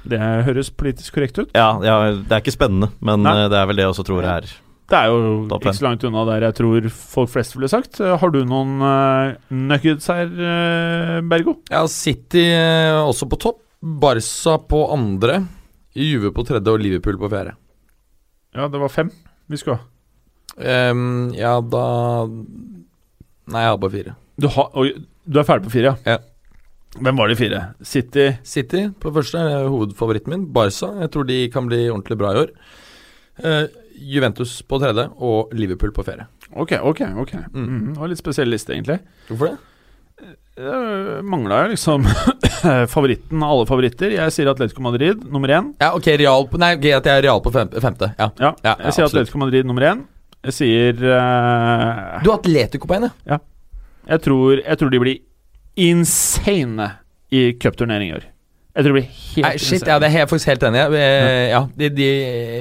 Det høres politisk korrekt ut. Ja, ja det er ikke spennende, men Nei. eh, det er vel det jeg også tror er Det er jo Topp ikke så langt unna der jeg tror folk flest ville sagt. Eh, Har du noen eh, nuggets her, eh, Bergo? Ja, City eh, også på topp. Barca på andre. Juve på tredje og Liverpool på fjerde. Ja, det var fem vi skulle ha. Ehm, ja, da Nei, jeg har bare fire. Du, har, oi, du er ferdig på fire, Ja. Hvem var de fire? City, City på det første er hovedfavoritten min. Barca. Jeg tror de kan bli ordentlig bra i år. Eh, Juventus på tredje og Liverpool på fjerde. Ok, ok, ok. Mm. Det var litt spesiell liste, egentlig. Hvorfor det? Det mangla jo liksom favoritten av alle favoritter. Jeg sier Atletico Madrid nummer én. Ja, ok, Real på Nei, ok, at jeg er Real på fem, femte. Ja. Ja, Ja, ja, jeg sier absolutt. Atletico Madrid nummer én. Jeg sier eh, Du har Atletico på en, ja. jeg, tror, jeg tror de blir insane i cupturnering i år. Jeg tror de blir helt Nei, shit, insane. ja, det er jeg faktisk helt enig i. Eh, Ja, de, de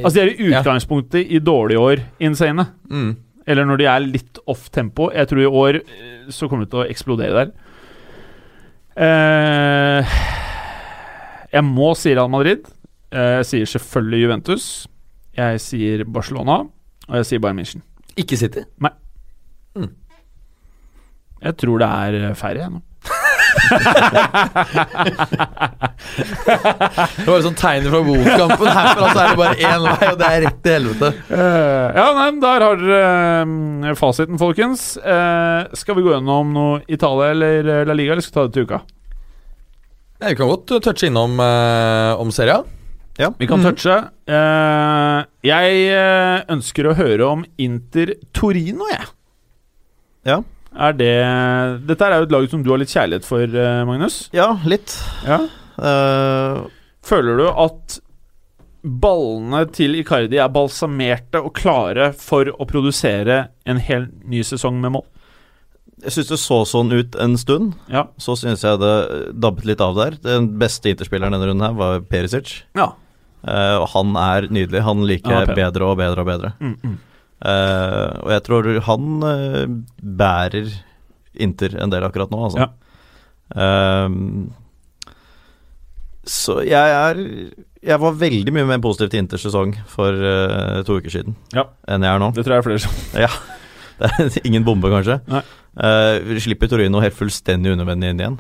Altså, de er i utgangspunktet i dårlige år insane. mm. Eller når de er litt off tempo. Jeg tror i år eh, så kommer det til å eksplodere der. Eh, jeg må si Real Madrid. Eh, Jeg sier selvfølgelig Juventus. Jeg sier Barcelona. Og jeg sier Bayern München. Ikke City. Mm. Jeg tror det er eh, færre, jeg nå. Det var sånn tegner fra Wood-kampen. Herfra så altså er det bare én vei, og det er rett til helvete. Eh, ja, nei, men der har dere eh, fasiten, folkens. Eh, skal vi gå gjennom noe Italia eller eh, La Liga, eller skal vi ta det til uka? Nei, vi kan godt uh, touche innom eh, om serien. Vi kan touche. Eh, jeg eh, ønsker å høre om Inter Torino, jeg. Ja. Er det Dette er jo et lag som du har litt kjærlighet for, eh, Magnus. ja, litt. Ja. Eh, Føler du at ballene til Icardi er balsamerte og klare for å produsere en hel ny sesong med mål? jeg syns det så sånn ut en stund. Ja. Så syns jeg det dabbet litt av der. Den beste interspilleren denne runden her var Perisic. Ja. Eh, og han er nydelig. Han liker Ja, jeg pen. bedre og bedre og bedre. Mm, mm. Eh, og jeg tror han eh, bærer Inter en del akkurat nå, altså. Ja. Ehm, så jeg er Jeg var veldig mye mer positiv til Inters sesong for eh, to uker siden Ja. enn jeg er nå. Det tror jeg er flere som Det er ingen bombe, kanskje. Nei. Eh, vi slipper Torino helt fullstendig unødvendig inn igjen.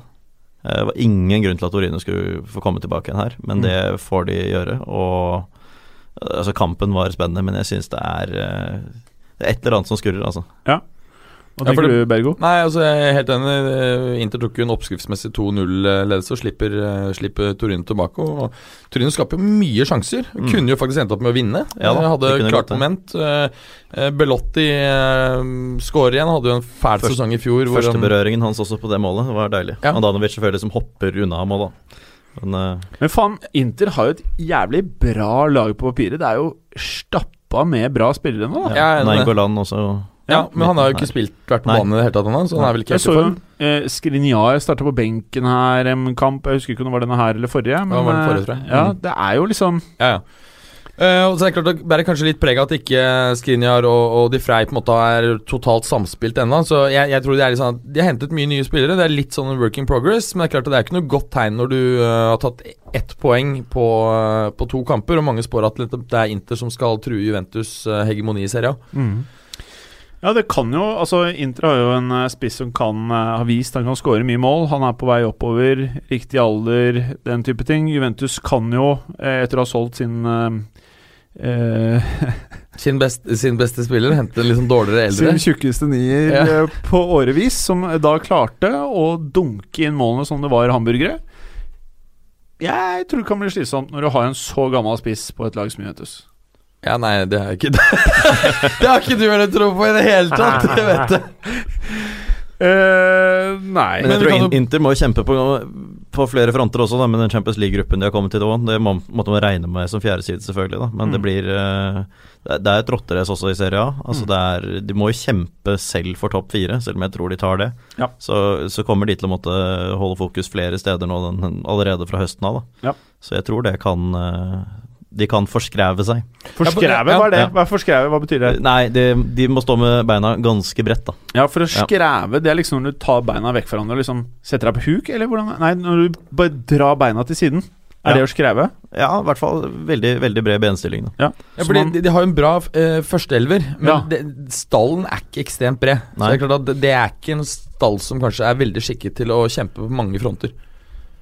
Eh, det var ingen grunn til at Torino skulle få komme tilbake igjen her, men Mm. det får de gjøre. Og eh, altså, kampen var spennende, men jeg syns det er eh, det er et eller annet som skurrer, altså. Hva Ja, for tenker det- du, Bergo? Nei, altså, jeg er helt enig. Eh, Inter tok jo en oppskriftsmessig 2-0-ledelse og slipper, eh, slipper Torino tilbake. Og Torino skaper jo mye sjanser. Mm. Kunne jo faktisk endt opp med å vinne. Ja da, Eh, hadde det kunne klart gått, det. moment. Eh, eh, Belotti eh, skårer igjen. Hadde jo en fæl Først- sesong i fjor. hvor han- Førsteberøringen hans også på det målet var deilig. Ja. Andanovic selvfølgelig som hopper unna mål, da. Men eh, Men faen, Inter har jo et jævlig bra lag på papiret. Det er jo stappa med bra spillere nå, da. Ja, jeg er enig. Nangolan også Ja, men han har jo Nei. ikke spilt vært på Nei. banen i det hele tatt, han, så han er vel ikke helt Jeg så i jo form. eh, Skriniar starta på benken her en kamp. Jeg husker ikke om det var denne her eller forrige. Men, var den forrige, eh, tror jeg. Ja, Mm. det er jo liksom Ja, ja. Eh, og så er det klart Det bærer kanskje litt preg av at ikke Skriniar og, og De Frey på en måte er totalt samspilt ennå. Så jeg, jeg tror det er litt sånn at De har hentet mye nye spillere. Det er litt sånn work in progress. Men det er klart at det er ikke noe godt tegn når du eh, har tatt ett poeng på, eh, på to kamper, og mange spår at det er Inter som skal true Juventus' eh, hegemoni i serien. Ja, det kan jo Altså, Inter har jo en eh, spiss som kan eh, har vist han kan skåre mye mål. Han er på vei oppover, riktig alder, den type ting. Juventus kan jo, eh, etter å ha solgt sin eh, eh, Sin, best, sin beste spiller henter liksom dårligere eldre. Sin tjukkeste nier Ja. eh, på årevis, som da klarte å dunke inn målene som det var hamburgere. Jeg tror det kan bli slitsomt når du har en så gammel spiss på et lag som Juventus. Ja, nei, det har jeg ikke Det har ikke du heller tro på i det hele tatt! Det vet jeg. eh Men nei. jeg Men vi tror kan In- Inter må jo kjempe på, på flere fronter også, da, med den Champions League-gruppen de har kommet til. da. Det må, måtte man regne med som fjerde side, selvfølgelig. Da. Men det blir eh, Det er- det er et rotterace også i Serie A. Altså, det er, de må jo kjempe selv for topp fire, selv om jeg tror de tar det. Ja. Så, så kommer de til å måtte holde fokus flere steder nå den, den, allerede fra høsten av. Da. Ja. Så jeg tror det kan eh, De kan forskreve seg. Forskrevet, hva er det? Ja. Hva, er forskrevet, hva betyr det? Nei, de, de må stå med beina ganske bredt, da. Ja, for å skreve, det er liksom når du tar beina vekk fra hverandre og liksom setter deg på huk, eller hvordan Nei, når du bare drar beina til siden. Er Ja. det å skreve? Ja, i hvert fall veldig, veldig bred benstilling, da. Ja, Så fordi man- de, de har jo en bra eh, førsteelver, men Ja. det, stallen er ikke ekstremt bred. Så Nei. Det er klart at det- det er ikke en stall som kanskje er veldig skikket til å kjempe på mange fronter.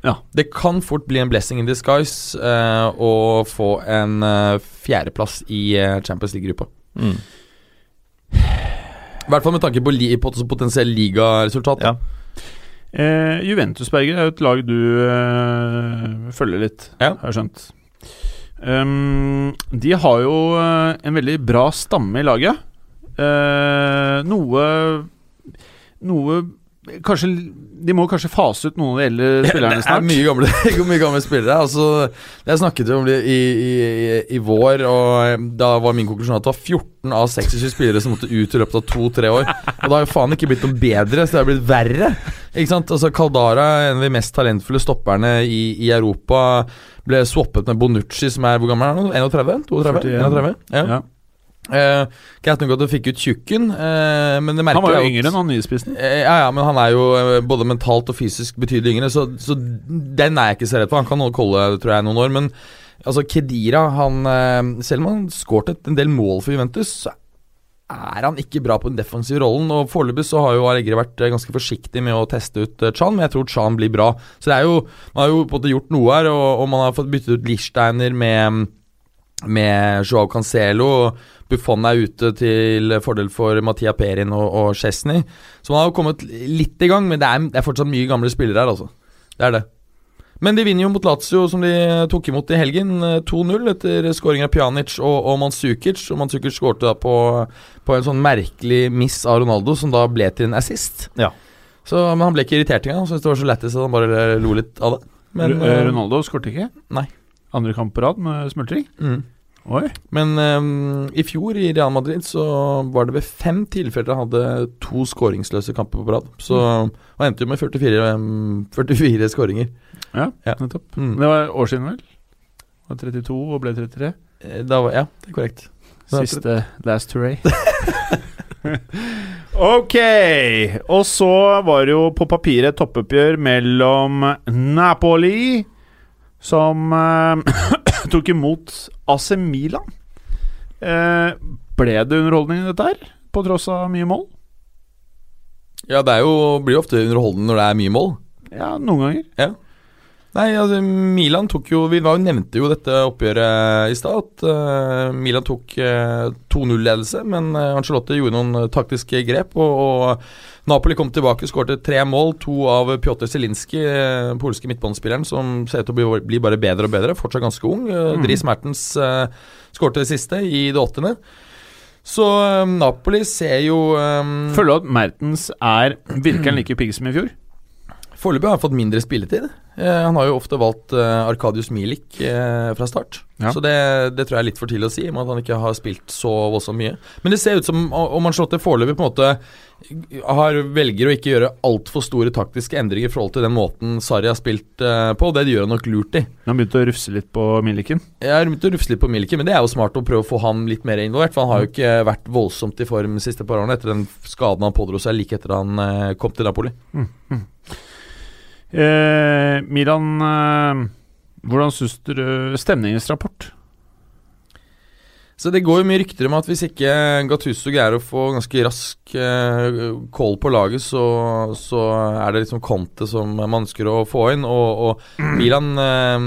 Ja. Det kan fort bli en blessing in disguise eh, å få en eh, fjerdeplass i eh, Champions League-gruppa. Mm. I hvert fall med tanke på, li, på potensiell ligaresultat. Ja. Eh, Juventus Berger er jo et lag du eh, følger litt, Ja. har jeg skjønt. Um, de har jo eh, en veldig bra stamme i laget. Eh, noe Noe kanskje, De må kanskje fase ut noen av de eldre spillerne Det er snart. mye gamle, det er mye gamle spillere. Altså, jeg snakket jo om det i, i, i, i vår, og eh, da var min konklusjon at det var 14 av 26 spillere som måtte ut i løpet av to-tre år. Og det har jo faen ikke blitt noe bedre, så det har blitt verre. Ikke sant? Altså, Caldara, en av de mest talentfulle stopperne i, i Europa, ble swappet med Bonucci, som er hvor gammel er han? nå? 31? 32? 41. 31? Ja. Ja. Eh, Greit nok at du fikk ut Tjukken, eh, men det merker Han var jo jeg at- yngre enn han nyspissen. Eh, Ja, ja, men han er jo eh, både mentalt og fysisk betydelig yngre, så, så den er jeg ikke så redd for. Han kan nok holde tror jeg, noen år, men altså, Kedira han, eh, Selv om han skåret et- en del mål for Juventus, så er han ikke bra på den defensive rollen. Og Foreløpig så har jo Allegri vært eh, ganske forsiktig med å teste ut eh, Chan, men jeg tror Chan blir bra. Så det er jo, man har jo på en måte gjort noe her, og, og man har fått byttet ut Lichsteiner med med Joao Cancelo. og Buffon er ute til fordel for Mattia Perin og, og Chesney. Så man har jo kommet litt i gang, men det er, det er fortsatt mye gamle spillere her, altså. Det er det. Men de vinner jo mot Lazio, som de tok imot i helgen, eh, 2-0 etter skåring av Pjanic og, og Manzukic. Og Manzukic skårte da på, på en sånn merkelig miss av Ronaldo, som da ble til en assist. Ja. Så, men han ble ikke irritert engang. Han syntes det var så lættis at han bare lo litt av det. Men, Ru- eh, eh, Ronaldo skårte ikke? nei. Andre kamp på rad med smultring? mm. Oi. Men ehm, i fjor i Real Madrid så var det ved fem tilfeller han hadde to skåringsløse kamper på rad. Så han endte jo med 44, ehm, 44 skåringer. Ja, Ja. nettopp. Men Mm. Det var år siden, vel? Det var 32 og ble 33. Eh, Da var, ja, det er korrekt. Så- Siste last hooray. ok, og så var det jo på papiret et toppoppgjør mellom Napoli, som eh, tok imot AC Milan. Eh, ble det underholdning i dette her, på tross av mye mål? Ja, det er jo, blir jo ofte underholdende når det er mye mål. Ja, noen ganger. Nei, altså Milan tok jo Vi var jo nevnte jo dette oppgjøret i stad. At eh, Milan tok eh, 2-0-ledelse, men eh, Ancelotti gjorde noen eh, taktiske grep. Og, og Napoli kom tilbake, skårte tre mål. To av Pjotr Zelinskyj, eh, polske midtbanespilleren, som ser ut til å bli, bli bare bedre og bedre. Fortsatt ganske ung. Eh, Mm. Dries Mertens eh, skårte det siste, i det åttende. Så eh, Napoli ser jo eh, Føler du at Mertens er virker han like pigg som i fjor? Foreløpig har han fått mindre spilletid. Eh, han har jo ofte valgt eh, Arkadius Milik eh, fra start. Ja. Så det, det tror jeg er litt for tidlig å si, i og med at han ikke har spilt så voldsomt mye. Men det ser ut som o- om Ancelotti foreløpig på en måte har, velger å ikke gjøre altfor store taktiske endringer i forhold til den måten Sarri har spilt eh, på, og det gjør han nok lurt i. Han begynte å rufse litt på Milliken. Jeg har begynt å rufse litt på Milke, men det er jo smart å prøve å få han litt mer involvert. For han har jo ikke vært voldsomt i form de siste par årene etter den skaden han pådro seg like etter han eh, kom til Napoli. Eh, Milan, eh, hvordan syns dere stemningens rapport? Så det går jo mye rykter om at hvis ikke Gattuso greier å få ganske rask eh, call på laget, så, så er det liksom Conte som man ønsker å få inn. Og, og Milan eh,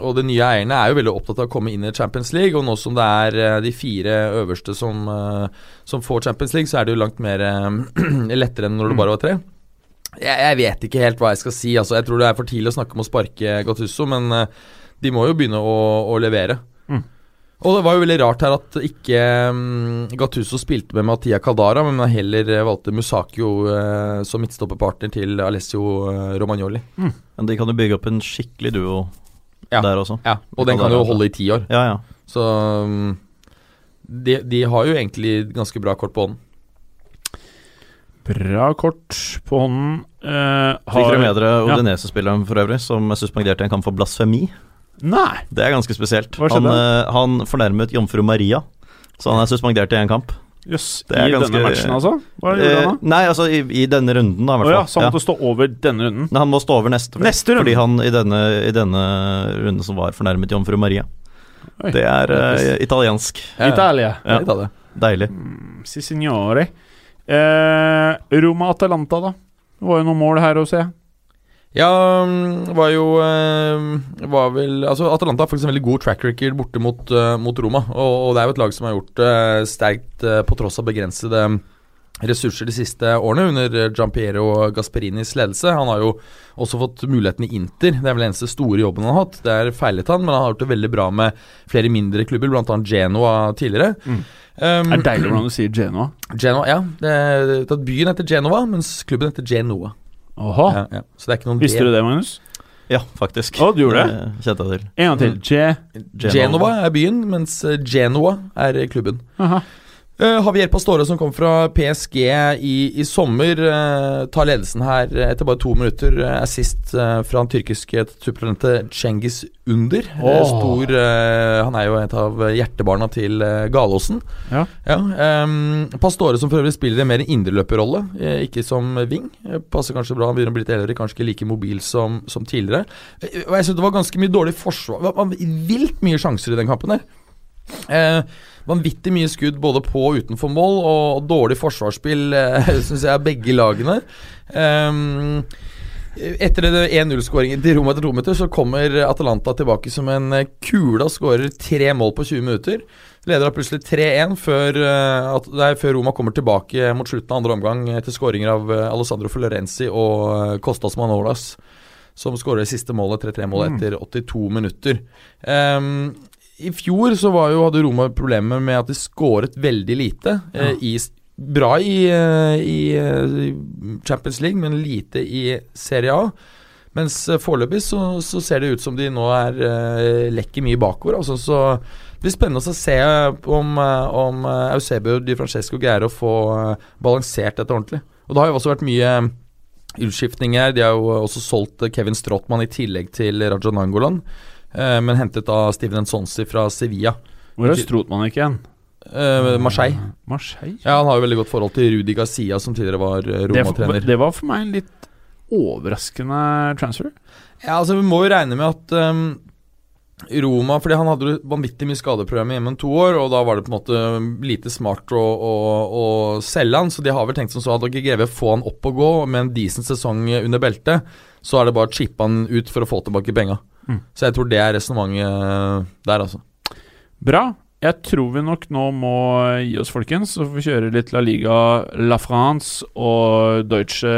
og de nye eierne er jo veldig opptatt av å komme inn i Champions League. Og nå som det er eh, de fire øverste som, eh, som får Champions League, så er det jo langt mer eh, lettere enn når det bare var tre. Jeg, jeg vet ikke helt hva jeg skal si. Altså, jeg tror det er for tidlig å snakke om å sparke Gattuso, men eh, de må jo begynne å, å levere. Og det var jo veldig rart her at ikke um, Gattuso spilte med Mattia Caldara, men han heller eh, valgte Musakio eh, som midtstopperpartner til Alessio eh, Romagnoli. Men de kan jo bygge opp en skikkelig duo Ja. der også. Ja, og den kan Caldara, jo altså. holde i ti år, Ja, ja. så um, de, de har jo egentlig ganske bra kort på hånden. Bra kort på hånden. Eh, Fikk har- dere med dere Odinese-spilleren for øvrig, som er suspendert i en kamp for blasfemi? Nei! Det er ganske spesielt. Hva Han, skjedde? eh, han fornærmet jomfru Maria, så han er suspendert i en kamp. Jøss. Det er I ganske- denne matchen, altså? Hva gjorde Eh, han da? nei, altså i, i denne runden, da, i Å hvert ja, så fall. han Ja. måtte stå over denne runden. Nei, han må stå over neste, Neste runde. fordi han i denne, i denne runden som var fornærmet jomfru Maria. Oi. Det er eh, italiensk. Ja, ja. Italia. Ja, litt av det. Deilig. Si signore. Eh, Roma-Atalanta, da. Det var jo noen mål her å se. Ja, mm, var jo eh, Var vel Altså, Atalanta har faktisk en veldig god track record borte mot, uh, eh, mot Roma. Og, og det er jo et lag som har gjort det sterkt eh, på tross av begrensede ressurser de siste årene under uh, Giampiero Gasperinis ledelse. Han har jo også fått muligheten i Inter, det er vel den eneste store jobben han har hatt. Der feilet han, men han har gjort det veldig bra med flere mindre klubber, bl.a. Genoa tidligere. Mm. Um, Det er deilig hvordan du sier Genoa. Genoa, ja. Det er, det er byen heter Genova, mens klubben heter Genoa. Oha. Ja, ja. Så det er ikke noen Ah. Visste du det, Magnus? Ja, faktisk. Eh, Å, du gjorde det? Kjente jeg til. En gang til. Je... Genova. Genova er byen, mens eh, Genoa er eh, klubben. Aha. Uh, Javier Pastore, som kom fra PSG i, i sommer, eh, tar ledelsen her eh, etter bare to minutter. Eh, assist eh, fra den tyrkiske supertalentet Cengiz Under. Eh, Åh. stor, eh, han er jo et av hjertebarna til eh, Galåsen. Ja. ehm, Pastore, som for øvrig spiller en mer indreløperrolle, eh, ikke som wing. Eh, passer kanskje bra, han begynner å bli litt eldre, kanskje ikke like mobil som, som tidligere. Eh, og jeg synes det var ganske mye dårlig forsvar. Det var vilt mye sjanser i den kampen der. Eh, Vanvittig mye skudd både på og utenfor mål, og dårlig forsvarsspill, eh, syns jeg, av begge lagene. Ehm, etter den 1-0-skåringen til Roma etter to minutter, så kommer Atalanta tilbake som en eh, kule og skårer tre mål på 20 minutter. Leder da plutselig 3-1 før, eh, at- nei, før Roma kommer tilbake mot slutten av andre omgang etter skåringer av eh, Alessandro Florenzi og eh, Kostas Manolas, som skårer det siste målet, 3-3-målet, etter 82 minutter. Ehm, i fjor så var jo, hadde Roma problemer med at de skåret veldig lite. Eh, i, bra i, eh, i eh, Champions League, men lite i Serie A. Mens eh, foreløpig så, så ser det ut som de nå er eh, lekker mye bakover. Altså, så det blir spennende å se om, eh, om eh, Eusebio Di Francesco greier å få eh, balansert dette ordentlig. Og det har jo også vært mye eh, utskiftninger. De har jo også solgt eh, Kevin Strottmann i tillegg til Raja Nangolan. Eh, men hentet da Steven Nsonsi fra Sevilla. Hvor er Strotmann ikke igjen? Eh, Marseille. Ah, Marseille? Ja, Han har jo veldig godt forhold til Rudi Gazia, som tidligere var eh, Det, var- Roma-trener. det var for meg en litt overraskende transfer. Ja, altså Vi må jo regne med at ehm, Roma fordi han hadde jo vanvittig mye skadeproblemer hjemme om to år, og da var det på en måte lite smart å, å, å selge han, så de har vel tenkt som så at ok, GV få han opp og gå med en decent sesong under beltet, så er det bare å chippe han ut for å få tilbake penga. Mm. Så jeg tror det er resonnementet der, altså. Bra. Jeg tror vi nok nå må gi oss, folkens. Så får vi kjøre litt La Liga, La France og Deutsche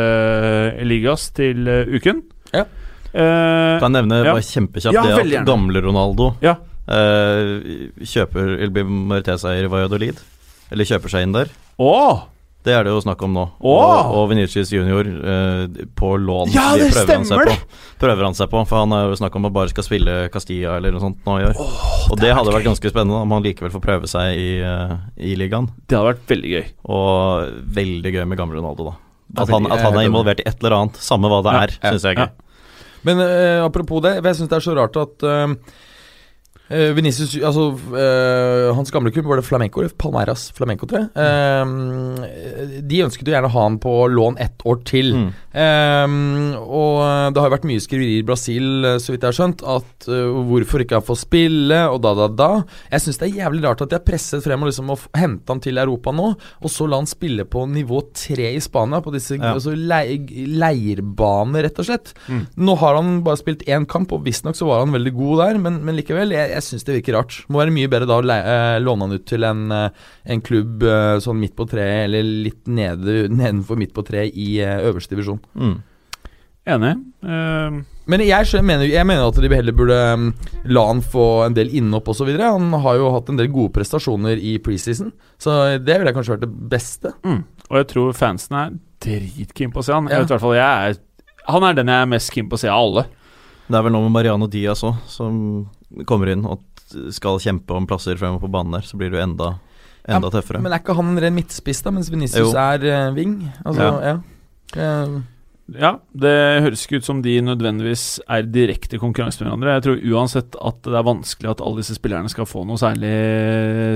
Ligas til eh, uken. Ja. Eh, Kan jeg nevne Ja. bare kjempekjapt Ja, veldig det gjerne. at gamle Ronaldo Ja. eh, kjøper eller blir majoritetseier i Valladolid. Eller kjøper seg inn der. å! Det er det jo snakk om nå. Åh! Og, og Vinicius junior eh, på lån. Ja, De det prøver han seg stemmer! På, prøver han seg på, for han er jo snakk om at bare skal spille Castilla eller noe sånt nå i år. og det, hadde vært ganske spennende om han likevel får prøve seg i, eh, i ligaen. Det hadde vært veldig gøy. Og veldig gøy med gamle Ronaldo, da. Det er At han, veldig- at han jeg er er enig. involvert i et eller annet, samme hva det Ja, er, syns jeg. ja. Ja. Men eh, apropos det, jeg syns det er så rart at uh, Vinicius, altså eh, Hans gamle klubb var det Flamenco, eller Palmeiras Flamenco, tror jeg. Eh, de ønsket jo gjerne å ha han på lån ett år til. Mm. Ehm, og det har jo vært mye skriverier i Brasil, eh, så vidt jeg har skjønt, at eh, hvorfor ikke han får spille, og da, da, da. Jeg syns det er jævlig rart at de har presset frem og liksom å f- hente han til Europa nå, og så la han spille på nivå tre i Spania, på disse Ja. altså, lei, leirbaner, rett og slett. Nå har han bare spilt én kamp, og visstnok så var han veldig god der, men, men likevel, jeg, jeg syns det virker rart. Må være mye bedre da å lei- eh, låne han ut til en, eh, en klubb eh, sånn midt på treet, eller litt nede, nedenfor midt på treet i eh, øverste divisjon. Mm. Enig. Eh, Men jeg, skjø- mener, jeg mener at de heller burde mm, la han få en del innhopp osv. Han har jo hatt en del gode prestasjoner i preseason, så det ville kanskje vært det beste. mm. Og jeg tror fansen er dritkeen på å se han. Ja. Jeg vet i hvert fall jeg er Han er den jeg er mest keen på å se av alle. Det er vel noe med Mariano Diaz òg, som kommer inn og t- skal kjempe om plasser fremover på banen der. Så blir det jo enda, enda tøffere. Men er ikke han en ren midtspiss, da, mens Venicius Jo. er eh, wing? Altså, ja. Eh, Ja, det høres ikke ut som de nødvendigvis er direkte konkurranse med hverandre. Jeg tror uansett at det er vanskelig at alle disse spillerne skal få noe særlig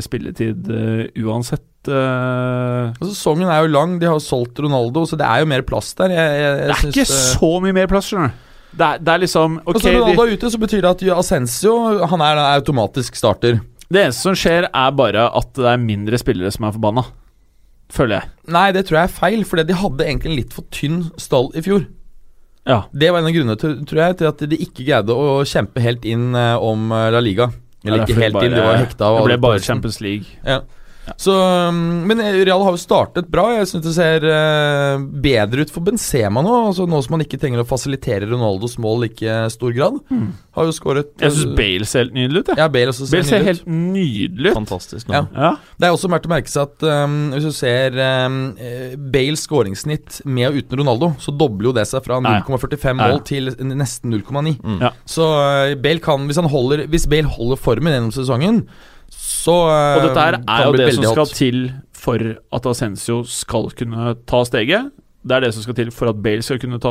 spilletid eh, uansett. eh. altså, Sesongen er jo lang, de har jo solgt Ronaldo, så det er jo mer plass der. Jeg, jeg, jeg det er syns, ikke eh, så mye mer plass, skjønner du. Det er, det er liksom Ok, altså, de, Ronaldo er ute, så betyr det at Ascencio han er da automatisk starter. det eneste som skjer, er bare at det er mindre spillere som er forbanna. Føler jeg. Nei, det tror jeg er feil, for de hadde egentlig en litt for tynn stall i fjor. Ja. Det var en av grunnene til, tror jeg, til at de ikke greide å kjempe helt inn eh, om eh, La Liga. Eller Det er ikke derfor helt bare- inn, de var hekta. av Det ble alle bare poengene. Champions League. Ja. Så, um, men Real har jo startet bra. Jeg syns det ser eh, bedre ut for Benzema nå. Altså Nå som han ikke trenger å fasilitere Ronaldos mål i like stor grad. Har jo skåret Mm. eh, Jeg syns Bale ser helt nydelig ut. jeg. ja, Bale også ser Bale ser nydelig ut. helt nydelig ut. Fantastisk. Ja. Nå. Ja. Det er også verdt å merke seg at um, hvis du ser um, eh, Bales skåringssnitt med og uten Ronaldo, så dobler jo det seg fra Ja, ja. 0,45 Ja, ja. mål til nesten 0,9. Mm. Ja. Så eh, Bale kan, hvis, han holder, hvis Bale holder formen gjennom sesongen, så eh, Og dette her kan er jo bli det veldig som skal hot. til for at Ascencio skal kunne ta steget. Det er det som skal til for at Bale skal kunne ta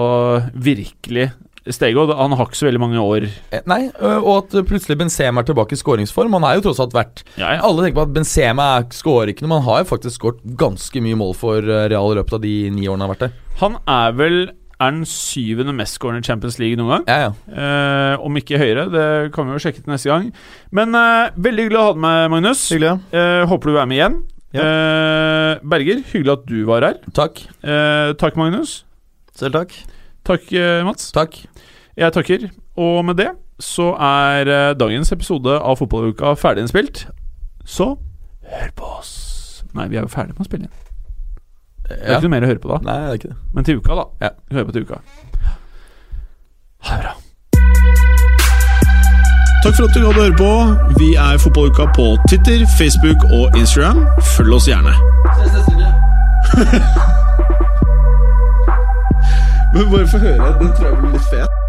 virkelig steget. Og han har ikke så veldig mange år Eh, Nei, ø, og at plutselig Benzema er tilbake i skåringsform. Han er jo tross alt vært ja, ja. Alle tenker på at Benzema er- skårer ikke noe, men han har jo faktisk skåret ganske mye mål for eh, Real i løpet av de ni årene han har vært der. Han er vel er den syvende mestskårende i Champions League noen gang. Ja, ja. Eh, om ikke høyere, det kan vi jo sjekke til neste gang. Men eh, veldig hyggelig å ha deg med, Magnus. Hyggelig. ja. Eh, håper du er med igjen. Ja. Eh, Berger, hyggelig at du var her. Takk. Eh, takk, Magnus. Selv takk. Takk, eh, Mats. Takk. Jeg takker. Og med det så er eh, dagens episode av Fotballuka ferdig innspilt. Så hør på oss. Nei, vi er jo ferdig med å spille inn. Det er Ja. ikke noe mer å høre på da. Nei, det er ikke det. Men til uka, da. Ja. Vi hører på til uka. Ha det bra. Takk for at du gadd å høre på. Vi er Fotballuka på Titter, Facebook og Instagram. Følg oss gjerne. Men bare få høre. Den tror jeg blir litt fet.